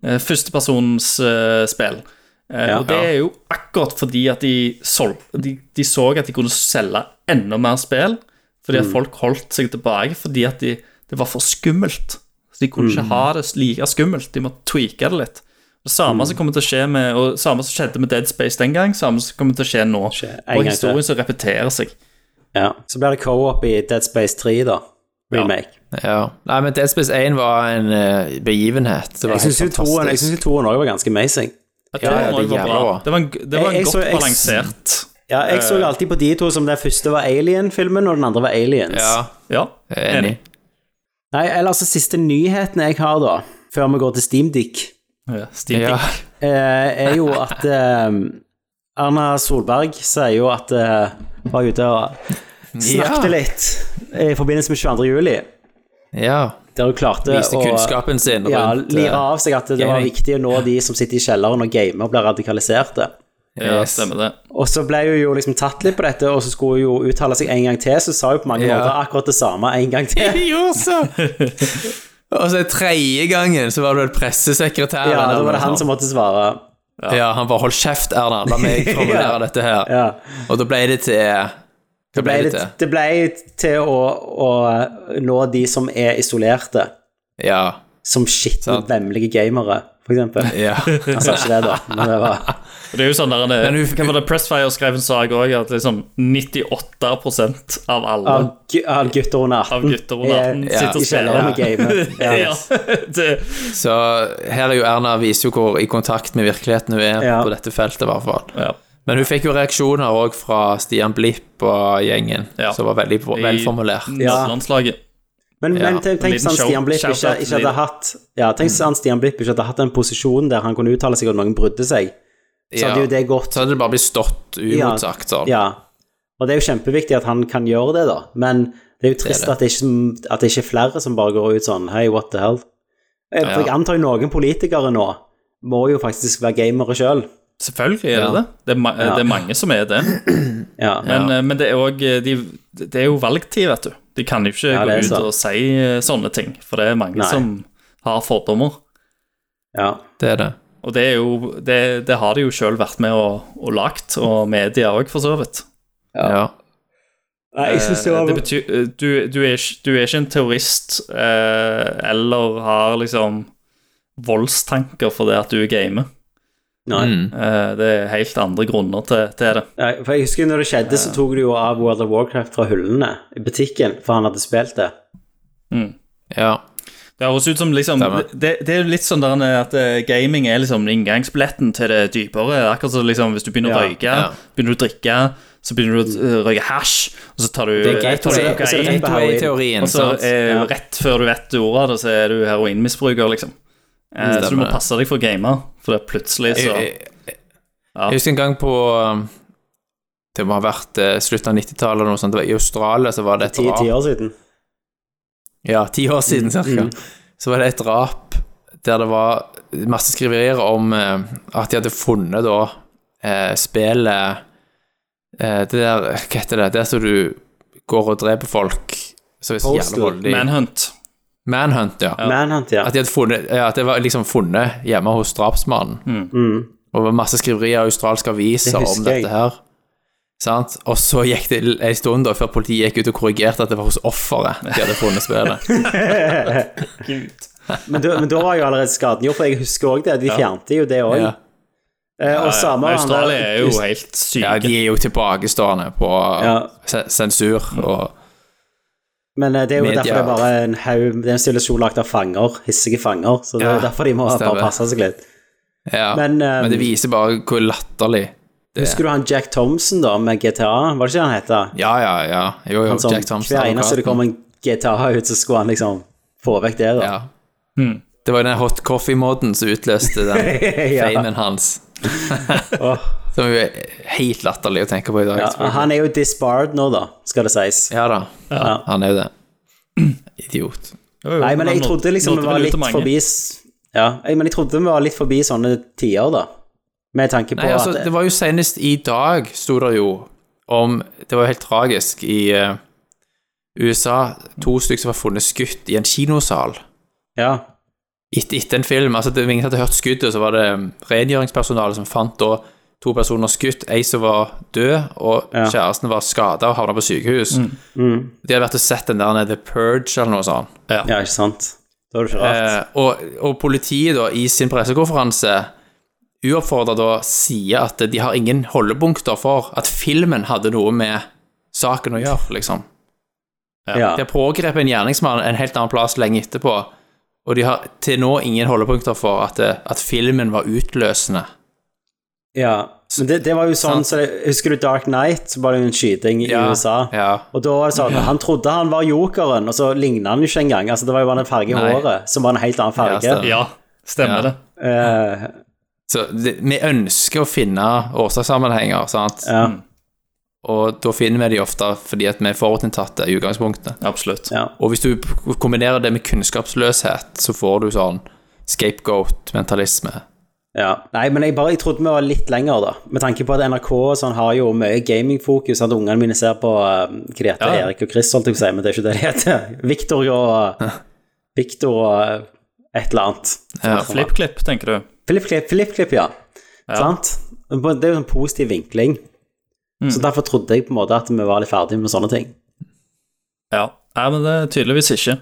eh, Førstepersons eh, spill. Eh, Mm. Ja. og det er jo akkurat fordi at de, sol de, de så at de kunne selge enda mer spill, fordi Mm. at folk holdt seg tilbake fordi at de, det var for skummelt. Så de kunne Mm. ikke ha det like skummelt, de måtte tweake det litt. Det samme Mm. som kommer til å skje med Og samme som skjedde med Dead Space den gang, samme som kommer til å skje nå. Skje en gang Og til. historien som repeterer seg. ja. Så blir det co-op i Dead Space 3, da. Remake. Ja. Nei, men Dead Space 1 var en eh, begivenhet. Det var Jeg syns jo helt toen jeg fantastisk. synes jo toen også var ganske amazing. At Ja, ja, det, det er var jævla bra. bra. det var en, det var Jeg- en jeg godt så- jeg- balansert Ja, jeg så alltid på de to som den første var Alien-filmen, og den andre var Aliens. Ja, Ja, jeg er enig. Nei, eller altså siste nyheten jeg har da, før vi går til Steam Dick, Ja, Steve Ja. Dick. eh, er jo at eh, Erna Solberg sier jo at eh, var ute og snakket Ja. litt i forbindelse med 22. juli, Ja. der hun klarte Viste kunnskapen sin ja, rundt eh, lire av seg at det var gaming. viktig å nå de som sitter i kjelleren og gamer og blir radikaliserte. Ja, Yes. (laughs) stemmer det. Og så ble hun jo liksom tatt litt på dette, og så skulle hun jo uttale seg en gang til, så sa hun på mange Ja. måter akkurat det samme en gang til. Jeg gjorde så! Og så tredje gangen så var det vel pressesekretæren. Ja, da var det eller han noe som måtte svare. Ja. han bare 'hold kjeft, Erna, la (laughs) meg formulere Ja. dette her'. Ja. Og da ble det til Hva Det ble, litt- det ble til å, å eh, nå de som er isolerte, Ja. som skitne, Sant. vemmelige gamere, for eksempel. ja. Han sa ikke det, da. Men det var Og det er jo sånn der, det, Men hun- hva var det Pressfire skrev en sak òg, at liksom 98 av alle av, gu- av gutter under 18. av gutter under 18 Ja. sitter og I kjelleren og spiller. gamer. Ja. (laughs) Ja, (laughs) det, (laughs) Så her er jo Erna viser jo hvor i kontakt med virkeligheten hun er Ja. på dette feltet, i hvert fall. ja. Men hun fikk jo reaksjoner òg fra Stian Blipp og gjengen, Ja. som var veldig velformulert. Ja. Landslaget. Men, men Ja, tenk, en tenk liten sånn shout- Stian Blipp ikke, shout-out til ikke hadde de. hatt Ja, tenk sånn Stian Blipp ikke hadde hatt den posisjonen der han kunne uttale seg og noen brydde seg. Så hadde jo det gått Så hadde det bare blitt stått uimotsagt sånn. Ja. Og det er jo kjempeviktig at han kan gjøre det, da. Men det er jo trist det. At, det ikke, at det ikke er flere som bare går ut sånn Hei, what the hell? Eh, For jeg Ja. antar jo noen politikere nå må jo faktisk være gamere sjøl. Selvfølgelig er det Ja. det. Det er, ma Ja. det er mange som er det. Ja. Men, eh, men det, er også, eh, de, det er jo valgtid, vet du. De kan jo ikke Ja, gå det er ut sant. og si eh, sånne ting, for det er mange Nei. som har fordommer. ja. Det er det. Og det, er jo, det, det har de jo sjøl vært med og, og lagt, og media òg, for så vidt. Ja. Nei, jeg synes det Eh, var Det betyr eh, du, du, er ikke, du er ikke en terrorist eh, eller har liksom voldstanker for det at du gamer. Nei. Mm. Eh, det er helt andre grunner til, til det. Nei, for jeg husker når det skjedde, så tok du jo av World of Warcraft fra hyllene i butikken, for han hadde spilt det. Mm. ja. Det høres ut som liksom Stemmer. det, det er jo litt sånn der at eh, gaming er liksom inngangsbilletten til det dypere. Akkurat som liksom hvis du begynner å Ja, røyke, ja. begynner du å drikke, så begynner du å eh, røyke hasj, og så tar du Det er og tar du så er det kokain, rett på gateway-teorien. og så sant? eh, Ja. rett før du vet ordet av det, så er du heroinmisbruker, liksom. Eh, så du må Stemmer. passe deg for å game, for det er plutselig så Jeg, jeg, jeg husker en gang på um, Det må ha vært eh, slutten av 90-tallet eller noe sånt. Det var I Australia så var det et Ti, drap ti år siden. Ja, ti år siden cirka. Så var det et drap der det var masse skriverier om eh, at de hadde funnet da eh, spillet eh, Det der Hva heter det? Der som du går og dreper folk som er så Postal. jævlig voldelige. Manhunt. Manhunt, ja. Manhunt, ja. At, de hadde funnet, ja, at det var liksom funnet hjemme hos drapsmannen. Og det var masse skriverier i australske aviser Mm. Det husker om dette jeg. her. Sant? Og så gikk det l- en stund da før politiet gikk ut og korrigerte at det var hos offeret de hadde funnet spillet. (laughs) Men, da- men da var jo allerede skaden gjort, for jeg husker òg det. De fjernte jo det òg. Ja. Eh, og samme han der- Australia er jo helt Ja, syke. de er jo tilbakestående på Ja. se- sensur og Men eh, det er jo Media. derfor det er bare en haug Det er en stilasjon lagt av fanger, hissige fanger, så det er Ja, derfor de må stemmer. bare passe seg litt. ja. Men, Men, eh, det viser bare hvor latterlig det Husker du han Jack Thompson, da, med GTA? Var det ikke han het? da? Ja, ja, ja. Jo, jo, Han Som, Jack Thompson. hver eneste det advokaten. kom en GTA ut, så skulle han liksom få vekk det, da. ja. Hmm. Det var jo den hot coffee-moden som utløste den (laughs) Ja. famen hans. Åh. Som jo er helt latterlig å tenke på i dag. Ja, selvfølgelig. han er jo disbarred nå, da, skal det sies. Ja da, han er jo (clears throat) det. Idiot. Nei, men jeg trodde liksom vi var litt forbi s- Ja, jeg, men jeg trodde vi var litt forbi sånne tider, da. Med tanke på Nei, altså, at det var jo senest i dag, sto det jo om Det var jo helt tragisk i eh, USA. To stykker som var funnet skutt i en kinosal Ja, etter, etter en film. Altså, det var ingen som hadde hørt skuddet, så var det um, rengjøringspersonale som fant da to personer skutt. Ei som var død, og Ja. Mm. kjæresten var skada og havna på sykehus. De hadde vært og sett den der The Purge eller noe sånt. ja, ikke sant? Da er det ikke rart. Eh, og, og politiet da, i sin pressekonferanse uoppfordra da sier at de har ingen holdepunkter for at filmen hadde noe med saken å gjøre, liksom. ja. De har pågrepet en gjerningsmann en helt annen plass lenge etterpå, og de har til nå ingen holdepunkter for at, eh, at filmen var utløsende. ja. Men det, det var jo sånn, Sant. så det, Husker du Dark Knight? Så var det jo en skyting i USA. Ja. Og da var det sånn, Han trodde han var jokeren, og så lignet han jo ikke engang. Altså, det var jo bare en farge i Nei. håret som var en helt annen Ja, farge. stemmer. Ja, stemmer Ja. det. Eh, Så det, vi ønsker å finne årsakssammenhenger, sant, ja, og da finner vi de ofte fordi at vi er forutinntatte i utgangspunktet. Absolutt. ja. Og hvis du p- kombinerer det med kunnskapsløshet, så får du sånn scapegoat-mentalisme. Ja. Nei, men jeg, bare, jeg trodde vi var litt lenger, da. Med tanke på at NRK og sånn har jo mye gamingfokus. At ungene mine ser på eh, hva de heter, Ja. Erik og Chris, holdt jeg på å si, men det er ikke det de heter. (laughs) Victor og Victor og eh, et eller annet. Ja. Flippklipp, tenker du. Flippklipp, flippklipp, ja. Sant? Men Det er jo en positiv vinkling. Så derfor trodde jeg på en måte at vi var litt ferdige med sånne ting. Ja. Nei, men det er tydeligvis ikke.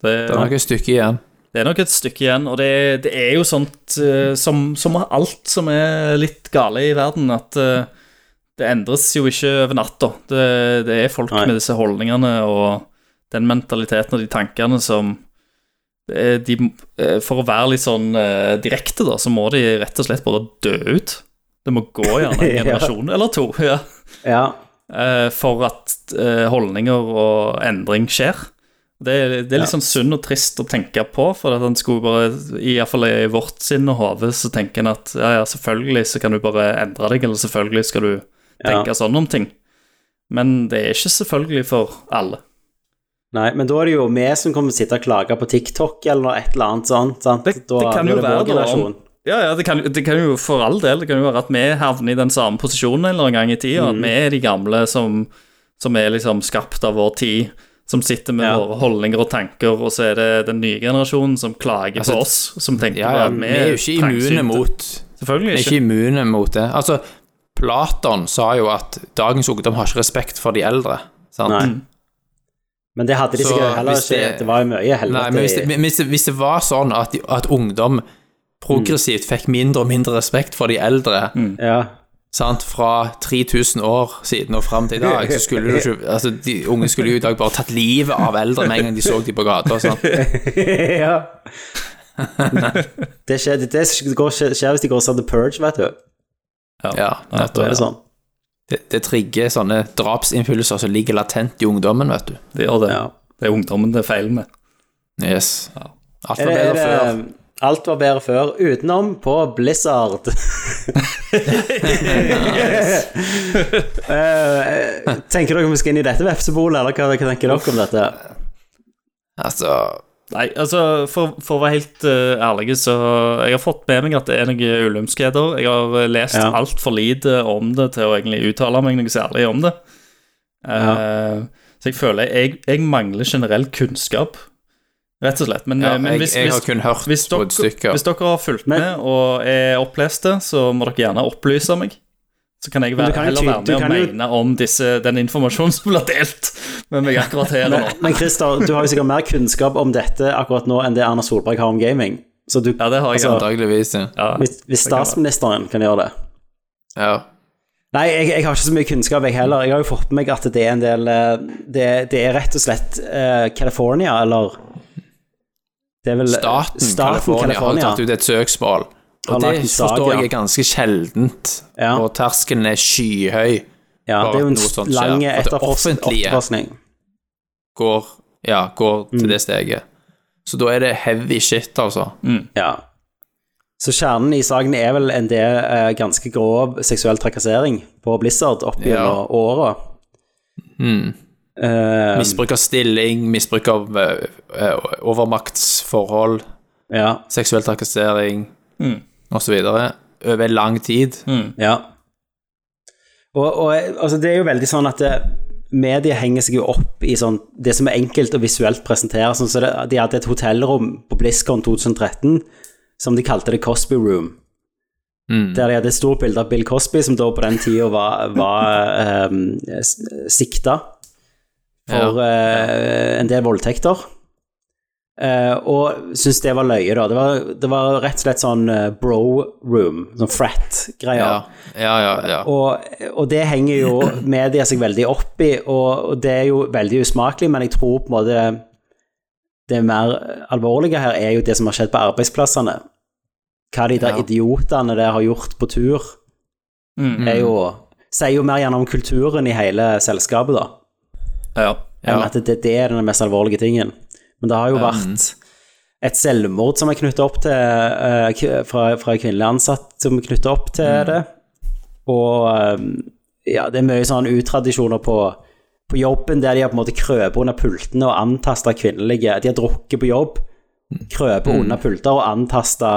Det, Det er nok et stykke igjen. det er nok et stykke igjen, og det, det er jo sånt eh, som, som med alt som er litt gale i verden, at eh, det endres jo ikke over natta. Det, det er folk Nei. med disse holdningene og den mentaliteten og de tankene som det er de, eh, For å være litt sånn eh, direkte, da, så må de rett og slett bare dø ut. Det må gå gjerne en Ja. generasjon eller to. ja Ja. eh, for at eh, holdninger og endring skjer. Det, er- det er litt sånn synd og trist å tenke på, for at han skulle bare, i hvert fall i vårt sinn og hode, så tenker en at ja, ja, selvfølgelig så kan du bare endre deg, eller selvfølgelig skal du ja. tenke sånn om ting. Men det er ikke selvfølgelig for alle. Nei, men da er det jo vi som kommer til å sitte og klage på TikTok eller et eller annet sånt. Sant? Det- da, det kan da er jo vår være da, om- generasjon. Ja, ja, det kan, det kan jo for all del, det kan jo være at vi havner i den samme posisjonen en eller annen gang i tida, Mhm. at vi er de gamle som, som er liksom skapt av vår tid, som sitter med Ja. våre holdninger og tanker, og så er det den nye generasjonen som klager Altså, på oss, som tenker Ja, ja, at vi er jo ikke immune trangsynte. mot Vi er Selvfølgelig ikke. ikke immune mot det. Altså, Platon sa jo at dagens ungdom har ikke respekt for de eldre. Sant? Nei. Men det hadde de Så sikkert heller hvis ikke. det- Det var jo mye helvete. Nei, men hvis det, i- men hvis det, hvis det var sånn at, de- at ungdom progressivt fikk mindre og mindre respekt for de eldre ja. (laughs) sant? fra 3000 år siden og fram til i dag, så skulle du ikke altså, De unge skulle jo i dag bare tatt livet av eldre med en gang de så de på gata. (laughs) Sant? ja. det skjer, det går, skjer hvis de går og ser The Purge, vet du. Ja, Da er det nettopp. sånn. Det, det trigger sånne drapsimpulser som ligger latent i ungdommen, vet du. Det gjør det. Ja. Det er ungdommen det feiler med. Yes. Alt Er var det, er bedre før. det, alt var bedre før, utenom på Blizzard. (laughs) Eh, tenker dere vi skal inn i dette vepsebolet, eller hva, hva tenker dere om dette? Altså Nei, altså, for, for å være helt eh, ærlig, så Jeg har fått med meg at det er noen ulymskheter. Jeg har eh, lest Ja. altfor lite om det til å egentlig uttale meg noe særlig om det. Eh, Så jeg føler jeg, jeg mangler generell kunnskap, rett og slett. Men, Ja, eh, men jeg, hvis, jeg har hvis, kun hørt hvis, på dere, et stykke. hvis dere har fulgt Men- med og er oppleste, så må dere gjerne opplyse meg. Så kan jeg Men være, du kan jo heller ty- være du med og kan jo- mene om disse, den informasjonen som blir delt med meg akkurat her og nå. Men Christer, du har jo sikkert mer kunnskap om dette akkurat nå enn det Erna Solberg har om gaming. Så du, Ja, det har jeg. Altså, Antageligvis, ja. ja. hvis, hvis det kan være. statsministeren kan gjøre det ja. Nei, jeg, jeg har ikke så mye kunnskap, jeg heller. Jeg har jo fått med meg at det er en del eh, Det, det er rett og slett eh, California, eller det er vel, Staten, California, har tatt ut et søksmål. Har Og lagt det en sak, forstår jeg ja. er ganske sjeldent. Ja. Og terskelen er skyhøy. Ja, det er jo Bare at noe sånt en lang skjer, for det etterforsk- offentlige- etterforskning. Går, ja, går til det steget. Så da er det heavy shit, altså. Ja. Så kjernen i saken er vel en del eh, ganske grov seksuell trakassering på Blizzard opp gjennom åra. Eh, Misbruk av stilling, misbruk av eh, eh, overmaktsforhold, ja, seksuell trakassering Mm. osv. Over lang tid. ja. Og, og eh, altså, det er jo veldig sånn at eh, media henger seg jo opp i sånn, det som er enkelt og visuelt presentert. Sånn, så det, de hadde et hotellrom på BlizzCon 2013 som de kalte det Cosby Room. Mm. Der de hadde et stort bilde av Bill Cosby, som da på den tida var, (laughs) var um, sikta for eh, en del voldtekter. Eh, og syntes det var løye, da. Det var, det var rett og slett sånn eh, bro room, sånn frat-greier. Ja, ja, ja. ja. Og, og det henger jo media seg veldig opp i, og, og det er jo veldig usmakelig, men jeg tror på en måte det mer alvorlige her er jo det som har skjedd på arbeidsplassene. Hva de der Ja. idiotene der har gjort på tur, Mm. er jo, sier jo mer gjennom kulturen i hele selskapet, da Ja. enn Ja. at det, det er den mest alvorlige tingen. Men det har jo vært et selvmord som er knytta opp til eh, k- fra, fra kvinnelig ansatt som er knytta opp til det. Og eh, ja, det er mye sånn utradisjoner på, på jobben der de har på en måte krøpet under pultene og antasta kvinnelige De har drukket på jobb, krøpet under pulter og antasta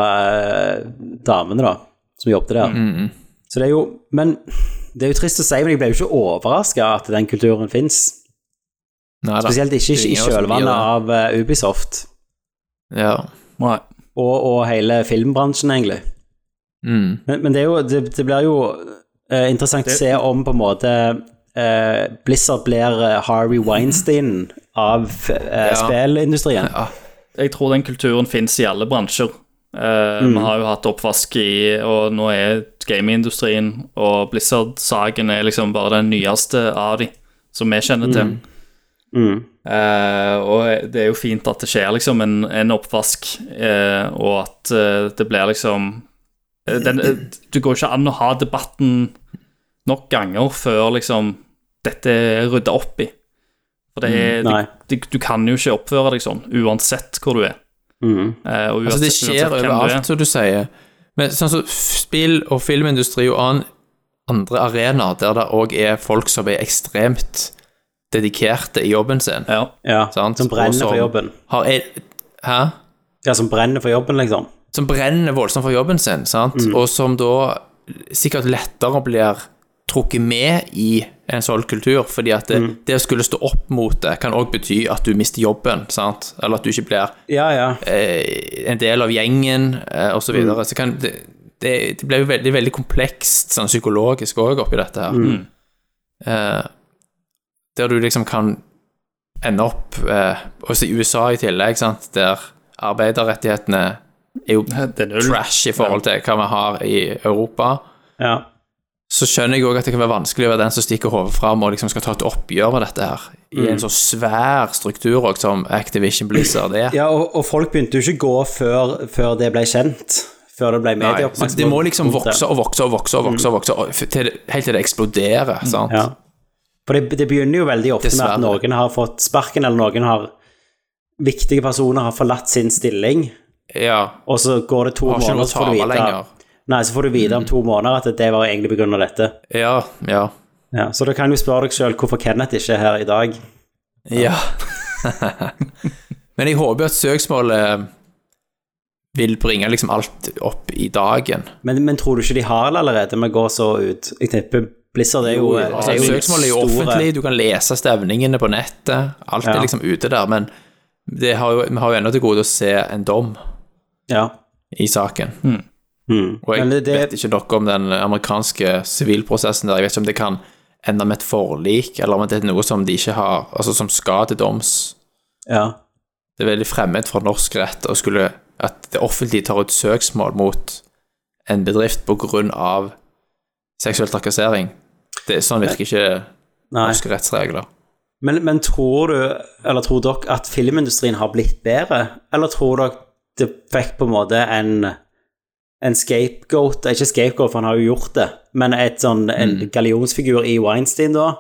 damene, da, som jobbet der. Mm. Så det er jo Men det er jo trist å si, men jeg ble jo ikke overraska at den kulturen fins. Nei da. Spesielt ikke, Altså, Det er ikke i ingen av oss som kjølvannet gir av eh, Ubisoft det. Ja. Nei. og, og hele filmbransjen, egentlig. Mm. Men, men det, er jo, det, det blir jo eh, interessant å se om på en måte eh, Blizzard blir eh, Harvey Weinstein av eh, Ja. spillindustrien. Jeg tror den kulturen fins i alle bransjer. Eh, Mm. Vi har jo hatt oppvask i Og nå er gamindustrien og Blizzard-saken er liksom bare den nyeste av de som vi kjenner til. Mm. Eh, og det er jo fint at det skjer liksom en, en oppvask, eh, og at eh, det blir liksom eh, den, eh, Det går ikke an å ha debatten nok ganger før liksom dette er rydda opp i. For det er, Mm, nei. du, du kan jo ikke oppføre deg sånn, uansett hvor du er. Mm. Eh, og Altså, uansett, det skjer uansett hvem du er. overalt, som du sier. Men sånn som spill og filmindustri og annen, andre arenaer der det òg er folk som er ekstremt dedikerte i jobben sin. Ja. Ja, Sant, som og brenner som- for jobben. Har en, hæ? Ja, som brenner for jobben, liksom. Som brenner voldsomt for jobben sin, sant? og som da sikkert lettere blir trukket med i en sånn kultur, fordi at det, det å skulle stå opp mot det, kan òg bety at du mister jobben, sant? eller at du ikke blir Ja, ja. eh, en del av gjengen eh, og Så, videre. så kan det, det, det blir jo veldig, veldig komplekst sånn psykologisk òg oppi dette her. Mm. Eh, der du liksom kan ende opp eh, Også i USA i tillegg, sant, der arbeiderrettighetene er jo Det er null. trash i forhold til hva vi har i Europa. ja. Så skjønner jeg òg at det kan være vanskelig å være den som stikker hodet fram og liksom skal ta et oppgjør med dette her, i Mm. en så svær struktur også, som Activision Blizzard er. ja og, og folk begynte jo ikke å gå før, før det ble kjent. Før det ble Nei, så medieoppmerksomhet. det må liksom vokse og vokse og vokse og vokse, og vokse og f- til, det- helt til det eksploderer. sant? Mm. Ja. For det, det begynner jo veldig ofte Dessverre. med at noen har fått sparken, eller noen har Viktige personer har forlatt sin stilling, Ja, og så går det to Har ikke noe måneder, å så får du vite tape lenger. Mm. Nei, så får du vite om to måneder at det var egentlig på grunn av dette. ja, ja. Ja, så da kan du spørre deg sjøl hvorfor Kenneth ikke er her i dag. ja. (laughs) Men jeg håper jo at søksmålet eh, vil bringe liksom alt opp i dagen. Men, men tror du ikke de har det allerede med å gå så ut? Jeg tipper Blizzard er jo, Altså, er jo søksmålet er store- jo offentlig, du kan lese stevningene på nettet. Alt Ja. er liksom ute der, men det har jo, vi har jo ennå til gode å se en dom Ja. i saken. Mm. Og jeg Men det, vet ikke noe om den amerikanske sivilprosessen der. Jeg vet ikke om det kan ende med et forlik, eller om det er noe som de ikke har Altså som skal til doms. ja. Det er veldig fremmed fra norsk rett å skulle at det offentlige tar ut søksmål mot en bedrift på grunn av seksuell trakassering. Det, sånn virker ikke Nei. norske rettsregler. Men, men tror du, eller tror dere at filmindustrien har blitt bedre? Eller tror dere det fikk på en måte en, en scapegoat Ikke scapegoat, for han har jo gjort det, men et sånn, en Mm. gallionsfigur i Weinstein, da?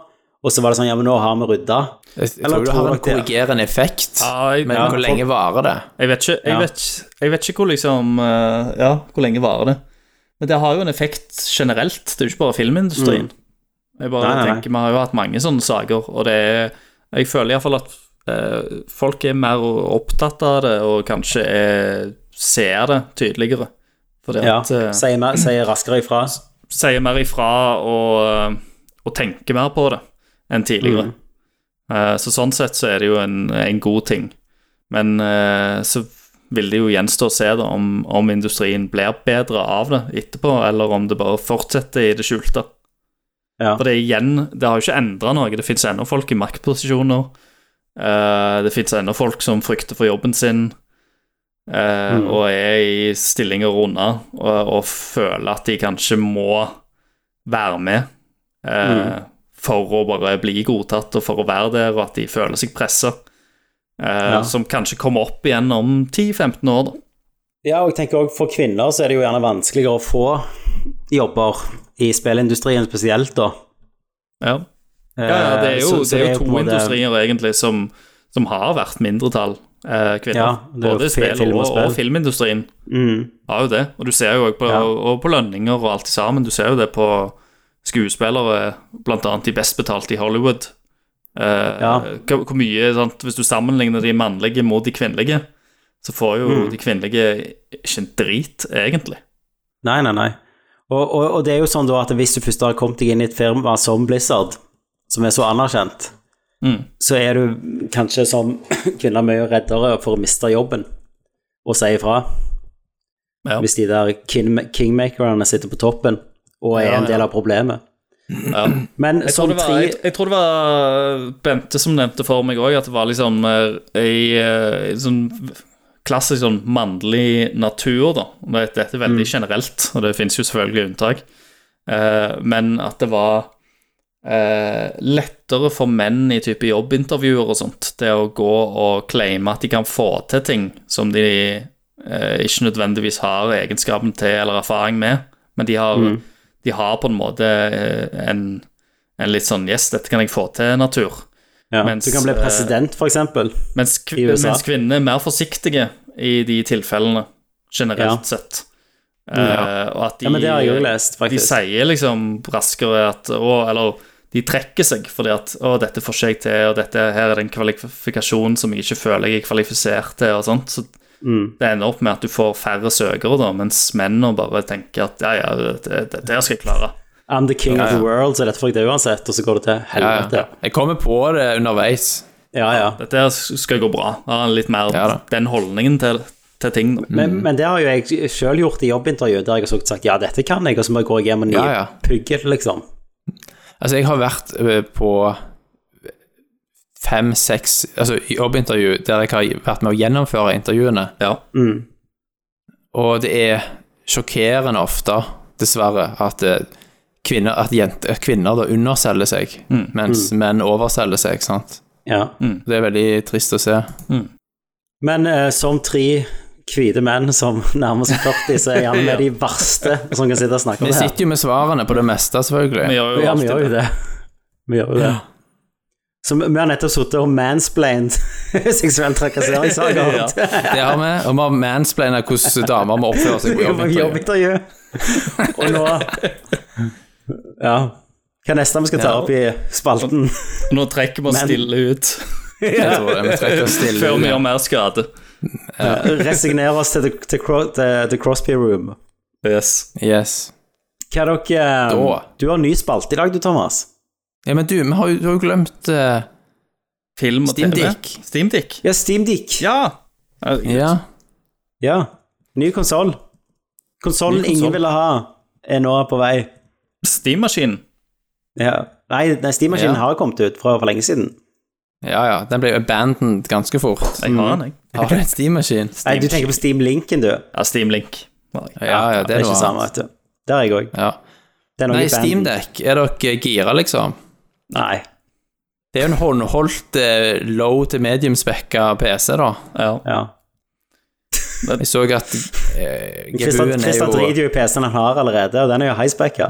Og så var det sånn Ja, men nå har vi rydda. Jeg, jeg Eller tror det tror har en dere det- korrigerende effekt, Ja, jeg, men ja, hvor lenge varer det? Jeg vet ikke, jeg Ja. vet, ikke- jeg vet ikke hvor liksom eh, Ja, hvor lenge varer det? Men det har jo en effekt generelt, det er jo ikke bare filmindustrien. Mm. Nei, Jeg bare nei, nei. tenker, Vi har jo hatt mange sånne saker, og det er Jeg føler iallfall at eh, folk er mer opptatt av det, og kanskje er, ser det tydeligere. Fordi Ja, at eh, sier, mer- sier raskere ifra. sier mer ifra og, og tenker mer på det enn tidligere. Eh, Så sånn sett så er det jo en, en god ting. Men eh, så vil det jo gjenstå å se da, om, om industrien blir bedre av det etterpå, eller om det bare fortsetter i det skjulte. Ja. For det er igjen, det har jo ikke endra noe. Det fins ennå folk i maktposisjoner. Eh, det fins ennå folk som frykter for jobben sin. eh, Og er i stillinger unna og, og føler at de kanskje må være med eh, for å bare bli godtatt og for å være der, og at de føler seg pressa. Ja. Som kanskje kommer opp igjen om 10-15 år, da. Ja, og jeg tenker også for kvinner så er det jo gjerne vanskeligere å få jobber i spillindustrien spesielt, da. Ja. Ja, ja, det er jo, Eh, så- så det er på jo to en måte- industrier egentlig som, som har vært mindretall eh, kvinner. Ja, det er jo Både fi- spill film og og, spill. og filmindustrien Mm, har jo det. Og du ser jo også på, Ja. og på lønninger og alt sammen. Du ser jo det på skuespillere, blant annet de best betalte i Hollywood. Eh, Ja. hva- Hvor mye, sant? Hvis du sammenligner de mannlige mot de kvinnelige, så får jo Mm. de kvinnelige ikke en drit, egentlig. Nei, nei, nei. Og, og, og det er jo sånn da at hvis du først har kommet deg inn i et firma som Blizzard, som er så anerkjent, Mm. så er du kanskje (clears throat) som kvinner mye reddere for å miste jobben og si ifra. Ja. Hvis de der king- kingmakerne sitter på toppen og er Ja, en del ja. av problemet. Men Jeg tror, som det var, tre jeg, jeg tror det var eh, Bente som nevnte for meg òg, at det var liksom eh, ei eh, sånn klassisk sånn mannlig natur, da. Og det- Dette er veldig generelt, og det finnes jo selvfølgelig unntak. Eh, men at det var eh, lettere for menn i type jobbintervjuer og sånt, det å gå og claime at de kan få til ting som de eh, ikke nødvendigvis har egenskapen til eller erfaring med, men de har, de har på en måte eh, en en litt sånn Yes, dette kan jeg få til, natur. ja, mens, Du kan bli eh, president, for eksempel. Mens, kv I USA. mens kvinner er mer forsiktige i de tilfellene, generelt Ja. sett. Ja. Eh, og at de, Ja, men det har jeg òg lest, de faktisk. sier liksom raskere at Å, eller de trekker seg fordi at Å, dette får ikke jeg til, og dette her er det en kvalifikasjon som jeg ikke føler jeg er kvalifisert til, og sånt. Så Mm. det ender opp med at du får færre søkere, da, mens mennene bare tenker at ja, ja, dette, dette her skal jeg klare. I'm the king of the Ja, ja. world, så dette får jeg det uansett, og så går det til Ja, helvete. ja. Jeg kommer på det underveis. Ja, ja. Dette her skal gå bra. Har han litt mer Ja da. den holdningen til, til ting. Da. Men, Mm. men det har jo jeg sjøl gjort i jobbintervju, der jeg har sagt ja, dette kan jeg, og så bare går jeg hjem og Ja, ja. nypugger, liksom. Altså, jeg har vært ø, på fem-seks altså, jobbintervju der jeg har vært med å gjennomføre intervjuene, Ja. Mm, og det er sjokkerende ofte, dessverre, at ø, kvinner, at jente, at kvinner da underselger seg, mens menn overselger seg, sant? Ja. Det er veldig trist å se. Mm. Men eh, som tre hvite menn som (laughs) nærmer seg 40, så er (laughs) gjerne med de verste som kan sitte og snakke om Vi det her. sitter jo med svarene på det meste, Vi selvfølgelig. gjør jo Ja, vi alltid gjør jo det. det. Vi gjør jo det. Så vi vi har nettopp sittet og mansplained (laughs) seksuell trakasseringssaker (laughs) Ja. til Det har vi, og vi har mansplaina hvordan damer må oppføre (laughs) seg på jobbintervju. (laughs) jobbintervju. Og nå Ja. Hva er neste vi skal ta Ja. opp i spalten? Nå trekker vi oss Men- stille ut Jeg tror det. Vi trekker oss stille. før vi gjør mer skade. Resignere oss til The, til, Cro- til The Crosby Room. Yes. Yes. Hva er dere ehm, Da. Du har ny spalte i dag, du, Thomas. Ja, men du, vi har jo, du har jo glemt eh, Film og Steam TV. Dick. Steam Dick. Ja, Steamdick. Ja! Ja. Ja. Ny konsoll. Konsollen Ny konsol. ingen ville ha, er nå på vei. Steam-maskin. Ja. Nei, nei Steam-maskinen Ja. har kommet ut fra for lenge siden. ja, ja. Den ble jo abandoned ganske fort. Jeg har den, jeg. Har du en Steam-maskin? Mm. Nei, du tenker på Steam-linken, du. Ja, Steam Link. har jeg. Ja, ja, Det det er er noe ikke samme, vet annet. du. Der er jeg òg. Ja. Nei, Steam Deck, er dere gira, liksom? Nei. Det er jo en håndholdt eh, low til medium spekka PC, da. Ja. Ja. Jeg så at eh, Christian, GPU-en er Christian jo driter jo i PC-en han har allerede, og den er jo high-specka.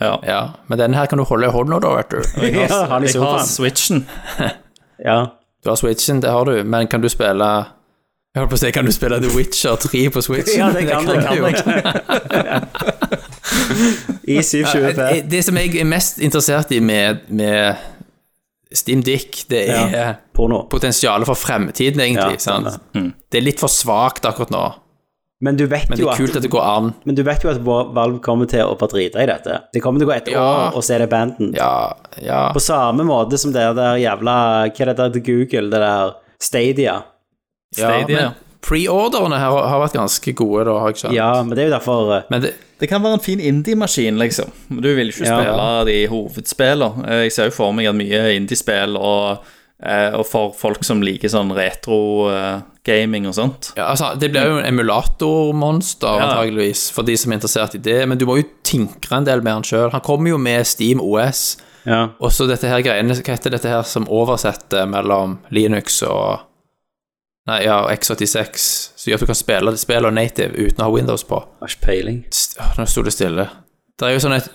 ja. Ja, men denne her kan du holde i hånda, da, vet du. Ja, han i Jeg har sofaen. Switchen. Ja. Du har Switchen, det har du, men kan du spille Jeg holdt på å si, kan du spille The Witcher 3 på Switchen? Ja, (laughs) det kan jeg, du kan jo. jeg. I Jeg- 720p. jeg- Eh, Det som jeg er mest interessert i med, med Steam Dick, det er Ja. Porno. potensialet for fremtiden, egentlig. Ja, sant? Det er litt for svakt akkurat nå, Men du vet men det Mm. jo er kult at at det går an. men du vet jo at Valve kommer til å bare drite i dette. Det kommer til å gå et Ja. år, og så er det abandoned. Ja, ja. På samme måte som det der jævla Hva er det der til Google, det der Stadia? ja Stadia. men Pre-ordrene her har vært ganske gode, da, har jeg skjønt. Ja, men det er jo derfor eh, Men det, Det kan være en fin indie-maskin, liksom. Men Du vil ikke Ja. spille de hovedspillene. Eh, Jeg ser jo for meg at mye indie-spill og, eh, og for folk som liker sånn retro-gaming og sånt. ja, altså, det blir jo en emulatormonster, Ja. antageligvis, for de som er interessert i det. Men du må jo tinkre en del med han sjøl. Han kommer jo med Steam OS, Ja. og så dette her greiene Hva heter dette her som oversetter mellom Linux og Nei, ja, og X86, som gjør at du kan spille spiller native uten å ha Windows på. Har ikke peiling. St- Åh, Nå sto det stille. Det er jo sånn et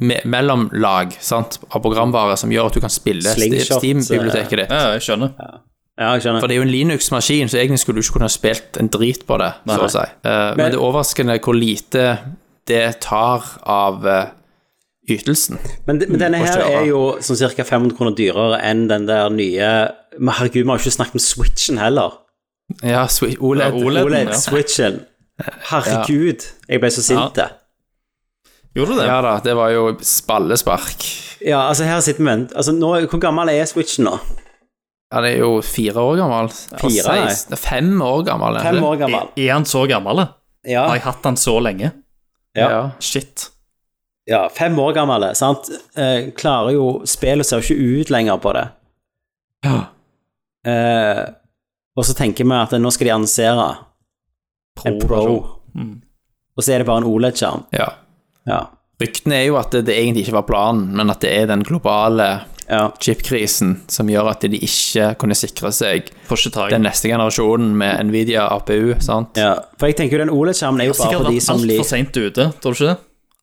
me mellomlag sant, av programvare som gjør at du kan spille Sti- Slingshot, Steam-biblioteket ditt. Ja, jeg skjønner. Ja, jeg skjønner. For det er jo en Linux-maskin, så egentlig skulle du ikke kunne ha spilt en drit på det. så å si. Eh, men, det er overraskende hvor lite det tar av eh, ytelsen. Men, men denne Å her kjøre. er jo sånn ca. 500 kroner dyrere enn den der nye Men herregud, vi har jo ikke snakket om Switchen heller. Ja, Swi- E OLED. Ja, E OLED. ja. OLED-switchen. Herregud, jeg ble så sint. Ja. Gjorde du det? Ja da, det var jo spallespark. ja, altså, her sitter vi med en altså, nå, Hvor gammel er Switchen nå? Han er jo fire år gammel. Og Fire, nei. seksten- Fem år gammel. er Fem det? år gammel. Er- Er han så gammel? da? Ja, Har jeg hatt den så lenge? Ja. Shit. ja fem år gammel, sant? Eh, klarer jo Spillet ser jo ikke ut lenger på det. Ja. Eh, og så tenker vi at nå skal de annonsere en Pro, og så er det bare en OLED-skjerm. ja. Ja. Ryktene er jo at det, det egentlig ikke var planen, men at det er den globale ja. chipkrisen som gjør at de ikke kunne sikre seg Får ikke tak i den neste generasjonen med Nvidia APU, sant? Ja, for jeg tenker jo den OLED-skjermen er jo bare Sikkert for de vært som altfor liker seint ute, tror du ikke det?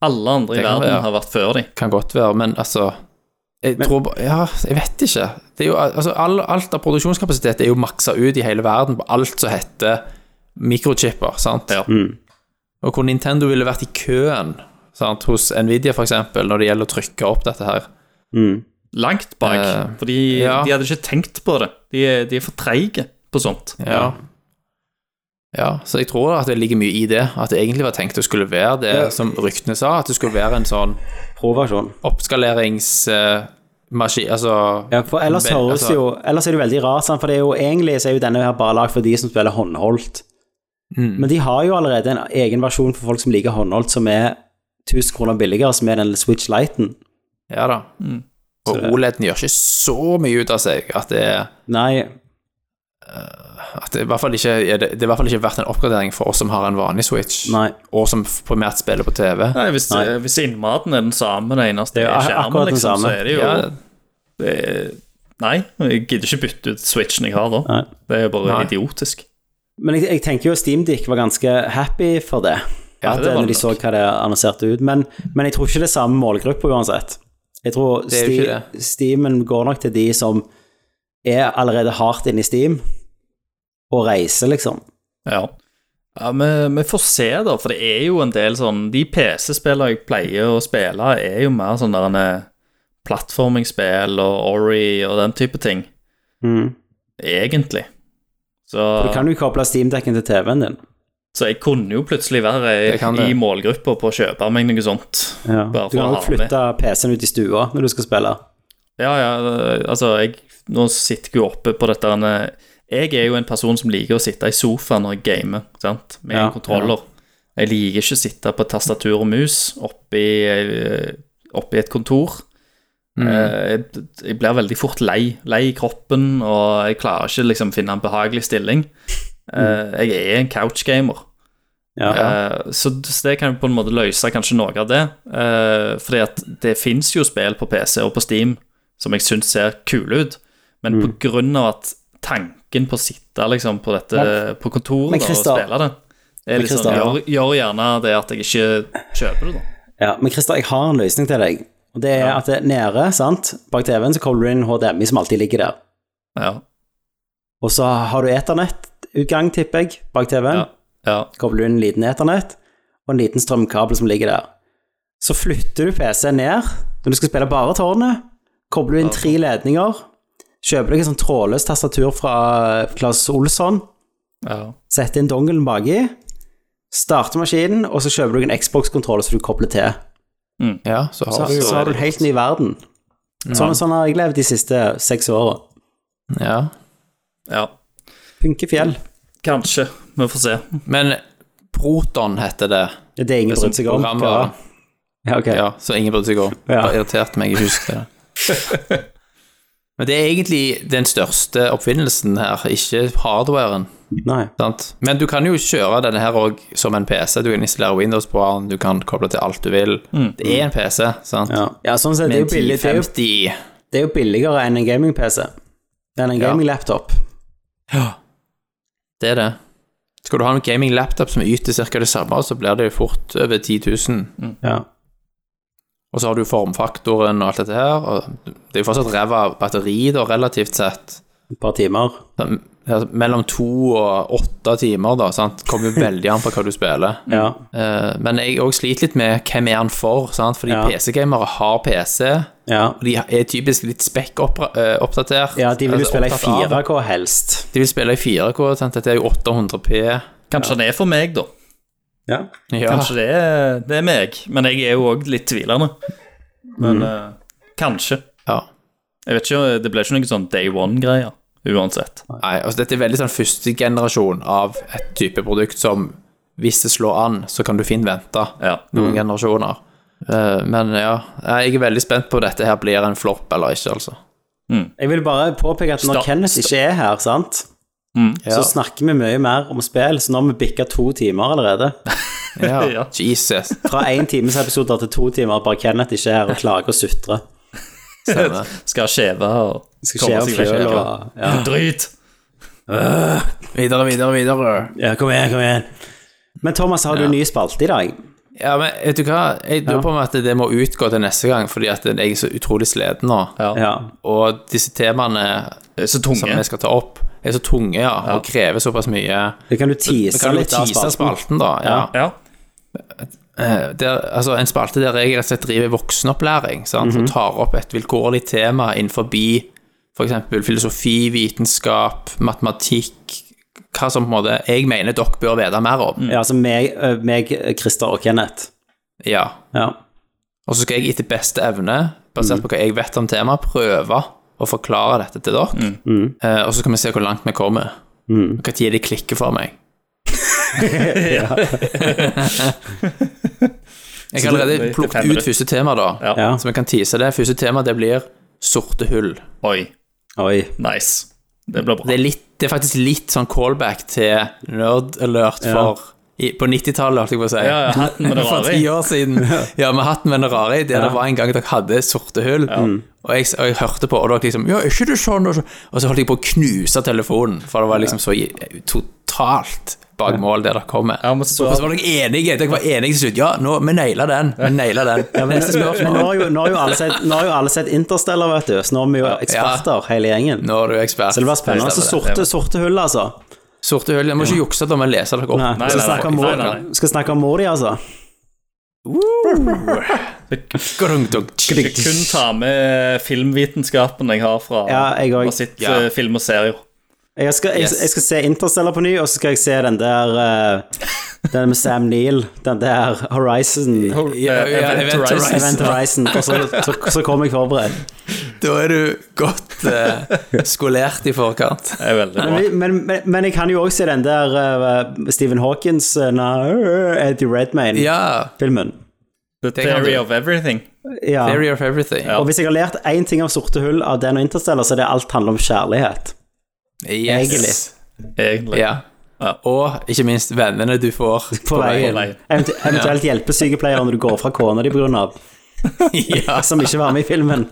Alle andre i Det kan verden være. har vært før de. Kan godt være, men altså jeg Men- tror ba- Ja, jeg vet ikke. Det er jo, al- altså, all, alt av produksjonskapasitet er jo maksa ut i hele verden på alt som heter mikrochipper, sant? Ja. Og hvor Nintendo ville vært i køen sant? hos Nvidia, for eksempel, når det gjelder å trykke opp dette her. Langt bak. Eh, fordi ja. de hadde ikke tenkt på det. De er, de er for treige på sånt. Ja. ja, så jeg tror at det ligger mye i det. At det egentlig var tenkt å skulle være det som ryktene sa, at det skulle være en sånn pro-versjon. oppskaleringsmaskin Altså Ja, for ellers Vel, høres altså- jo Ellers er det jo veldig rart, sant? for det er jo egentlig så er jo denne her bare lagd for de som spiller håndholdt. Mm. Men de har jo allerede en egen versjon for folk som liker håndholdt, som er 1000 kroner billigere, som er den Switch Lighten. Ja da. Og OLED-en gjør ikke så mye ut av seg at det er Nei, at det i hvert fall ikke er det, det er i hvert fall ikke verdt en oppgradering for oss som har en vanlig Switch, Nei. og som primært spiller på TV. Nei, hvis, eh, hvis innmaten er den samme, det eneste Det er er skjermen, akkurat den liksom, så samme. er det jo Ja, det er, Nei, jeg gidder ikke bytte ut switchen jeg har da. Nei. Det er bare Nei. idiotisk. Men jeg, jeg tenker jo Steamdick var ganske happy for det. Ja, at, eh, det var når de det så nok. hva det annonserte ut. Men, men jeg tror ikke det er samme målgruppe uansett. Jeg tror Det er jo ikke Ste- Steamen går nok til de som er allerede hardt inne i Steam, og reiser, liksom. Ja. Ja, vi, vi får se, da, for det er jo en del sånn De PC-spillene jeg pleier å spille, er jo mer sånn der en eh, plattformingsspill og Ori og den type ting, Mm. egentlig. Så, Du kan jo koble Steamdekken til TV-en din. så jeg kunne jo plutselig være i, Det kan det. i målgruppa på å kjøpe meg noe sånt. Bare Du kan for å jo ha det. flytte PC-en ut i stua når du skal spille. Ja, ja, eh, altså, jeg Nå sitter jeg jo oppe på dette denne, Jeg er jo en person som liker å sitte i sofaen når jeg gamer, sant, med Ja, en kontroller. Jeg liker ikke å sitte på tastatur og mus oppi, eh, oppi et kontor. Mm. Eh, Jeg, jeg blir veldig fort lei. Lei i kroppen, og jeg klarer ikke liksom finne en behagelig stilling. Mm. Eh, Jeg er en couchgamer. Ja. Eh, Så så det kan jo på en måte løse kanskje noe av det. Eh, Fordi at det fins jo spill på PC og på Steam som jeg syns ser kule ut, men Mm. på grunn av at tanken på å sitte liksom på dette Men- på kontoret Men da, og Christer- spille det er liksom, Christer- gjør, gjør gjerne det at jeg ikke kjøper det, da. Ja, men Christer, jeg har en løsning til deg. Og det er at det, nede, sant, bak TV-en, så kobler du inn HDMI, som alltid ligger der. Ja, Og så har du Ethernet-utgang, tipper jeg, bak TV-en. ja, ja. kobler du inn en liten eternett og en liten strømkabel som ligger der. Så flytter du PC-en ned når du skal spille bare tårnet, kobler du inn tre sånn. ledninger, kjøper deg en sånn trådløs tastatur fra Claes Olsson, ja. setter inn dongelen baki, starter maskinen, og så kjøper du en Xbox-kontroller som du kobler til. ja så Så, har du jo så har du en helt ny verden. Sånn, sånn har jeg levd de siste seks åra. ja. ja. Punkefjell. Kanskje. Vi får se. Men Proton heter det. Det er ingen brydde seg om. programvaren. Ja, ok. Ja, så ingen brydde seg om. Ja. Bare irriterte meg, jeg husket (laughs) det. Men det er egentlig den største oppfinnelsen her, ikke hardwaren. Nei. Sant? Men du kan jo kjøre denne her òg som en PC. Du kan installere Windows på den, du kan koble til alt du vil. Det er en PC, sant? Ja. Mm. ja, sånn sett, det er Med jo billig. Det er jo 1050 Det er jo billigere enn en gaming-PC. Enn en Ja. gaming-laptop. Det er det. Skal du ha en gaming-laptop som yter ca. det samme, så blir det jo fort over 10 000. Ja. Og så har du formfaktoren og alt dette her. Og det er jo fortsatt ræva batteri, da, relativt sett. Et par timer. Sånn, altså, Mellom to og åtte timer, da. sant? Kommer jo veldig an på hva du spiller. Ja. Eh, men jeg òg sliter litt med hvem er han for, sant? fordi Ja. PC-gamere har PC. Ja. Og de er typisk litt spekk-oppdatert. ja, de vil jo spille i Altså, opptatt av- 4K helst. De vil spille i 4K, sant? dette er jo 800P. Kanskje han er for meg, da. Ja. Ja. Kanskje det er, det er meg. Men jeg er jo òg litt tvilende. Mm. Men eh, kanskje. Ja. Jeg vet ikke, Det ble ikke noe sånn day one-greier uansett. Ah. Nei, altså dette er veldig sånn første generasjon av et type produkt som hvis det slår an, så kan du fint vente Ja. Mm. noen generasjoner. Eh, men ja, jeg er veldig spent på om dette her blir en flopp eller ikke, altså. Jeg vil bare påpeke at når Stopp. Kenneth ikke er her, sant, Ja. så snakker vi mye mer om spill, så nå har vi bikka to timer allerede. (laughs) Ja. Ja. Jesus. Fra én times episoder til to timer, bare Kenneth ikke er her og klager og sutrer. Stemmer. Skal skjeve og Skal komme skje av seg vekk. fjøl og ja. (laughs) Drit! Videre, videre, videre. ja, kom igjen, kom igjen. Men Thomas, har du en ny spalte i dag? Ja, men vet du hva? Jeg lurer på om at det må utgå til neste gang, fordi at jeg er så utrolig sliten nå. Ja. Og disse temaene Det er Så som tunge. vi skal ta opp, er så tunge, ja, og krever såpass mye. Det kan du Vi tease kan jo litt av tease spalten. spalten, da. Ja. Ja. Eh, Der, altså, en spalte der jeg rett og slett driver voksenopplæring, sant? Mhm. og tar opp et vilkårlig tema innenfor f.eks. filosofi, vitenskap, matematikk, hva som på en måte jeg mener dere bør vite mer om. Ja, altså meg, ø, meg, Christer og Kenneth. Ja. Ja. Og så skal jeg etter beste evne, basert på hva jeg vet om temaet, prøve å forklare dette til dere. Mm. Eh, og så kan vi se hvor langt vi kommer. Mm. Og når de klikker for meg. (laughs) jeg har Så allerede det- det plukket er fem ut første tema, da. Ja. ja. Så vi kan tease det. Første tema det blir sorte hull. Oi. Oi. Nice. Det blir Det bra. er, litt, det er faktisk litt sånn callback til nerd alert for i, På 90-tallet, holdt jeg på å si. Ja, ja, hatten (laughs) med det For rare i. ti år siden. Ja, med hatten med det rare i. Der det var en gang dere hadde sorte hull. Mm. Og, jeg, og jeg hørte på, og dere liksom Ja, er ikke det sånn? Og så, og så holdt jeg på å knuse telefonen, for det var liksom så i- totalt bak mål der dere kom med. Ja, men så- og så var dere enige. Dere var enige til slutt. Ja, nå, vi naila den. Vi naila den. Neste Men nå spørsmål. har jo, nå har jo, alle, sett, nå har jo alle sett Interstellar, vet du, så nå er vi jo eksperter, hele gjengen. Nå er du ekspert. Så det var spennende. Så sorte, sorte hull, altså. Sorte hull. Jeg må ikke jukse da med å lese dere opp. Nei, nei, skal, nei, snakke om nei, mor, nei, skal snakke om mor di, altså. Grung-dung. Jeg kun ta med filmvitenskapen jeg har fra, Ja, jeg også. fra sitt Ja. eh, film og serier. Jeg skal, jeg, Yes. jeg skal se Interstellar på ny, og så skal jeg se den der eh, Den med Sam Neill, den der Horizon. Ja, ja, Eh, Event Event Horizon. Event Horizon. Og så, så, så kommer jeg forberedt. Da er du godt eh, skolert i forkant. (laughs) er veldig bra. Men, men, men, men jeg kan jo også se den der eh, Stephen Hawkins, eh, nei, Eddie Redmayne-filmen. Ja. The det kan Theory du. of Everything. Ja. Theory of everything. Og hvis jeg har lært én ting av Sorte hull av den og Interstellar, så er det alt handler om kjærlighet. Egentlig. Yes. Egentlig. Ja. Og ikke minst vennene du får (laughs) På veien. veien. Eventu eventuelt hjelpesykepleier når du går fra kona di pga. (laughs) ja, som ikke var med i filmen.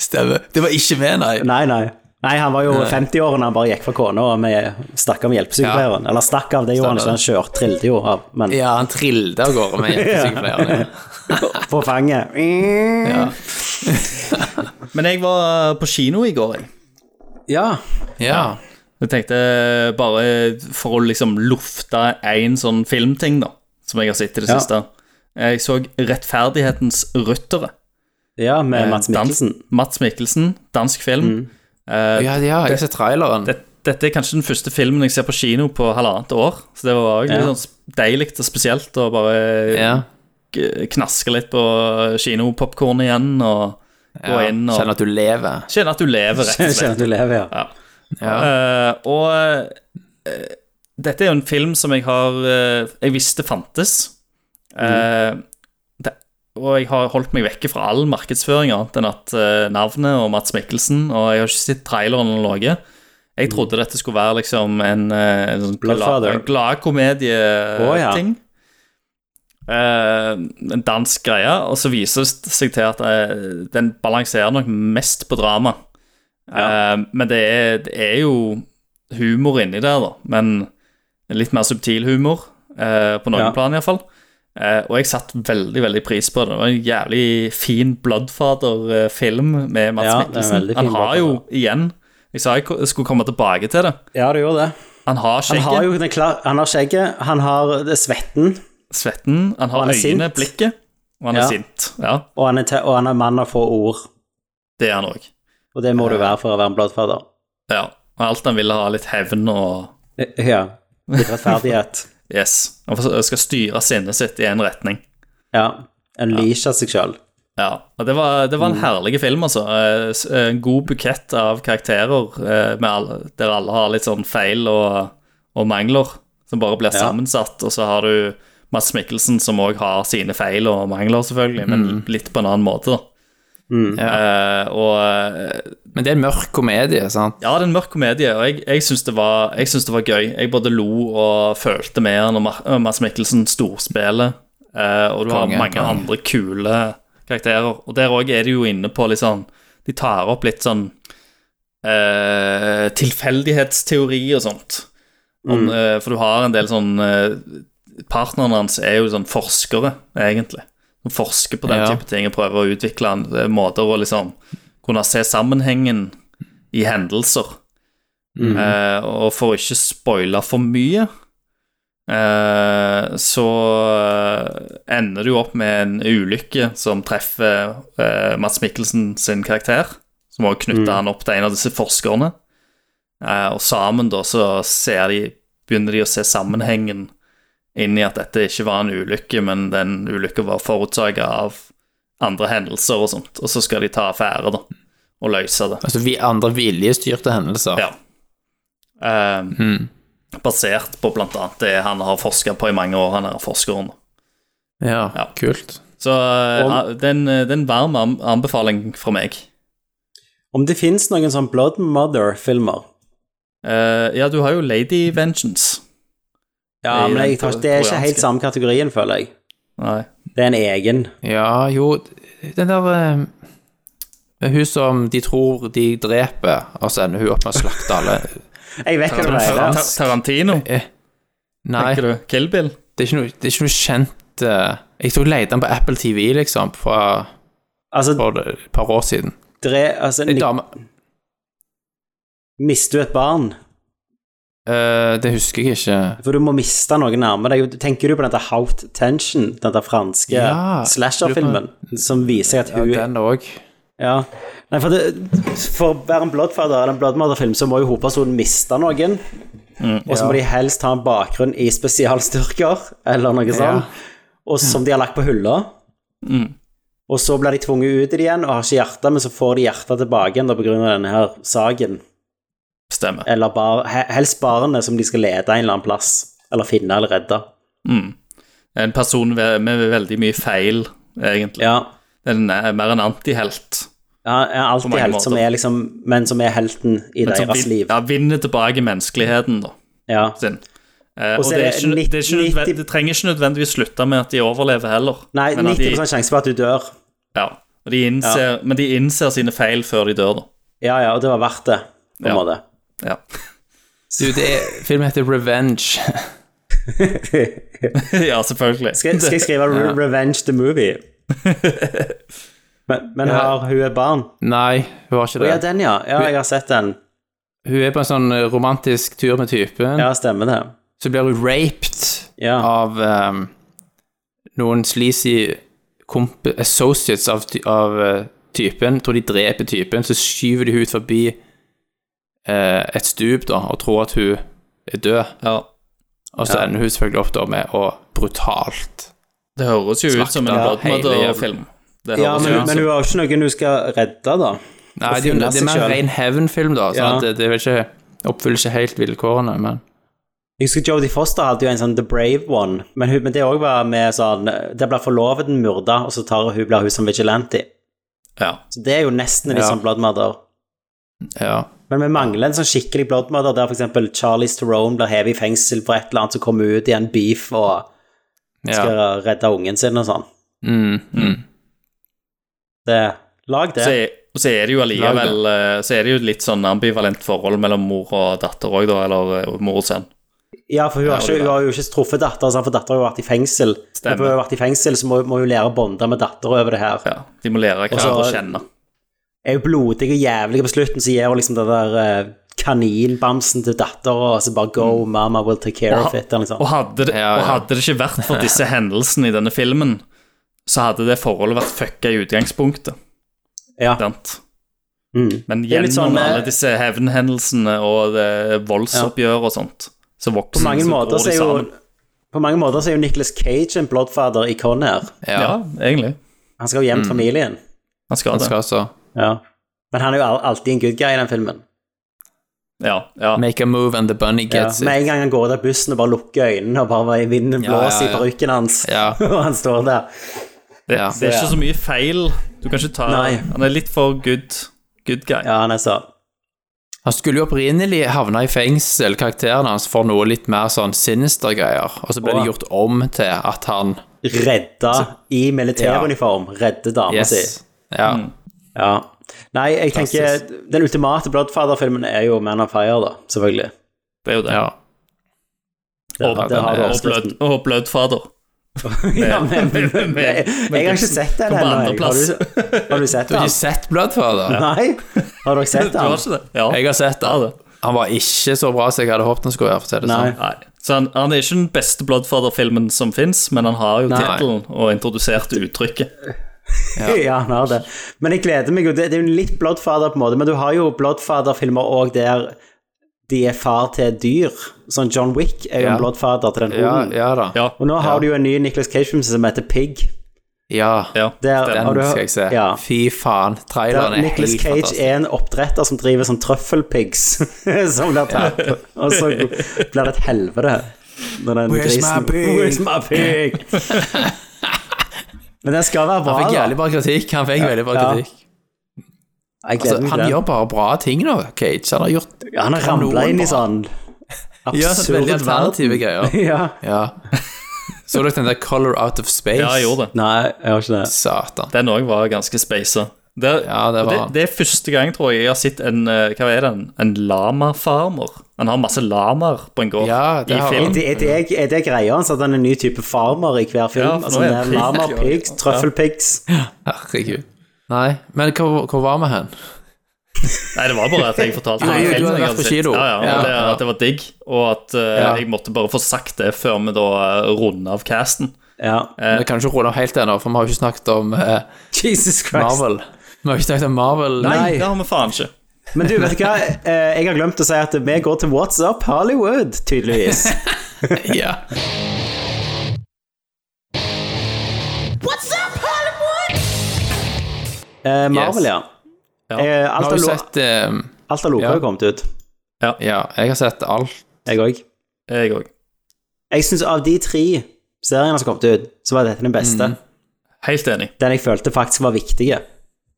stemmer. Det var ikke med, nei. Nei, nei. Nei, han var jo 50-årene, han bare gikk fra kona, og vi stakk om hjelpesykepleieren. Eller stakk av, det gjorde han ikke, han kjør, trillte jo av, men Ja, han trillet av gårde (laughs) med hjelpesykepleieren. på fanget. Ja. Men jeg var på kino i går, jeg. Ja. ja. Jeg tenkte bare for å liksom lufte én sånn filmting, da, som jeg har sett i det Ja. siste. Jeg så 'Rettferdighetens ryttere'. Ja, med Eh, Mats dan- Mikkelsen. Mats Mikkelsen, dansk film. Mm. Eh, ja, ja, jeg ser traileren. det, dette er kanskje den første filmen jeg ser på kino på halvannet år, så det var jo Ja. litt sånn deilig og spesielt å bare Ja. k- knaske litt på kinopopkorn igjen og gå Ja. inn og Kjenner at du lever. Kjenne at du lever, rett og slett. Kjenner at du lever, ja. Ja. Eh, og eh, dette er jo en film som jeg har eh, Jeg visste fantes. Mm. Eh, det, og jeg har holdt meg vekke fra all markedsføring annet enn at eh, navnet og Mats Mikkelsen Og jeg har ikke sett traileren eller noe. Jeg trodde dette skulle være liksom en, eh, en sånn Mm. Bloodfather. gladkomedie-ting. Å, ja. Eh, en dansk greie, og så viser det seg til at eh, den balanserer nok mest på drama. Eh, men det er, det er jo humor inni der, da. Men litt mer subtil humor, eh, på noen Ja. plan iallfall. Uh, og jeg satt veldig veldig pris på det. Det var En jævlig fin Bloodfather-film med Mads Ja, det er Mikkelsen. veldig fin Han har jo igjen Jeg sa jeg ko- skulle komme tilbake til det. Ja, du gjorde det. Han Han har skjegget, har jo den klar... Han har skjegget, han har det svetten, svetten, han har han er øynene, sint. blikket, og han Ja. er sint. Ja, og han er, te og han er mann av få ord. det er han òg. Og det må du være for å være en bladfader. Ja. Og alt han ville ha, litt hevn og Eh, Ja. Litt rettferdighet. Yes. Han får- skal styre sinnet sitt i én retning. (laughs) Ja. Unleashe seg sjøl. Ja, og det var, det var en herlig film, altså. Eh, s- eh, En god bukett av karakterer eh, med alle, der alle har litt sånn feil og, og mangler. som bare blir Ja. sammensatt. Og så har du Mads Mikkelsen, som òg har sine feil og mangler, selvfølgelig, men litt på en annen måte. da. Eh, og eh, Men det er en mørk komedie, sant? ja, det er en mørk komedie, og jeg, jeg syns det, var- jeg syns det var gøy. Jeg både lo og følte med han, og Mar- og Mads Mikkelsen storspiller. eh, og du har Konge, mange konge. andre kule karakterer. Og der òg er de jo inne på litt sånn De tar opp litt sånn eh, tilfeldighetsteori og sånt. Om, eh, for du har en del sånn eh, Partnerne hans er jo sånn forskere, egentlig. Som forsker på den Ja. type ting og prøver å utvikle en, eh, måter å liksom kunne se sammenhengen i hendelser. Eh, og for å ikke spoile for mye, eh, så eh, ender du jo opp med en ulykke som treffer eh, Mats Mikkelsen sin karakter, som også knytter han opp til en av disse forskerne. Eh, og sammen da så ser de, begynner de å se sammenhengen inn i at dette ikke var en ulykke, men den ulykka var forårsaka av andre hendelser og sånt, og så skal de ta affære, da, og løse det. Altså vi andre viljestyrte hendelser. Ja. Ehm, Basert på blant annet det han har forska på i mange år, han er forskeren. Ja, Ja. kult. Så eh, det er en- det er en varm an- anbefaling fra meg. Om det fins noen sånn Blood Mother-filmer Eh, ja, du har jo Lady Vengeance. Ja, I Eh, men den jeg tar, ikke- det er ikke koreanske. helt samme kategorien, føler jeg. Nei. Det er en egen. Ja, jo, den der eh, det er Hun som de tror de dreper, og så ender hun opp med å slakte alle. Eh, Jeg vet hva du mener. Tar- Tarantino, Nei, tenker du? Kill Bill? det er ikke noe, det er ikke noe kjent eh, Jeg tror jeg leide den på Apple TV, liksom, fra Altså, for et par år siden. dre, altså Ei ni- dame Mister du et barn? eh, Det husker jeg ikke. For du må miste noe nærme deg. Tenker du på denne Hout Tension, den der franske Ja, slasher-filmen, som viser at hun Den òg. Ja. Nei, for, det, for å være en bloodfather eller en bloodmother-film, så må jo hovedpersonen miste noen. Mm, og så må de helst ha en bakgrunn i spesialstyrker, eller noe sånt, og som de har lagt på hylla. Mm. Og så blir de tvunget ut i det igjen og har ikke hjerte, men så får de hjertet tilbake igjen da, på grunn av denne her saken. Stemmer. Eller bar, he- helst barene som de skal lede en eller annen plass, eller finne eller redde. En person ve- med veldig mye feil, egentlig. Ja, Den er mer en antihelt. ja jeg er På alltid mange helt, som måter. er liksom, men som er helten i Men som deres vin- liv. Ja, vinner tilbake menneskeligheten, da. Ja. sin. Eh, og så det, er er det ikke, det, er 90 ikke nødvendig, det trenger ikke nødvendigvis slutte med at de overlever heller. Nei, men, at 90 de, sjanse for at du dør. ja, og de innser, men de innser sine feil før de dør, da. Ja, ja, og det var verdt det, på en Ja. måte. Ja. (laughs) Du, det er, filmen heter Revenge. (laughs) ja, selvfølgelig. Skal, skal jeg (laughs) skrive Re Revenge the Movie? Men, men har hun et barn? Nei, hun har ikke Å det. ja, den, ja. Ja, jeg har sett den. Hun er på en sånn eh, romantisk tur med typen. Ja, stemmer det. Så blir hun raped Ja. av eh, noen sleazy komp associates av, ty- av eh, typen. Tror de dreper typen, så skyver de hun ut forbi eh, et stup da, og tror at hun er død. Ja. Og så ender hun selvfølgelig opp da med å brutalt Det høres jo ut som en Ja, hele jævla- Bloodmother-film. Det ja, høres men, jo ut men som hun har jo ikke noen hun skal redde, da. Nei, Å det, er jo- finne det er seg mer selv. en ren hevnfilm, da. Sånn Ja. at det, det er vel ikke, oppfyller ikke helt vilkårene, men Jeg husker Jodie Foster hadde jo en sånn The Brave One, men, hun, men det òg var med sånn Der blir forloveden myrda, og så tar hun, blir hun som vigilante. ja. Så det er jo nesten litt Ja. sånn bloodmother. ja. Men vi mangler en sånn skikkelig bloodmother der f.eks. Charlies Theron blir hevet i fengsel for et eller annet, så kommer hun ut i en beef og skal ja. redde ungen sin og sånn. Mm, mm. Det, lag det. Så er- og så er det jo allikevel eh, Så er det jo et litt sånn ambivalent forhold mellom mor og datter òg, da, eller eh, mor og sønn. Ja, for hun har, Ja, ikke, det er hun har jo ikke truffet datter, sant, for datter har jo vært i fengsel. Stemmer. Men for hun har vært i fengsel, så må, må hun lære å bonde med datter over det her. Ja. De må lære så- hverandre å kjenne. Er hun blodig og jævlig på slutten, så gir hun liksom den der eh, kaninbamsen til datter, og så bare go, mama will take care of it, eller noe Og sånt. hadde, det, Ja, ja. og hadde det ikke vært for (laughs) disse hendelsene i denne filmen, så hadde det forholdet vært fucka i utgangspunktet. Ja. Sant? Mm. Men er litt gjennom sånn, eh, alle disse hevnhendelsene og det voldsoppgjør og sånt, så På vokser mange så måter gror så de er jo sammen. på mange måter så er jo Nicholas Cage en bloodfather i Con her. ja. Ja, egentlig. Han skal jo hjem til familien. Han skal Han det. skal altså Ja. Men han er jo al- alltid en good guy i den filmen. Ja, ja. Make a move and the bunny Ja. gets Med it. en gang han går ut av bussen og bare lukker øynene og bare i vinden blåser ja, ja. i parykken hans, Ja. (laughs) og han står der. Det, Ja. det er ikke så mye feil. Du kan ikke ta Nei. Han er litt for good, good guy. Ja, han er sånn Han skulle jo opprinnelig havne i fengsel, karakteren hans, for noe litt mer sånn sinister greier, og så ble det Åh. gjort om til at han redda i militæruniform. Redde dama Yes. si. Ja. Mm. Mm. Ja. Nei, jeg Klassisk. tenker Den ultimate Bloodfather-filmen er jo Man of Fire, da. Selvfølgelig. Det er jo det. ja. Det, Og- det har du den er- Og, blød, oppskriften. og blødfader. (laughs) Ja, men, men, men, med- jeg, med har ikke Gibson. sett den Kom på ennå. jeg. Har, andreplass. du- har du sett Du har den? ikke sett Bloodfather? Nei? Har dere sett Du har den? ikke det? Ja. Jeg har sett Ja, den. det. Han var ikke så bra som jeg hadde håpet han skulle være. for å si det Nei. sånn. Nei. Så han, han er ikke den beste Bloodfather-filmen som fins, men han har jo Nei. tittelen og introduserte uttrykket. (laughs) Ja, han har det. Men jeg gleder meg jo. Det, det er jo litt Bloodfather, på en måte, men du har jo Bloodfather-filmer òg der de er far til dyr. Sånn John Wick er jo Ja. en Bloodfather til den Ja, hunden. ja da. Ja. Og nå har Ja. du jo en ny Nicholas Cage-film som heter Pig. Ja, ja. Der, den har du, skal jeg se. Ja. Fy faen. Traileren Der er helt Nicholas Cage fantastisk. er en oppdretter som driver som trøffelpigs, (laughs) som blir tatt. Og så blir det et helvete. Når den Where's my grisen- pig? Where's my pig? Men den skal være Han bra, fikk da. jævlig bra kritikk. Han fikk veldig bra Ja. kritikk. Jeg gleder Altså, meg til han den. gjør bare bra ting nå, Cage. Han har gjort Ja, Han har ramla inn i sånn (laughs) Gjør sånn veldig absurd verden. alternative (laughs) greier. Ja. Ja. Så dere den der Color Out of Space? ja, jeg gjorde det. Nei, jeg har ikke det. Satan. Den òg var ganske speisa. Det, Ja, det var og han. det, det er første gang, tror jeg, jeg har sett en eh, Hva er den? En lamafarmer. Han har masse lamaer på en gård Ja, det i har film. han. Er det, er det, er det greia hans at han er en ny type farmer i hver film? Ja, for nå altså, er det han er (laughs) pig. Lama pigs, trøffelpigs Herregud. Nei, men hvor, hvor var vi hen? Nei, det var bare at jeg fortalte Nei, den du filmen hadde jeg vært på hadde sett. kino. Ja, ja, Ja, og det, ja. At det var digg, og at eh, Ja. jeg måtte bare få sagt det før vi da eh, runder av casten. Ja. Vi kan ikke runde av helt ennå, for vi har jo ikke snakket om eh, Jesus Marvel. Vi har ikke snakket om Marvel. Nei, Nei. det har vi faen ikke. Men du, vet du hva? Eh, Jeg har glemt å si at vi går til What's Up Hollywood, tydeligvis. Ja. Eh, Marvel, Yes. ja. Ja. Eh, Vi Alt har av jo lo- sett eh, alt av loka Ja. har kommet ut, Ja, jeg har sett alt. jeg òg. Jeg òg. Jeg syns av de tre seriene som kom ut, så var dette den beste. Mm. Helt enig. Den jeg følte faktisk var viktig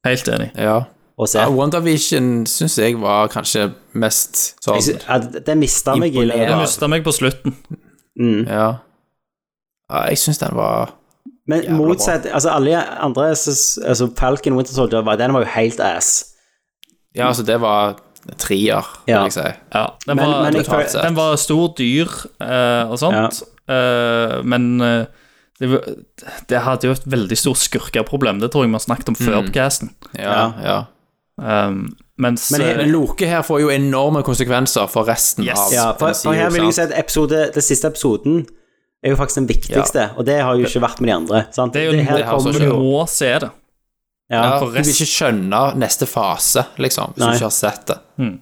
Helt enig. Ja. å se. ja WandaVision syns jeg var kanskje mest sånn Jeg synes, at det mista meg i Imponerende. løpet. Jeg Ja. mista meg på slutten. Ja. ja jeg syns den var Men Jævla bra. motsatt altså alle andre jeg synes- altså Falcon Winter Soldier, var- den var jo helt ass. Ja, altså, det var treer, Ja. vil jeg si. Ja, den, Men- var, men jeg den, føler- den var stor, dyr eh, og sånt, Eh, men eh, det, var- det hadde jo et veldig stort skurkeproblem. Det tror jeg vi har snakket om før på casten. Ja, ja. Um, mens Men jeg- Men Loke her får jo enorme konsekvenser for resten Yes. av Ja, for, MCU, for her vil jeg jo si sant? at episode, den siste episoden er jo faktisk den viktigste, og det har jo ikke vært med de andre. Sant? det er jo her det har så kommer eh, det du jo må se det. ja, ja. Du vil ikke skjønne neste fase, liksom, hvis Nei. du ikke har sett det. Mm.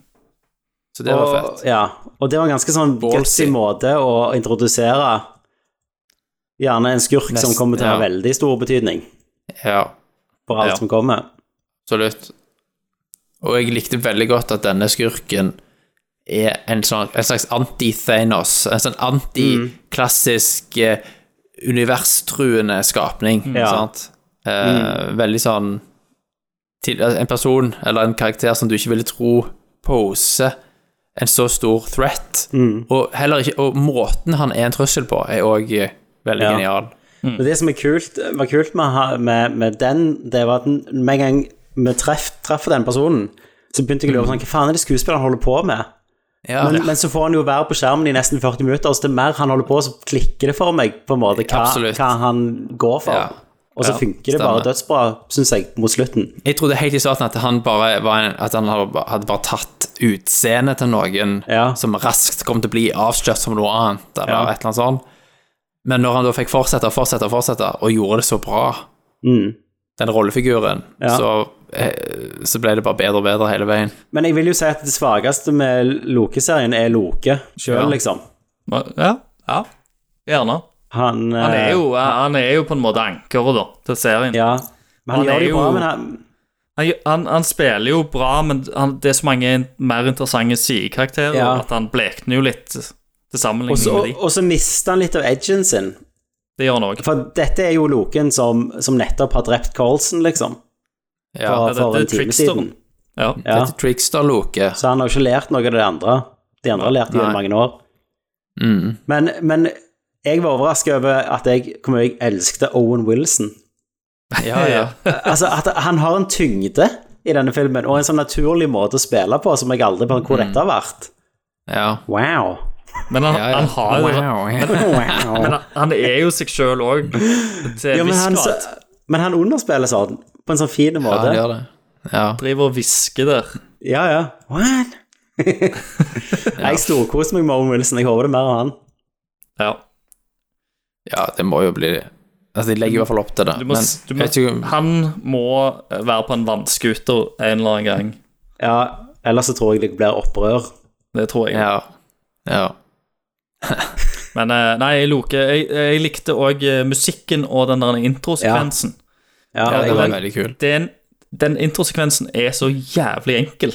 Så det var og, fett. ja, og det var en ganske sånn Ballsy. gutsy måte å introdusere gjerne en skurk som Nest- kommer til å ha ja. veldig stor betydning Ja, for alt Ja. som kommer. absolutt. Og jeg likte veldig godt at denne skurken er en, sånn, en slags anti-Thanos. En sånn anti-klassisk eh, universtruende skapning, Ja. sant? Eh, Veldig sånn til, eh, En person eller en karakter som du ikke ville tro poser en så stor threat. Mm. Og, heller ikke, og måten han er en trussel på, er òg veldig Ja. genial. Og det som er kult, var kult med, ha- med, med den, det var at den- med en gang vi treff, treffer den personen, så begynte jeg å lure på sånn, hva faen er det skuespilleren holder på med? Mm. Ja, Men, men så får han jo være på skjermen i nesten 40 minutter, og så det mer han holder på, så klikker det for meg på en måte hva, Absolutt. hva han går for. Ja. Og så Ja, funker det stemmer. bare dødsbra, syns jeg, mot slutten. Jeg trodde helt i starten at han bare var en, at han hadde hadde bare tatt utseendet til noen Ja. som raskt kom til å bli avslørt som noe annet, eller Ja. et eller annet sånt. Men når han da fikk fortsette og fortsette og fortsette, og gjorde det så bra, den Mm. rollefiguren, Ja. så, eh, så ble det bare bedre og bedre hele veien. Men jeg vil jo si at det svakeste med Loke-serien er Loke sjøl, Ja. liksom. Ja, ja. gjerne. Han, Han er, eh, jo, han er jo på en måte ankeret da, til serien. Ja. Men han, Han gjør er det jo bra, jo- men han, Han, han, han spiller jo bra, men han, det er så mange mer interessante sidekarakterer Ja. at han blekner jo litt til Og så, sammenligning med og, de. og så mister han litt av edgen sin. Det gjør han òg. For dette er jo Loken som, som nettopp har drept Carlsen, liksom. Ja, for, dette for er en time tricksteren. siden. Ja. Ja. Dette Trickster-loke. Så han har jo ikke lært noe av det andre. De andre har lært det i Nei. mange år. Mm. Men, men jeg var overrasket over at jeg, hvor mye jeg elsket Owen Wilson. Ja, ja. Altså, at han har en tyngde i denne filmen, og en sånn naturlig måte å spille på som jeg aldri bare Mm. Hvor dette har vært. ja. Wow. Men han, Ja, ja. han har jo Wow, (laughs) ja. (laughs) wow. Men han- han er jo seg (laughs) sjøl òg, til Ja, en men, viss han, så, grad. men han underspiller sånn, på en sånn fin ja, måte. det gjør det. Ja. Driver og hvisker der. Ja, ja. (laughs) What? Jeg storkoser meg med Owen Wilson. Jeg håper det er mer av han. Ja. ja, det må jo bli Altså, de legger i hvert fall opp til det. Du må, men s- du jeg må, vet ikke, han må eh, være på en vannscooter en eller annen gang. Ja, ellers så tror jeg det blir opprør. Det tror jeg. ja. ja. Men eh, nei, Loke, jeg, jeg likte òg musikken og den der introsekvensen. Ja, Ja, Det jeg, var men- veldig kul. Den, den introsekvensen er så jævlig enkel,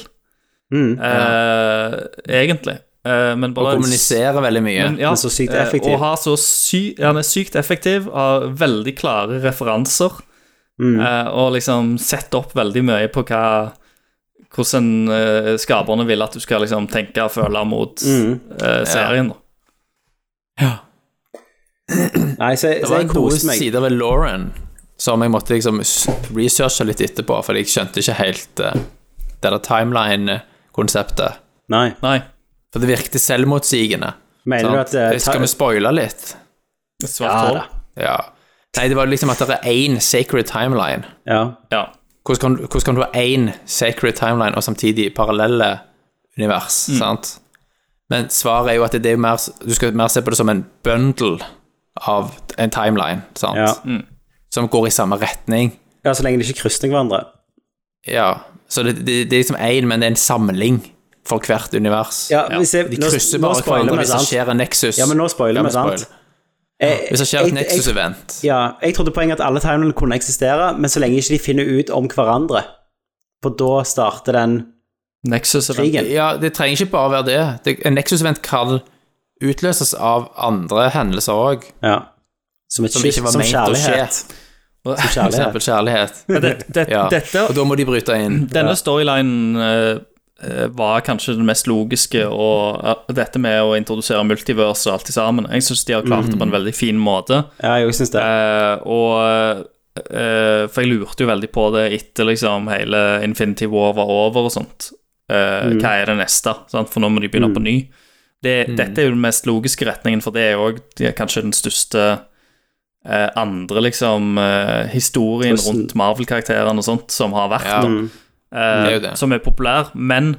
mm, eh, egentlig. Eh, Og men bare en s- kommuniserer veldig mye. Men, ja, Men så sykt eh, effektiv. Og har så sy han er sykt effektiv, har veldig klare referanser. Mm. eh, Og liksom setter opp veldig mye på hva hvordan eh, skaperne vil at du skal liksom tenke og føle mot Mm. eh, serien. da. Nei, så, Det så var jeg koste noen meg. sider ved Lauren som jeg måtte liksom s- researche litt etterpå, fordi jeg skjønte ikke helt eh, det der timeline-konseptet. Nei. Nei, For det virkte selvmotsigende. Mener du sant? at eh, Det skal vi spoile litt? et Ja, svart da. hår. Ja. Nei, det var liksom at det er én sacred timeline. ja. Ja. Hvordan kan, du- hvordan kan du ha én sacred timeline og samtidig parallelle univers, Mm. sant? Men svaret er jo at det er jo mer, du skal mer se på det som en bundle av en timeline, sant? Ja. Som går i samme retning. ja, så lenge de ikke krysser hverandre. Ja, så det, det, det er liksom én, men det er en samling for hvert univers. Ja, hvis jeg, De nå- krysser nå bare spoiler hverandre vi, hvis det sant? skjer en Nexus. Ja, men nå spoiler Ja, vi, vi sant? spoiler. Jeg- Hvis det skjer et jeg- jeg- Nexus-event. Ja, jeg trodde poenget at alle timelinene kunne eksistere, men så lenge ikke de finner ut om hverandre. For da starter den Nexus er krigen. Ja, det trenger ikke bare være det. det en Nexus-event kan utløses av andre hendelser òg, Ja. Som et som skift, ikke var som ment å skje. kjærlighet. Som (laughs) For eksempel kjærlighet. kjærlighet. Men (laughs) det, det, Ja. dette, Og da må de bryte inn. denne storylinen eh, eh, var kanskje den mest logiske, og eh, dette med å introdusere multiverse og alt i sammen. Jeg syns de har klart det på en veldig fin måte. Mm. Ja, jeg syns det. Eh, og eh, For jeg lurte jo veldig på det etter liksom hele Infinity War var over og sånt. Eh, Mm. Hva er det neste? Sant? For nå må de begynne på ny. Det, Dette er jo den mest logiske retningen, for det er jo også- det er kanskje den største eh, andre liksom eh, historien Hvordan- rundt Marvel-karakterene og sånt som har vært, Ja. da. Det er Eh, jo det. som er populær, men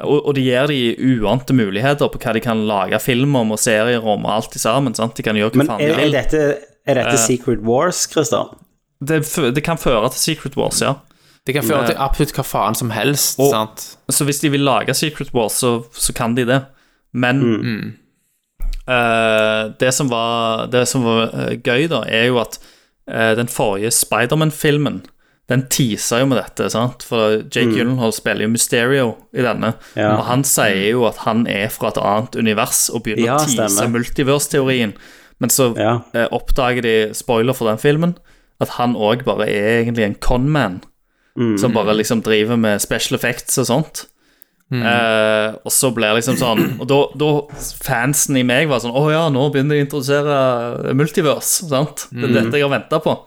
og, og det gir de uante muligheter på hva de kan lage film om og serier om og alt i sammen. sant? De kan gjøre hva Men faen de er, er vil. dette, er dette Secret Wars, Christer? det, fø- det kan føre til Secret Wars, ja. Det kan føre til absolutt hva faen som helst, Og- sant? Så hvis de vil lage Secret Wars, så, så kan de det. Men Mm. eh, det som var, det som var eh, gøy, da, er jo at eh, den forrige Spiderman-filmen den teaser jo med dette, sant? for Jake Gyllenhaal spiller jo Mysterio i denne. Mm. Ja. Og han sier jo at han er fra et annet univers, og begynner Ja, å tease stemmer. multiverse-teorien. Men så Ja. eh, oppdager de, spoiler for den filmen, at han òg bare er egentlig en conman. som bare liksom driver med special effects og sånt. Mm. Eh, og så ble jeg liksom sånn Og da, da fansen i meg var sånn Å ja, nå begynner de å introdusere multiverse. Sant? Det Mm. er dette jeg har venta på.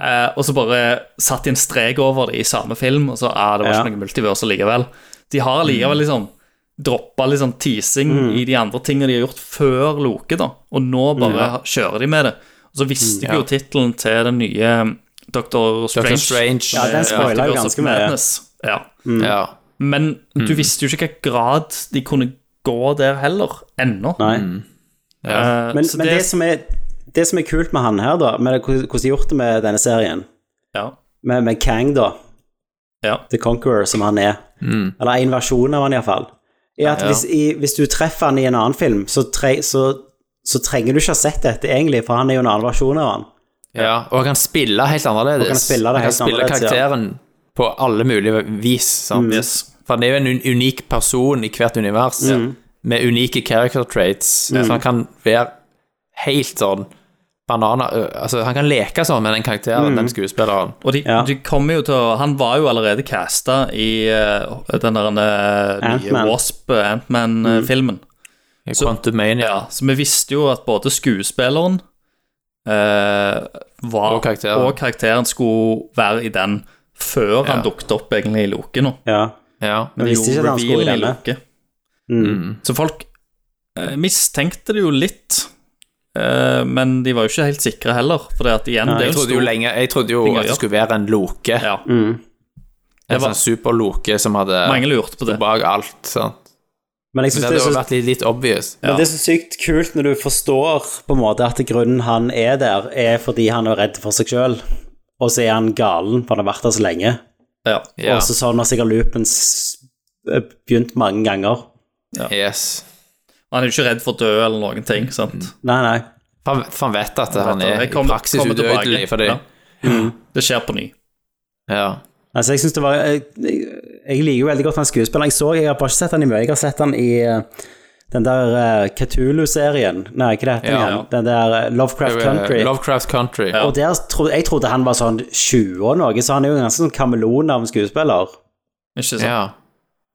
Eh, og så bare satt de en strek over det i samme film, og så ah, det var Ja. Mm. ikke noe multiverse likevel. De har likevel liksom droppa litt sånn teasing i de andre tingene de har gjort før Loke, da. Og nå bare kjører de med det. Og så Mm, visste jeg Ja. jo tittelen til den nye Dr. Dr. Strange. eh, Strange. Ja, den spoiler jo Multiverse of ganske mye. Madness. Ja. ja. Men du Mm. visste jo ikke hvilken grad de kunne gå der heller, ennå. Nei. Mm. Eh, Men, så men det, som er, det som er kult med han her, da, med det- hvordan hvordan de har gjort det med denne serien, ja, med, med Kang, da, ja, The Conqueror, som han er, eller en versjon av han iallfall, er at hvis, i, hvis du treffer han i en annen film, så, tre, så, så trenger du ikke ha sett dette, egentlig, for han er jo en annen versjon av han. ja. Og han kan spille helt annerledes. Og kan spille det helt annerledes, ja. karakteren på alle mulige vis. Sant? Yes. For han er jo en un unik person i hvert univers, med unike character traits. Så han kan være helt sånn bananer ø, Altså, han kan leke sånn med den karakteren, den skuespilleren. Og de, Ja. de kommer jo til å Han var jo allerede casta i eh, den der eh, nye Ant-Man. Mm. Wasp, eh, Ant-Man-filmen. Quantumania. Ja, så vi visste jo at både skuespilleren eh, var, Og karakteren. og karakteren skulle være i den Ja. før han dukket opp egentlig i Loke nå. Ja. Ja. Men Det er visste jo ikke at han skulle i revealen denne. Loke. Mm. Så folk eh, mistenkte det jo litt, eh, men de var jo ikke helt sikre heller. For det at igjen, Nei, det er Jeg jo trodde jo stor- lenge Jeg trodde jo ting å at det gjøre. skulle være en loke. Ja, Mm. En det var- sånn superloke som hadde mange lurte på det. bak alt. Sant? Men jeg Så synes det det, hadde jo er så- vært litt, litt obvious. men det er så sykt kult når du forstår på en måte at grunnen han er der, er fordi han er redd for seg sjøl, og så er han galen, for han har vært der så lenge. Ja. Ja. Og så sånn har sikkert loopen s- eh, begynt mange ganger. Yes. Han er jo ikke redd for å dø eller noen ting, sant. Nei, nei. For han- for han vet at Mm. han er i Jeg kommer- praksis kommer tilbake. udødelig, fordi Ja. Mm. Det skjer på ny. ja. Altså, jeg synes det var jeg, jeg jeg liker jo veldig godt han skuespilleren. Jeg så, jeg har bare ikke sett han i mye. Jeg har sett han i eh, den der eh, Cthulhu-serien. Nei, hva det heter Ja, den ja. igjen? Den der eh, Lovecraft Country. Lovecraft Country. Og der trodde, jeg trodde han var sånn 20 og noe, så han er jo en ganske sånn kameleon av en skuespiller. Ikke sant? Ja.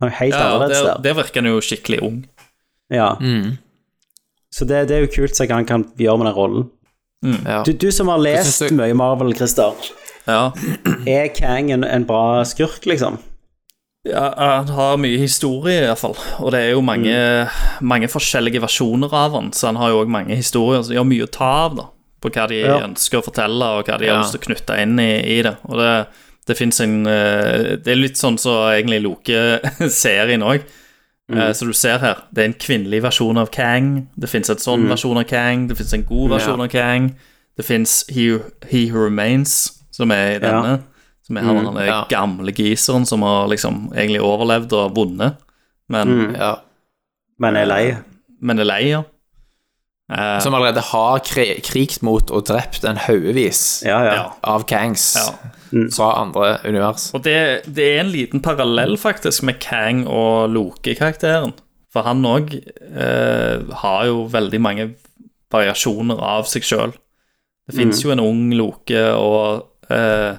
Han er helt Ja, annerledes der, der. der virker han jo skikkelig ung. Ja. Mm. Så det, det er jo kult så hva han kan gjøre med den rollen. ja. Du, du som har lest synes du- mye Marvel, Christer. Ja. Er Kang en, en bra skurk, liksom? Ja, han har mye historie, i hvert fall. Og det er jo mange, mange forskjellige versjoner av han, så han har jo òg mange historier. Så de har mye å ta av, da, på hva de Ja. ønsker å fortelle, og hva de Ja. har lyst til å knytte inn i, i det. Og det, det fins en eh, Det er litt sånn som så egentlig Loke-serien òg. Så du ser her, det er en kvinnelig versjon av Kang. Det fins en sånn versjon av Kang. Det fins en god versjon Ja. av Kang. Det fins He, He Who Remains, som er Ja. i denne. Som er han han er ja. gamle giseren som har liksom egentlig overlevd og vunnet, men, ja. Men er lei. men er lei, ja. Eh, Som allerede har kri kriget mot og drept en haugevis Ja, Mm. ja. ja. av kangs Ja. fra andre univers. Og det, det er en liten parallell faktisk med Kang og Loke-karakteren. For han òg eh, har jo veldig mange variasjoner av seg sjøl. Det Mm. fins jo en ung Loke og eh,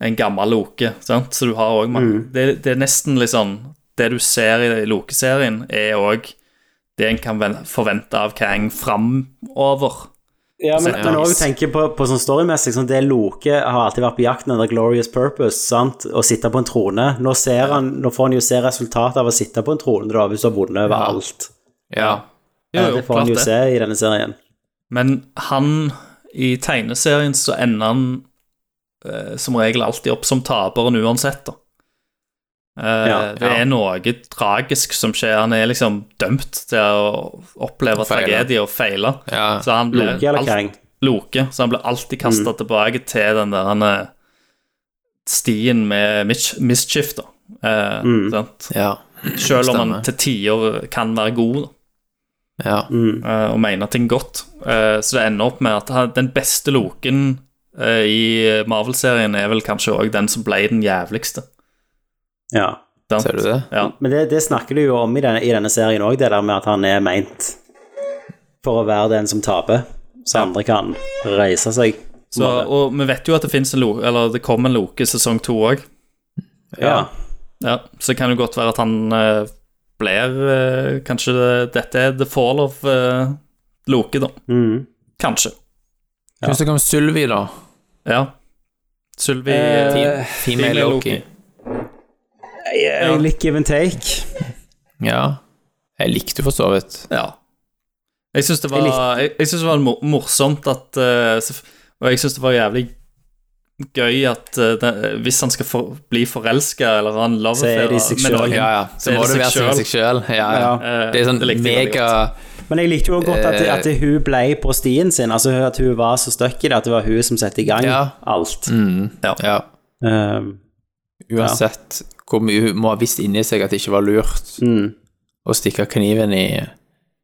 en gammel Loke, sant? så du har òg mange Mm. det, det er nesten litt sånn Det du ser i Loke-serien, er òg det en kan ven- forvente av Kang framover. Ja, men, Sett men pris. også tenke på, på sånn storymessig, sånn det Loke har alltid vært på jakten etter glorious purpose, sant, å sitte på en trone. Nå, ser han, nå får han jo se resultatet av å sitte på en trone, da, hvis du har vunnet over alt. Ja. Jo, jo, det får han klart jo se i denne serien. Men han i tegneserien så ender han eh, som regel alltid opp som taperen uansett, da. Eh, Ja, det ja. er noe tragisk som skjer. Han er liksom dømt til å oppleve Feile. tragedie og feile. Ja. Så han blir Loke eller Mm. alt- Kang? Loke, så han blir alltid kasta tilbake til den der han, eh, stien med mis- mischief, da. Eh, Mm. sant? Ja. Selv om Stemmer. han til tider kan være god, da ja. Mm. eh, og mener ting godt. Eh, så det ender opp med at han- den beste loken eh, i Marvel-serien er vel kanskje òg den som ble den jævligste. Ja. sant? Ser du det? Ja. Men det, det snakker du jo om i denne, i denne serien òg, det der med at han er meint for å være den som taper, så andre kan reise seg. Så, og vi vet jo at det finnes en loke, eller det kom en loke sesong to òg. ja. Ja, så kan det godt være at han eh, blir eh, Kanskje det, dette er the fall of eh, Loke, da. Mm. Kanskje. Syns dere om Sylvi, da? Ja. Sylvi Eh, Team, Female Female Loki. Loki. Jeg, jeg liker give and take. Ja. Jeg likte for så vidt. Ja. Jeg syns det var, jeg, jeg synes det var mor- morsomt at eh, så- Og jeg syns det var jævlig gøy at eh, den, hvis han skal for, bli forelska eller ha en love Så er det i seg med selv. noen, Ja, ja. Så er må det det seg være sånn selv. seg selv. Ja, ja. eh, Det er sånn likte jeg veldig mega godt. Men jeg likte jo godt at, Eh. at hun ble på stien sin, altså at hun var så støkk i det, at det var hun som sette i gang Ja. alt. mm, ja. Mm. Um, Uansett hvor mye hun må ha visst inni seg at det ikke var lurt mm. å stikke kniven i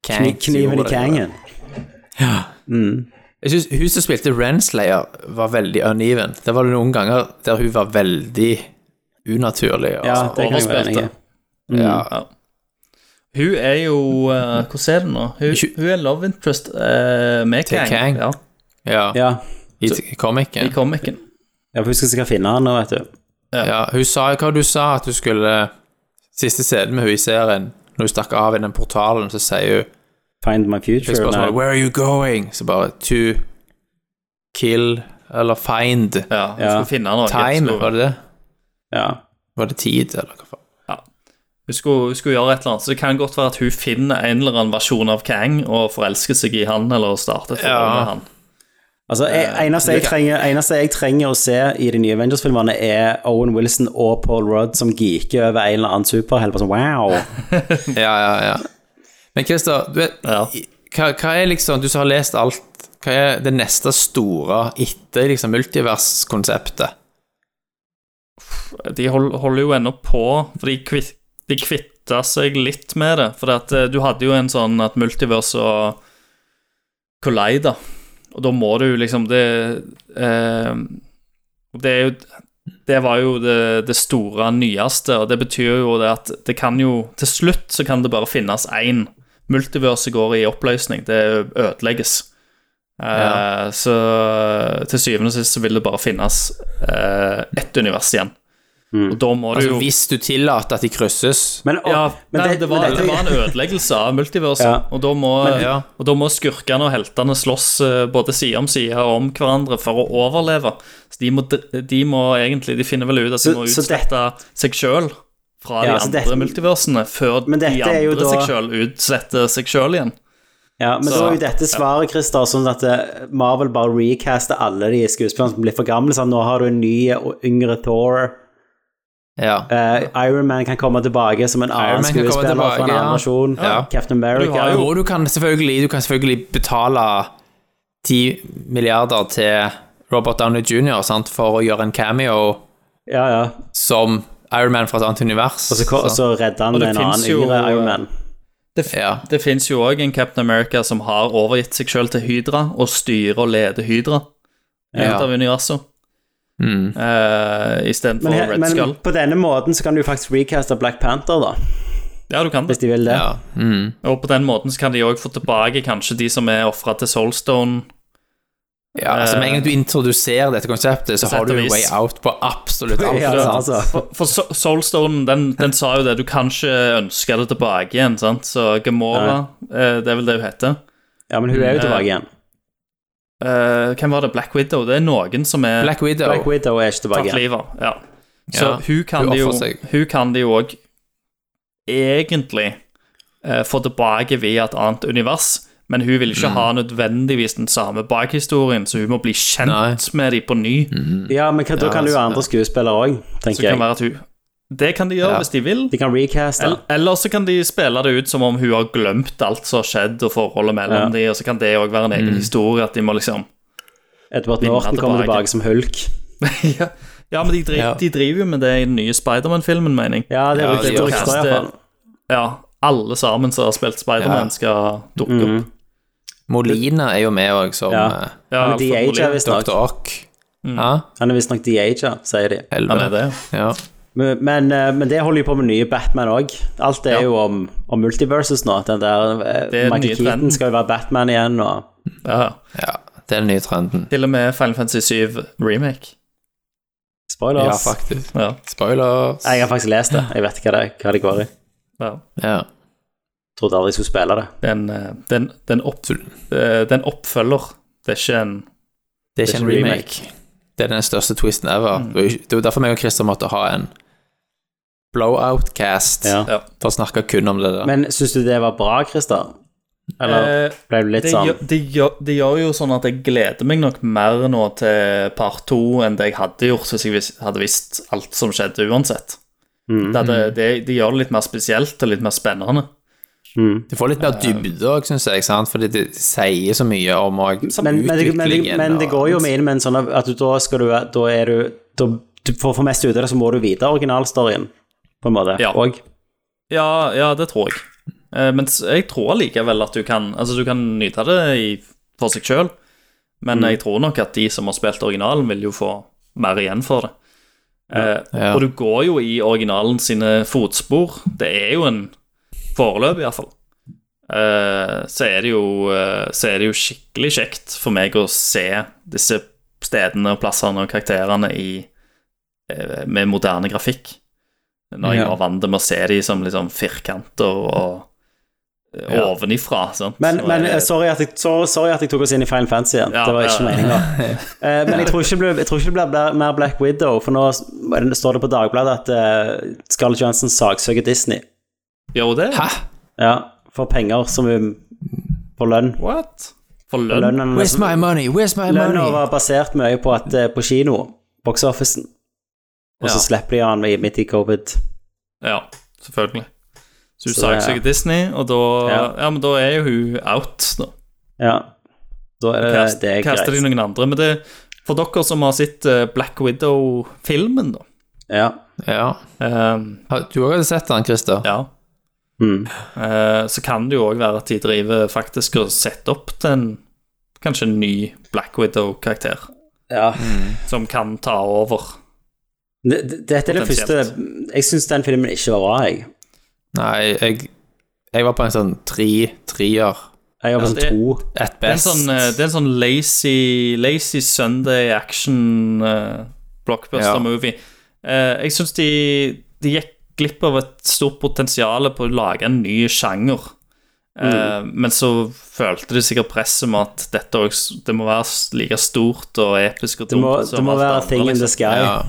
Kang. Kni- Kniven i som gjorde det. kangen. Jeg synes Hun som spilte Renslayer, var veldig uneven. Det var noen ganger der hun var veldig unaturlig og Ja, Altså, sånn det kan jeg være overspilte. enig i. Ja. Hun er jo eh, Hvordan er det nå? Hun, Ikke- hun er love interest eh, med Til Kang. Kang. Ja, Ja, Ja. i t- I komikken. komikeren. ja, for hun skal sikkert finne han nå, vet du. Ja, hun sa jo hva du sa, at du skulle Siste scenen med hun i serien, når hun stakk av i den portalen, så sier hun Find my future. Fikk spørsmålet Nei. Where are you going? Så bare To kill eller find Ja, hun Ja. skulle finne noe. time, Hun var skulle, det det? Ja. Var det tid, eller hva faen? hun, skulle, hun skulle gjøre et eller annet. Så det kan godt være at hun finner en eller annen versjon av Kang og forelsker seg i han, eller starter et forhold Ja. med han. Altså, jeg, Eh, eneste, jeg trenger, eneste jeg trenger å se i de nye Avengers-filmerne, er Owen Wilson og Paul Rudd som geeker over en eller annen superhelt. Bare sånn wow. Ja, ja, ja. Men Christer, du vet, Ja. i- hva, hva er liksom Du som har lest alt, hva er det neste store etter liksom multiverskonseptet? De hold, holder jo ennå på, for de, kvitt, de kvitta seg litt med det. For at, eh, du hadde jo en sånn at multiverse og collider, og da må du liksom Det, eh, og det er jo det var jo det, det store, nyeste, og det betyr jo det at det kan jo Til slutt så kan det bare finnes én. Multiverset går i oppløsning. Det ødelegges. Eh, Ja. Så eh, til syvende og sist så vil det bare finnes eh, ett univers igjen. Og da må du Altså, jo hvis du tillater at de krysses Men, å, ja, men nei, det- det, var, men dette- det var en ødeleggelse av multiverset, Ja. og, da må, ja. og da må skurkene og heltene slåss eh, både side om side og om hverandre for å overleve. Så de må, dr- de må egentlig De finner vel ut at de Så- må så det- utslette seg sjøl fra Ja, de så andre dette- multiversene, før Men de dette er jo andre da- seg sjøl utsletter seg sjøl igjen. ja, men så- da er jo dette svaret, Christer, sånn at eh, Marvel bare recaster alle de skuespillerne som blir for gamle. Sånn, nå har du en ny og yngre Thor. Ja. Eh, Iron Man kan komme tilbake som en annen Man kan komme skuespiller fra en tilbake, annen ja. versjon. Ja. Captain America. Du har jo- Og du kan selvfølgelig, du kan selvfølgelig betale 10 milliarder til Robert Downey Jr. Sant, for å gjøre en cameo Ja, ja. som Iron Man fra et annet univers. Og så, ko- og så redder han Og det en annen finnes jo- eh, yngre Iron Man. Det, f- Ja. det fins jo òg en Captain America som har overgitt seg sjøl til Hydra, og styrer og leder Hydra Ja. ut av universet. Mm. Uh, Istedenfor Men, he- Red Skull. men på denne måten så kan du faktisk recaste Black Panther, da. Ja, du kan det. Hvis de vil det. Ja. Mm. Og på den måten så kan de òg få tilbake kanskje de som er ofra til Soulstone. ja altså, med Eh. en gang du introduserer dette konseptet, så På har sett du way og vis. out på absolutt alt. Ja, sant? altså. For, for So- Soulstone, den, den sa jo det, du kan ikke ønske det tilbake igjen, sant. Så Gamora, eh, det er vel det hun heter. ja, men hun er jo tilbake igjen. Eh, hvem var det? Black Widow? Det er noen som er Black Widow. Black Widow er ikke tilbake tatt igjen. livet av. Ja. Så Ja, hun kan hun det jo offrer seg. Hun kan det jo òg egentlig eh, få tilbake via et annet univers. Men hun vil Mm. ikke ha nødvendigvis den samme bakhistorien, så hun må bli kjent Nei. med dem på ny. Mm. Ja, men hva- da Ja, kan du altså, ha andre skuespillere òg, Så tenker kan det jeg. være at hun Det kan de gjøre Ja. hvis de vil. De kan recaste. El- Eller så kan de spille det ut som om hun har glemt alt som har skjedd, og forholdet mellom Ja. Mm. de, og så kan det òg være en egen historie. At de må liksom (laughs) Edward vinner Norton kommer tilbake tilbake. som hulk. ja. ja, men de, dri Ja. de driver jo med det i den nye Spiderman-filmen, mener jeg. Ja, det er Ja, riktig de gjør rykter, det. iallfall. Ja, alle sammen som har spilt Spiderman, Ja. skal Mm. dukke opp. Molina er jo med òg, som Ja. eh, Ja, Men de Alfred ager Molina. visstnok. Dr. Ock. Ja, Han er visstnok de-ager, sier de. helvete. Han er det. Ja. Men, men, eh, men det holder jo på med nye Batman òg. Alt er Ja. jo om, om multiverses nå. Den der, eh, Det er den nye Michael Keaton trenden. skal jo være Batman igjen, og Ja. ja. Det er den nye trenden. Til og med Final Fantasy 7 remake. spoilers. Ja, faktisk. Ja. Spoilers. Nei, Jeg har faktisk lest det. Jeg vet hva det, hva det går i. ja. Ja. Trodde aldri jeg skulle spille det. Det er en, eh, det er en- det er en opp, eh, det er en oppfølger. Det er ikke en Det er ikke en remake. Det er den største twisten ever. Mm. Det er jo- det er jo derfor meg og Christer måtte ha en blowout-cast Ja. Ja. for å snakke kun om det der. Men syns du det var bra, Christer? Eller Eh, ble du litt Det sånn gjør, det, gjør, det gjør jo sånn at jeg gleder meg nok mer nå til part to enn det jeg hadde gjort hvis jeg vis- hadde visst alt som skjedde uansett. Mm. Det, hadde, det, det gjør det litt mer spesielt og litt mer spennende. Du får litt mer dybde òg, syns jeg, sant? fordi det sier så mye om og men, men, det, men, det, utviklingen men det og- går jo med inn med en sånn at du, da skal du Da er du da, du- For å få mest ut av det, så må du vite originalstoryen, på en måte. Ja. Og, Ja, ja det tror jeg. Eh, Men s- jeg tror likevel at du kan Altså, du kan nyte det i, for seg sjøl, Mm. men jeg tror nok at de som har spilt originalen, vil jo få mer igjen for det. Eh, Ja. Og du går jo i originalen sine fotspor. Det er jo en foreløp, iallfall. Uh, så, er det jo, eh, så er det jo skikkelig kjekt for meg å se disse stedene og plassene og karakterene i, eh, med moderne grafikk. Når jeg Ja. var vant til med å se de som liksom firkanter og eh, Ja. ovenifra. Sant? Men, Så men er eh, det- sorry, at jeg, så- sorry at jeg tok oss inn i Final Fantasy igjen. Ja, det var ja. ikke meninga. (laughs) Eh, men jeg tror ikke det blir- jeg tror ikke det blir blir mer Black Widow, for nå s- står det på Dagbladet at eh, Scarlett Johansson saksøker Disney Gjør hun det? Hæ? Ja, for penger som hun på lønn. What? For Og lønn? Lønnen, Where's my money? Where's my lønnen money? var basert mye på, at, eh, på kino, box-officen. Og så Ja. slipper de han i- midt i covid. Ja, selvfølgelig. Så Så det hun er- saksøker Disney, og da, ja. Ja. men da er jo hun out. Da. Ja. Da er det, Kast, Eh, det er kaster de greit. noen andre. Men det, for dere som har sett eh, Black Widow-filmen, da Ja. Ja. eh, Har- Du òg hadde sett den, Christer? Ja. Mm. eh, så kan det jo òg være at de driver faktisk og setter opp til en kanskje en ny Black Widow-karakter ja. som kan ta over. Mm. Det- det- Dette er det første Potensielt. Jeg syns den filmen ikke var bra, jeg. Nei, jeg, jeg var på en sånn tre, treer, Jeg var på Ja, sånn det- to. at Det er en best. sånn, eh, det er en sånn lazy, lazy Sunday action eh, blockbuster Ja. movie. Eh, jeg syns de, de gikk glipp av et stort potensial på å lage en ny sjanger. Eh, Mm. Men så følte de sikkert presset med at dette også, det må være s- like stort og episk og Det må, dumt som det må alt være andre, thing in the liksom. sky. Ja.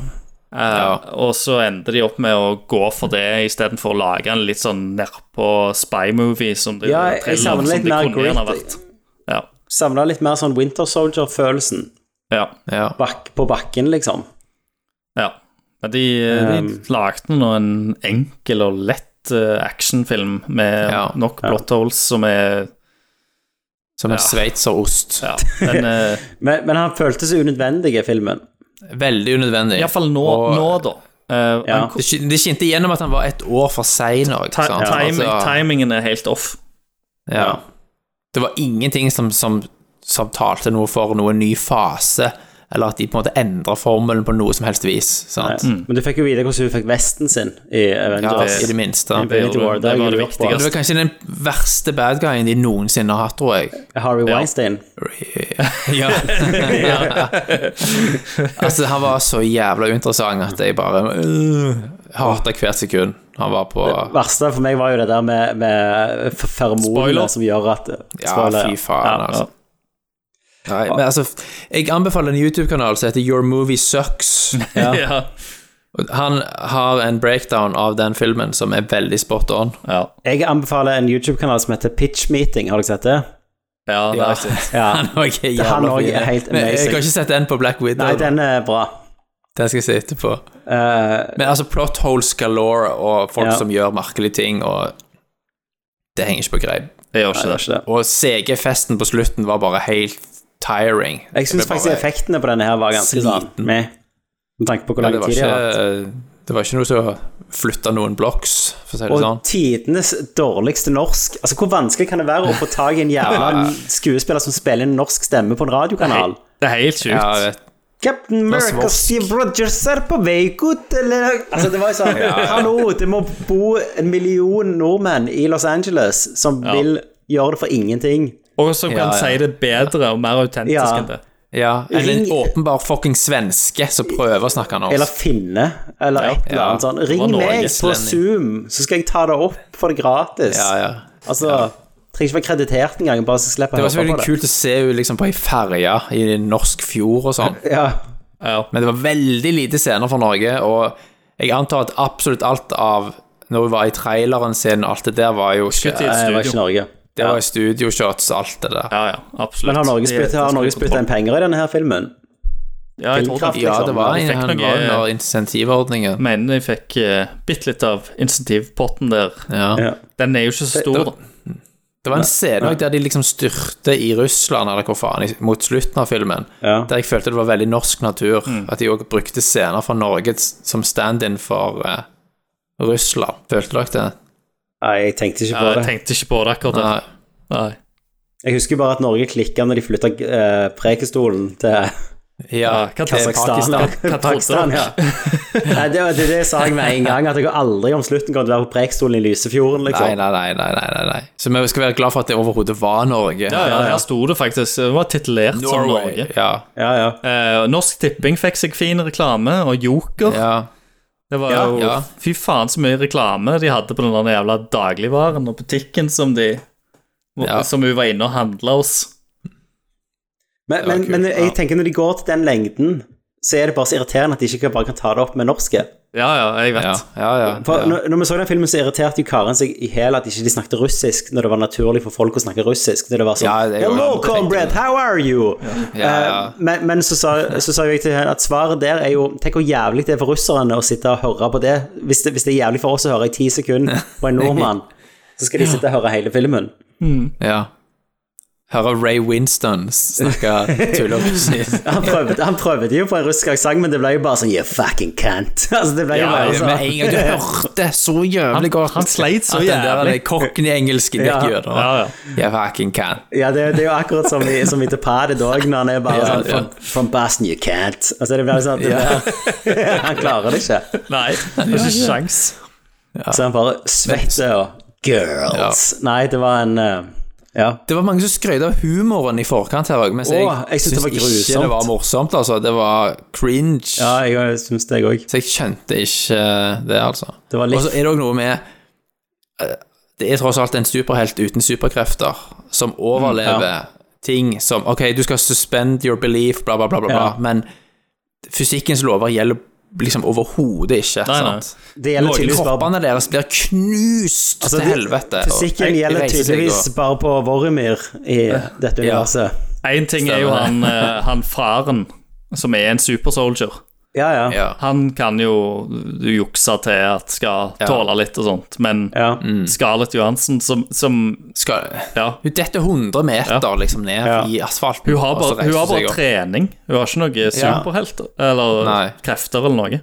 Eh, Og så endte de opp med å gå for det istedenfor å lage en litt sånn nedpå spy-movie som det, Ja, jeg thriller savner som litt det mer kunne gjerne grit. vært. Ja, Savna litt mer sånn Winter Soldier-følelsen ja. ja. bak, på bakken, liksom. Ja. Men de, Um, de lagde nå en enkel og lett eh, actionfilm med Ja. nok plot holes som er Som en Ja. sveitserost. Ja, (laughs) den er Men, men han føltes unødvendig i filmen. Veldig unødvendig. Iallfall nå, Og- nå, da. Eh, Ja. han- Det skin- Det skinte igjennom at han var et år for sein òg. ti- timing- Altså- Timingen er helt off. Ja. Det var ingenting som, som, som talte noe for noen ny fase, eller at de på en måte endra formelen på noe som helst vis. Sant? Mm. Men du fikk jo vite hvordan hun fikk vesten sin i Ja, Avengers. I det minste. Infinity Det gjorde hun. War, Det var gjorde det hun opp på Det var kanskje den verste bad guyen de noensinne har hatt, tror jeg. Harry Weinstein. (laughs) (laughs) Ja. altså, han var så jævla uinteressant at jeg bare øh, hata hvert sekund han var på verste for meg var jo det der med, med f- Spoiler. feromonene som gjør at Ja, Spoiler, fy faen, Ja, altså. Nei, men altså, jeg anbefaler en YouTube-kanal som heter Your Movie (laughs) Sucks. (laughs) Ja. Ja. ja. Og Han har en breakdown av den filmen som er veldig spot on. ja. Jeg anbefaler en YouTube-kanal som heter Pitch Meeting, har dere sett det? det Ja. er sant. Ja. Han òg er jævla Han også er fin. helt Men Jeg amazing. kan ikke sette den på Black Widow. Nei, den... den er bra. skal jeg se etterpå. Eh, Men altså, plot holes galore og folk Ja. som gjør merkelige ting, og det henger ikke på greip. Det gjør det ikke var det. ikke det. Og CG-festen på slutten var bare helt tiring. Jeg syns ble faktisk bare- effektene på denne her var ganske sånn sliten. med, med tanke på hvor Ja, lang det, var tid de har hatt. ikke, det var ikke noe som flytta noen blocks, for å si det Og sånn. tidenes dårligste norsk Altså, hvor vanskelig kan det være å få tak i en jævla (laughs) Ja. skuespiller som spiller en norsk stemme på en radiokanal? Det er helt sjukt. Ja, jeg vet. Captain America Voss. Steve Rogers er på vei ut eller Altså, det var jo (laughs) sånn Hallo, det må bo en million nordmenn i Los Angeles som vil gjøre det for ingenting. Og som kan Ja, ja. si det bedre og mer autentisk Ja. enn det. ja, eller en Ring- åpenbar fucking svenske som prøver å snakke norsk. Eller finne, eller et eller ja. annet sånn. Ring Og meg på norgeslending. Zoom, så skal jeg ta det opp for det gratis. ja, ja. Altså, trenger ikke være kreditert engang, bare så slipper Det jeg var selvfølgelig kult å se henne liksom på ei ferje i en norsk fjord og (laughs) sånn. Ja, Men det var veldig lite scener fra Norge, og jeg antar at absolutt alt av når hun var i traileren sin og alt det der, var jo Skutt ikke i et det var ikke studio. Norge. Det var studioshots, alt det der. Ja, ja, absolutt. Men har Norge Det- spyttet- har det- Norge spyttet inn penger i denne her filmen? Ja, jeg tror det. Filmkraft, Ja, det var, de fikk han noe- var under insentivordningen. mener jeg fikk uh, bitte litt av insentivpotten der. Ja. Ja. Den er jo ikke så stor, Det- da. Det var en scene også der de liksom styrte i Russland, eller hvor faen, i- mot slutten av filmen. Ja. Der jeg følte det var veldig norsk natur. Mm. At de òg brukte scener fra Norge s- som stand-in for eh, Russland. Følte dere det? Nei, jeg tenkte ikke Ja, på jeg det. tenkte ikke på det akkurat der. Nei. Nei. Jeg husker bare at Norge klikka når de flytta eh, Prekestolen til Ja, Hva- Kasakhstan. (laughs) Pakistan. Pakistan, ja. Nei, det, var- det, det sa jeg med en gang, at jeg aldri om slutten kommer til å være på Preikestolen i Lysefjorden. Nei, Liksom. nei, nei, nei, nei, nei, nei. Så vi skal være glad for at det overhodet var Norge. Ja, ja, her sto det faktisk. Det var titulert som Norge. Ja, Ja, ja. Eh, Norsk Tipping fikk seg fin reklame, og Joker. ja. Det var Ja, jo ja. Fy faen så mye reklame de hadde på den der jævla dagligvaren og butikken som de Ja. Som hun var inne og handla hos. Men, Det var men, kult, men jeg ja. tenker når de går til den lengden, så er det bare så irriterende at de ikke bare kan ta det opp med norske. Ja, ja, jeg vet. ja, ja, ja, For ja. når, når vi så den filmen, så irriterte jo Karen seg i hæl at ikke de snakket russisk, når det var naturlig for folk å snakke russisk. Når det var sånn Ja, det er jo- Hello, comrade, how are you? Ja, ja. Eh, Men, men så, sa, så sa jeg til henne at svaret der er jo Tenk hvor jævlig det er for russerne å sitte og høre på det. Hvis det, hvis det er jævlig for oss å høre i ti sekunder på en nordmann, så skal de sitte og høre hele filmen. ja. Hører Ray Winston snakke (laughs) tullerussisk. Han prøvde, han prøvde jo på en russisk aksent, men det ble jo bare sånn You fucking can't. (laughs) Altså, det ble jo Ja, bare ja, Med en sånn gang du hørte så jævlig godt han sleit så at den der jævlig. kokken i engelsken Ja. gikk gjennom. Ja, ja. Jeg fucking can. Ja, det, det er jo akkurat som i, som i The Padded òg, når han er bare Ja, sånn ja. From, from Boston, you can't. Altså, det blir sånn at det der, (laughs) Han klarer det ikke. Nei, det er ikke sjans. Så han bare svetter og Girls. Nei, det var en eh, Ja. Det var mange som skrøt av humoren i forkant her òg, mens jeg, Åh, jeg synes det var synes ikke grusomt. det var morsomt, altså. Det var cringe. ja jeg syns det òg. Så jeg skjønte ikke eh, det, altså. Det var litt- Og så er det òg noe med eh, Det er tross alt en superhelt uten superkrefter som Mm, overlever ting som Ok, du skal suspend your belief, bla, bla, bla, bla, Ja. bla men fysikkens lover gjelder liksom overhodet ikke. Nei, nei. sant? Det gjelder tydeligvis bare Kroppene deres blir knust Altså, til det- helvete. og- Fysikken gjelder reiser seg tydeligvis og- bare på Vorumir i dette Ja. universet. Én ting er jo han, eh, han faren, som er en supersoldier. Ja, ja. ja. Han kan jo jukse til at skal Ja. tåle litt og sånt, men ja. Mm. Scarlett Johansen, som, som Skal, Ja. Hun detter 100 meter Ja. liksom ned Ja. i asfalten. Hun har og så bare, reiser hun har seg bare opp. trening. Hun har ikke noe superhelt eller Nei. krefter eller noe.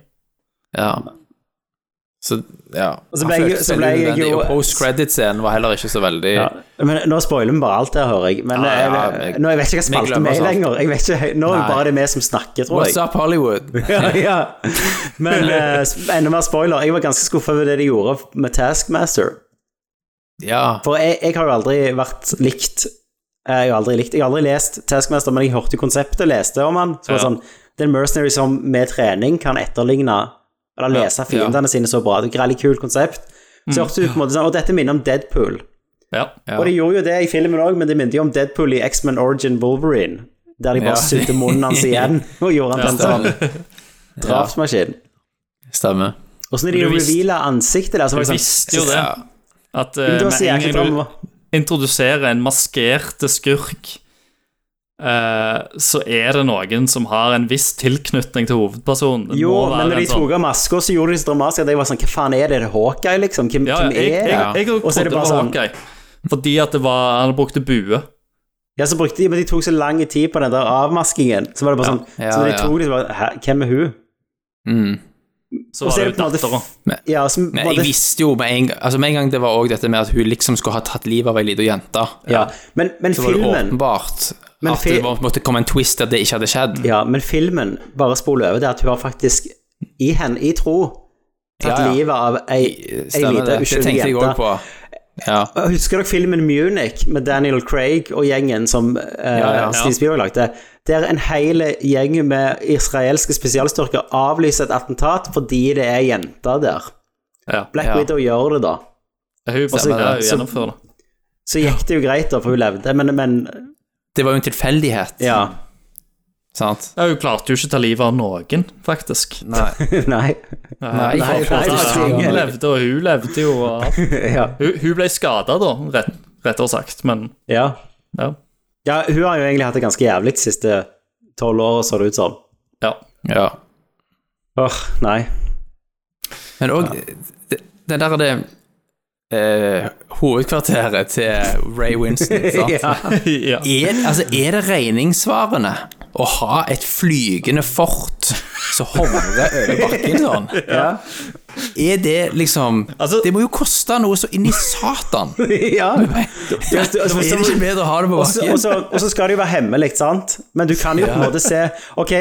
Ja. Så, ja. Og så Han ble jeg- føltes så ble veldig jeg unødvendig, jo- Og post-credit-scenen var heller ikke så veldig Ja. Men eh, nå spoiler vi bare alt her, hører jeg. Men Ja, ja, eh, jeg- nå, jeg vet ikke hva vi spalten glemmer vi er i oss alt. lenger. Jeg vet ikke, nå er det Nei. bare det vi som snakker, tror jeg. What's up, Hollywood? (laughs) ja, ja. (laughs) Men eh, sp- enda mer spoiler. Jeg var ganske skuffa over det de gjorde med Taskmaster. Ja. For jeg, jeg har jo aldri vært likt Jeg har jo aldri likt Jeg har aldri lest Taskmaster, men jeg hørte konseptet og leste om han. Så var det Ja. sånn Det er en mercenary som med trening kan etterligne Eller lese fiendene sine så bra. Det er et veldig kult konsept. Så hørte du på en måte sånn Og dette minner om Deadpool. Ja. Mm. Ja. Og de gjorde jo det i filmen òg, men det minner jo om Deadpool i X-Men Origin Wolverine. Der de Ja. bare sydde munnen (laughs) hans igjen og gjorde han til en sånn drapsmaskin. Stemmer. Og så når de Du visste- reveala ansiktet der, så var Du jeg visste jo sånn det. Ja. At eh, Men det var med så en jækla gang drama. du introduserer en maskert skurk, eh, så er det noen som har en viss tilknytning til hovedpersonen. Det Jo, må være men når de en sånn- tok av maska, så gjorde de det så dramatisk at jeg var sånn Hva faen er det? Er det Hawkeye, liksom? Hvem, ja, ja, hvem er jeg, jeg, det? jeg, Og så trodde er det det bare var sånn Hawkeye. Fordi at det var, han brukte bue. Ja, så brukte de Men de tok så lang tid på den der avmaskingen. Så var det bare sånn Ja, Så når de ja. tok det, så bare Hæ, hvem er hun? Mm. Så Og var så det er jo det på en datteren. måte Ja, altså, så Men jeg visste jo med en gang Altså med en gang det var også dette med at hun liksom skulle ha tatt livet av ei lita jente, ja. Men, men så var det filmen åpenbart Men at det fi- var- måtte komme en twist at det ikke hadde skjedd. Ja, men filmen bare spoler over det at hun har faktisk i henne, i tro, tatt Ja, ja. livet av ei, ei Stemmer lita det. Det uskyldig tenkte jeg òg jente. på. Ja. Husker dere filmen Munich med Daniel Craig og gjengen som uh, ja. Steven Spielberg lagde? Der en hel gjeng med israelske spesialstyrker avlyser et attentat fordi det er jenter der. Ja. Black Ja. Widow gjør det, da. Hun bare så- ja, hun så- gjennomfører det. Så gikk det jo greit, da, for hun levde, men, men Det var jo en tilfeldighet, Ja. (laughs) sant? Ja, hun klarte jo ikke å ta livet av noen, faktisk. Nei. Nei. Nei, Nei, jeg får nei, forstå nei, det. nei. Hun levde, og hun levde jo. og alt. Ja. Hun, hun ble skada, da, rett, rettere sagt, men ja. ja. Ja, hun har jo egentlig hatt det ganske jævlig de siste tolv åra, så det ut som. ja. Ja. Åh, nei. (laughs) Men òg den der det eh, hovedkvarteret til Ray (laughs) Winston sant? Ja. ja. er, altså, er det regningssvarende å (laughs) ha et flygende fort som hovrer over bakken sånn? Ja. Er det liksom Altså- Det må jo koste noe så inn i (laughs) satan! Er ja. Altså, det ikke bedre å ha det på Og så- bakken? og så- Og så skal det jo være hemmelig, sant? Men du kan jo på en måte se Ok,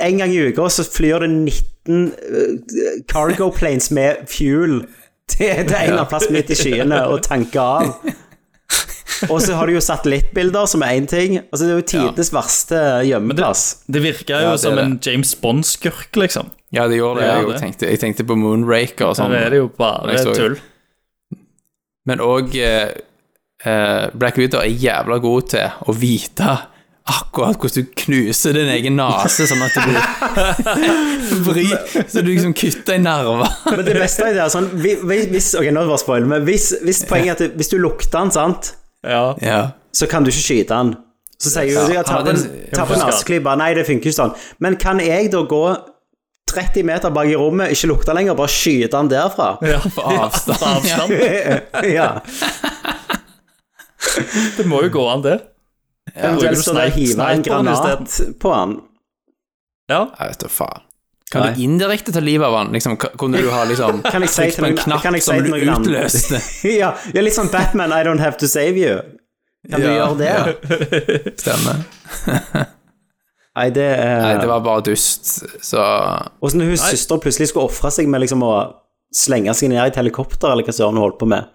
en gang i uka så flyr det 19 eh, cargo planes med fuel til, til en eller annen plass midt i skyene og tanker av. altså- Og så har du jo satellittbilder, som er én ting. Altså, det er jo tidenes verste gjemmeplass. Det virker Ja, jo det er som det. en James Bond-skurk, liksom. Ja, det gjorde det. Ja, Jeg, det. også tenkte, jeg tenkte på Moonraker og sånn. Der er det jo Nei, bare sorry. tull. Men òg eh, eh, Black Widow er jævla god til å vite akkurat hvordan du knuser din egen nese, sånn at du (laughs) vri, så du liksom kutter i nerver. (laughs) Men det beste er det er sånn vi- vi- hvis, Ok, nå var det spoil, men hvis, hvis poenget er at det- hvis du lukter den, sant, Ja. Ja. så kan du ikke skyte den. Så sier hun ja, ta Ja, på en, den- ta på en askeklype. Nei, det funker ikke sånn. Men kan jeg da gå 30 meter bak i rommet, ikke lukte lenger, bare skyte den derfra? (laughs) ja. På avstand. På avstand. (laughs) ja. Det må jo gå an, det. bruker Eventuelt du så da snipe- hive en sniperen granat på den. Ja. Jeg vet da faen. Kan Nei. du indirekte ta livet av han? Liksom, ka- kunne du ha liksom Kan jeg si trykt til på en noen- knapp kan jeg si som til du noen andre? utløste? (laughs) ja, ja, litt sånn Batman, I don't have to save you. Kan du Ja, gjøre det? Stemmer. Nei, det er Nei, det var bare dust, så Og så når hun søster plutselig skulle ofre seg med liksom å slenge seg ned i et helikopter, eller hva søren hun holdt på med.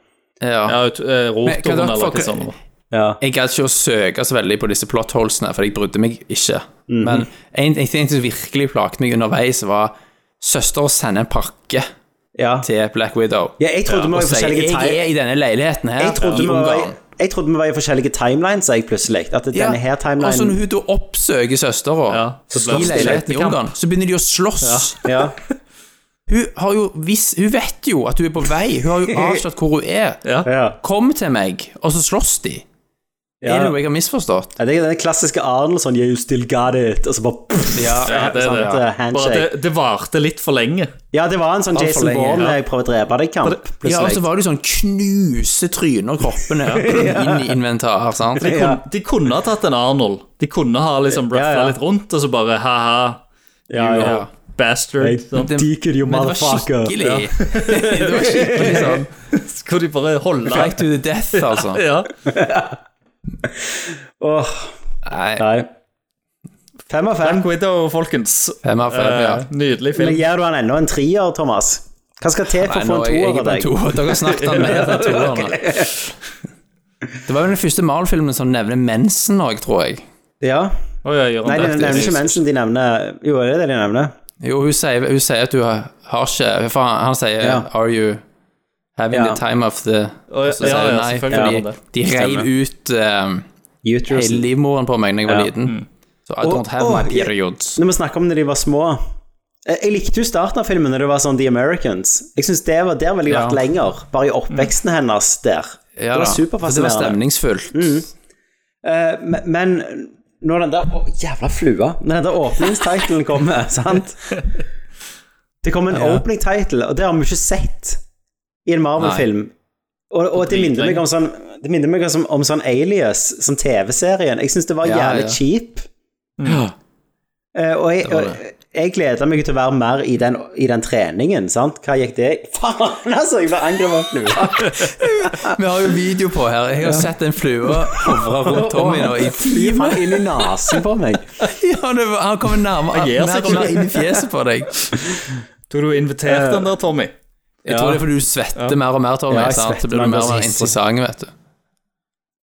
Ja. ja ut- eh, Men hva Rotoren da, eller fuck- hva sånt. det var. Ja. Jeg gadd ikke å søke så veldig på disse plotholesene, for jeg brydde meg ikke. Mhm. Men en, en ting som virkelig plaget meg underveis, var søster å sende en pakke ja. til Black Widow. ja jeg trodde vi og var i si forskjellige jeg time... er i denne leiligheten her, Jeg trodde i vi var, Ungarn. i- jeg trodde vi var i forskjellige timelines, jeg plutselig. At Ja, denne her og så når timelinen hun da oppsøker søstera Ja, så i blir det leiligheten i slektekamp. Ungarn, så begynner de å slåss. ja. Hun, har jo vis, hun vet jo at hun er på vei, hun har (laughs) jo avslørt hvor hun er. Ja. Ja. Kom til meg, og så slåss de. Ja. Er det noe jeg har misforstått? Ja, Det er den klassiske Arnold sånn You still got it, og så bare pff, Ja, det er sant, det. eh, Bare at Handshake. det, det varte litt for lenge. Ja, det var en sånn for Jason lenge, Bourne ja. jeg prøver å drepe deg-kamp, Ja, og så plutselig. var det jo sånn knuse tryner og kroppene (laughs) inn i inventar, sant? De kunne, de kunne ha tatt en Arnold. De kunne ha liksom Ja, raffa ja. litt rundt, og så bare ha-ha, Ja, you ja. bastard. Hey, sånn. det- Deacon, you Men det var motherfucker. skikkelig (laughs) Det var skikkelig sånn Skulle de bare holde Fight to the death, (laughs) altså. Ja. Åh, Nei, nei. Fem av fem. Black Widow, folkens. fem av fem, ja. Eh, nydelig Men film. gir du han ennå en trier, Thomas? Hva skal til for Nei, å få nå en er jeg, jeg toer av er på en deg? toer. Dere snakket om mer (laughs) enn toerne. Det var jo den første Marvel-filmen som nevner mensen òg, tror jeg. Ja. Oi, jeg gjør Nei, en de rett i nevner det. ikke mensen, de nevner Jo, er det det de nevner? Jo, hun sier, hun sier at du har, har ikke For han, han sier Ja. Are you having Ja. the time of the Å, ja, Og så sier ja, hun ja, nei, selvfølgelig har han fordi det. de reiv ut um, Uterus. hele livmoren på meg da jeg var Ja. liten. Mm. Så I Og- don't have og- my periods. Når vi snakker om når de var små Jeg jeg likte jo starten av filmen når det var sånn The Americans. Jeg synes det var Der ville jeg Ja. vært lenger, bare i oppveksten hennes der. Ja, det var da. For Det var superfascinerende. Mm. stemningsfullt. Eh, men- men når den der Å, jævla flua! Når den der åpningstitlen kommer, (laughs) sant Det kommer en Ja. opening title, og det har vi ikke sett i en Marvel-film. Og, og det minner meg om sånn Det minner meg om, sånn- om sånn Alias, som TV-serien. Jeg syns det var Ja, jævlig ja. Mm. cheap. Eh, og jeg, var og jeg gleder meg til å være mer i den, i den treningen, sant? Hva gikk det (laughs) i? Faen, altså! Jeg ble angrepet av flua. (laughs) Vi har jo video på her. Jeg har sett en flue hovre rundt (laughs) Tommy nå i Gi timer. faen inn i nesen på meg. (laughs) (laughs) Ja, det var, han kommer nærmere Han gir mer seg og mer inn i fjeset på deg. Tror du du inviterte den der, Tommy? Jeg tror det er fordi du svetter mer og mer, Tommy. Ja, jeg sant? Så svetter blir du meg mer og bare mer sist. interessant, vet du.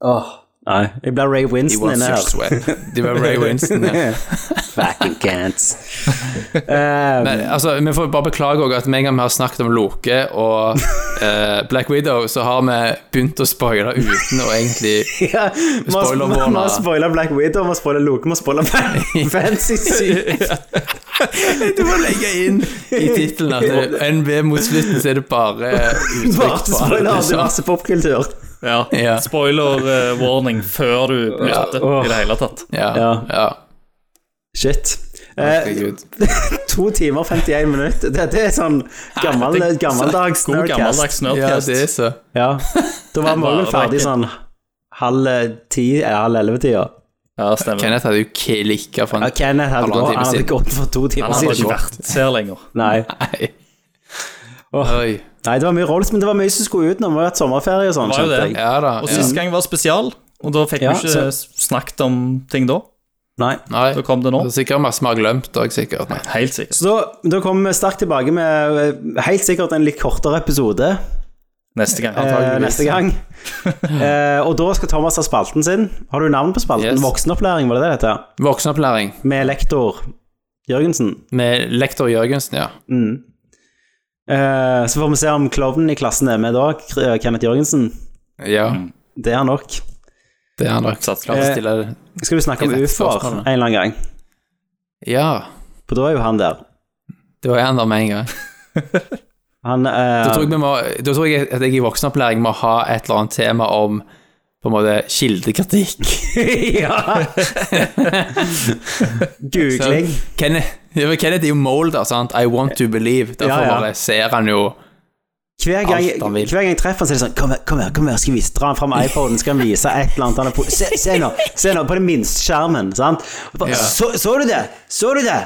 Åh, nei. Jeg altså. ble Ray He Winston wants inne your her. sweat. Sånn (laughs) Det var Ray Winston, ja. (laughs) Fucking cants. Eh, Men, altså, vi får bare beklage også at med en gang vi har snakket om Loke og eh, Black Widow, så har vi begynt å spoile uten å egentlig ja, vi har- vi Spoiler har- Vi warner. har spoila Black Widow, vi har spoila Loke, vi har spoila Fancy Syk. (laughs) Du må legge inn i tittelen (laughs) at det er NB mot slutten, så er det bare Bare uttrykk for spoila alt. liksom. diverse popkultur. Ja. Ja. Spoiler eh, warning før du møtte Åh. i det hele tatt. Ja, Ja. ja. Shit. Eh, Herregud. to timer og 51 minutter. Det, det er sånn gammel, Det er gammeldags God nerdcast. gammeldags Ja, nerdcast. det er så. Ja, da var vi vel Bare ferdig vakker. sånn halv eh, ti, eh, halv elleve-tida. Ja, stemmer. Kenneth hadde jo klikka for Ja, en Kenneth hadde Halvannen gått, time han hadde siden. gått for to timer Han har siden. ikke vært her lenger. Nei. Nei. Oi. Nei, det var mye rolls, men det var mye som skulle ut når vi har hatt sommerferie og sånn. Det var jo skjønte det. jeg. Ja da. Og Ja. sist gang var spesial, og da fikk Ja, vi ikke snakket om ting da. Nei. Nei. Da kom det nå. Det er sikkert masse vi har glemt òg, sikkert. Helt sikkert. Så da, da kommer vi sterkt tilbake med eh, helt sikkert en litt kortere episode Neste gang. eh, antageligvis. neste gang. eh, og da skal Thomas ha spalten sin. Har du navn på spalten? Yes. Voksenopplæring, var det det det heter? Voksenopplæring Med lektor Jørgensen. med lektor Jørgensen, ja. Mm. Eh, så får vi se om klovnen i klassen er med da, K- Kenneth Jørgensen. Ja, Det er han nok. det er han nok. Satt Klart å Eh, stille Skal du snakke om Det er et ufoer en spørsmål, da. eller annen gang? Ja, For da er jo han der. det var en der med en gang. Han eh, Da tror jeg, vi må, da tror jeg at jeg i voksenopplæring må ha et eller annet tema om på en måte kildekritikk. (laughs) Ja! Googling. Så Kenneth, ja, men Kenneth er jo Molder, sant? I want to believe. Derfor Ja, ja. bare ser han jo Hver gang, Alt han vil. hver gang jeg treffer han, så er det sånn Kom her, kom her, kom her skal vi vise, dra han fram iPhonen, skal han vise et eller annet han har på se, se nå, se nå, på den minste skjermen, sant? Og Bare, Ja. så, så du det? Så du det?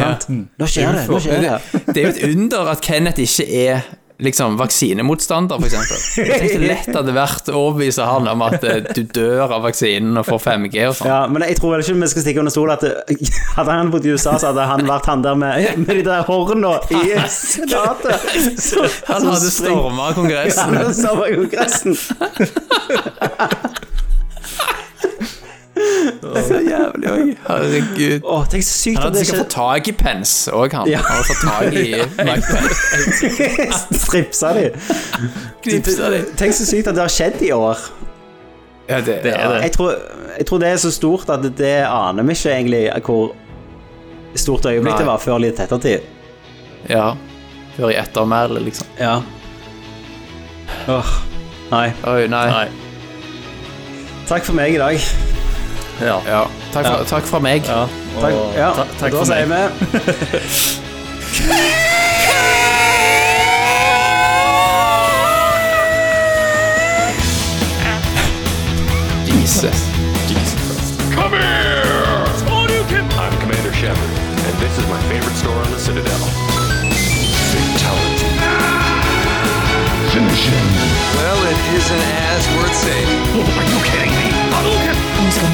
Sant? Nå skjer det, nå skjer det. Det er jo et under at Kenneth ikke er liksom vaksinemotstander, for eksempel. Tenk så lett det hadde vært å overbevise han om at eh, du dør av vaksinen og får 5G og sånn. Ja, men jeg tror vel ikke vi skal stikke under stolen at (laughs) det, hadde han bodd i USA, så hadde han vært han der med, med de der horna (laughs) i senatet. som- Han som hadde springer- storma Kongressen. (laughs) Ja, det samme kongressen. Så jævlig òg. Herregud. Åh, tenk så sykt at Han hadde det sikkert fått tak i Pence òg, han. Ja. Han hadde fått tak i Mike Pence. ikke (laughs) stripsa de. Knipsa de. Tenk så sykt at det har skjedd i år. Ja, det, Det er det. Jeg tror, jeg tror det er så stort at det aner vi ikke egentlig hvor stort øyeblikk Nei. det var før litt ettertid. Ja. Før i ettermælet, liksom. Ja. Åh, nei. Oi, nei. Nei. Takk for meg i dag. Ja. Ja. Takk, fra, takk fra meg. ja. Og Takk, ja, ta- takk da for meg. sier vi Jesus. Come here! All you can I'm Commander Shepard, and this is my favorite store on the Citadel. Fatality. finish him. Well, it isn't as worth saying. Are you kidding me? Hadouken! Hun skal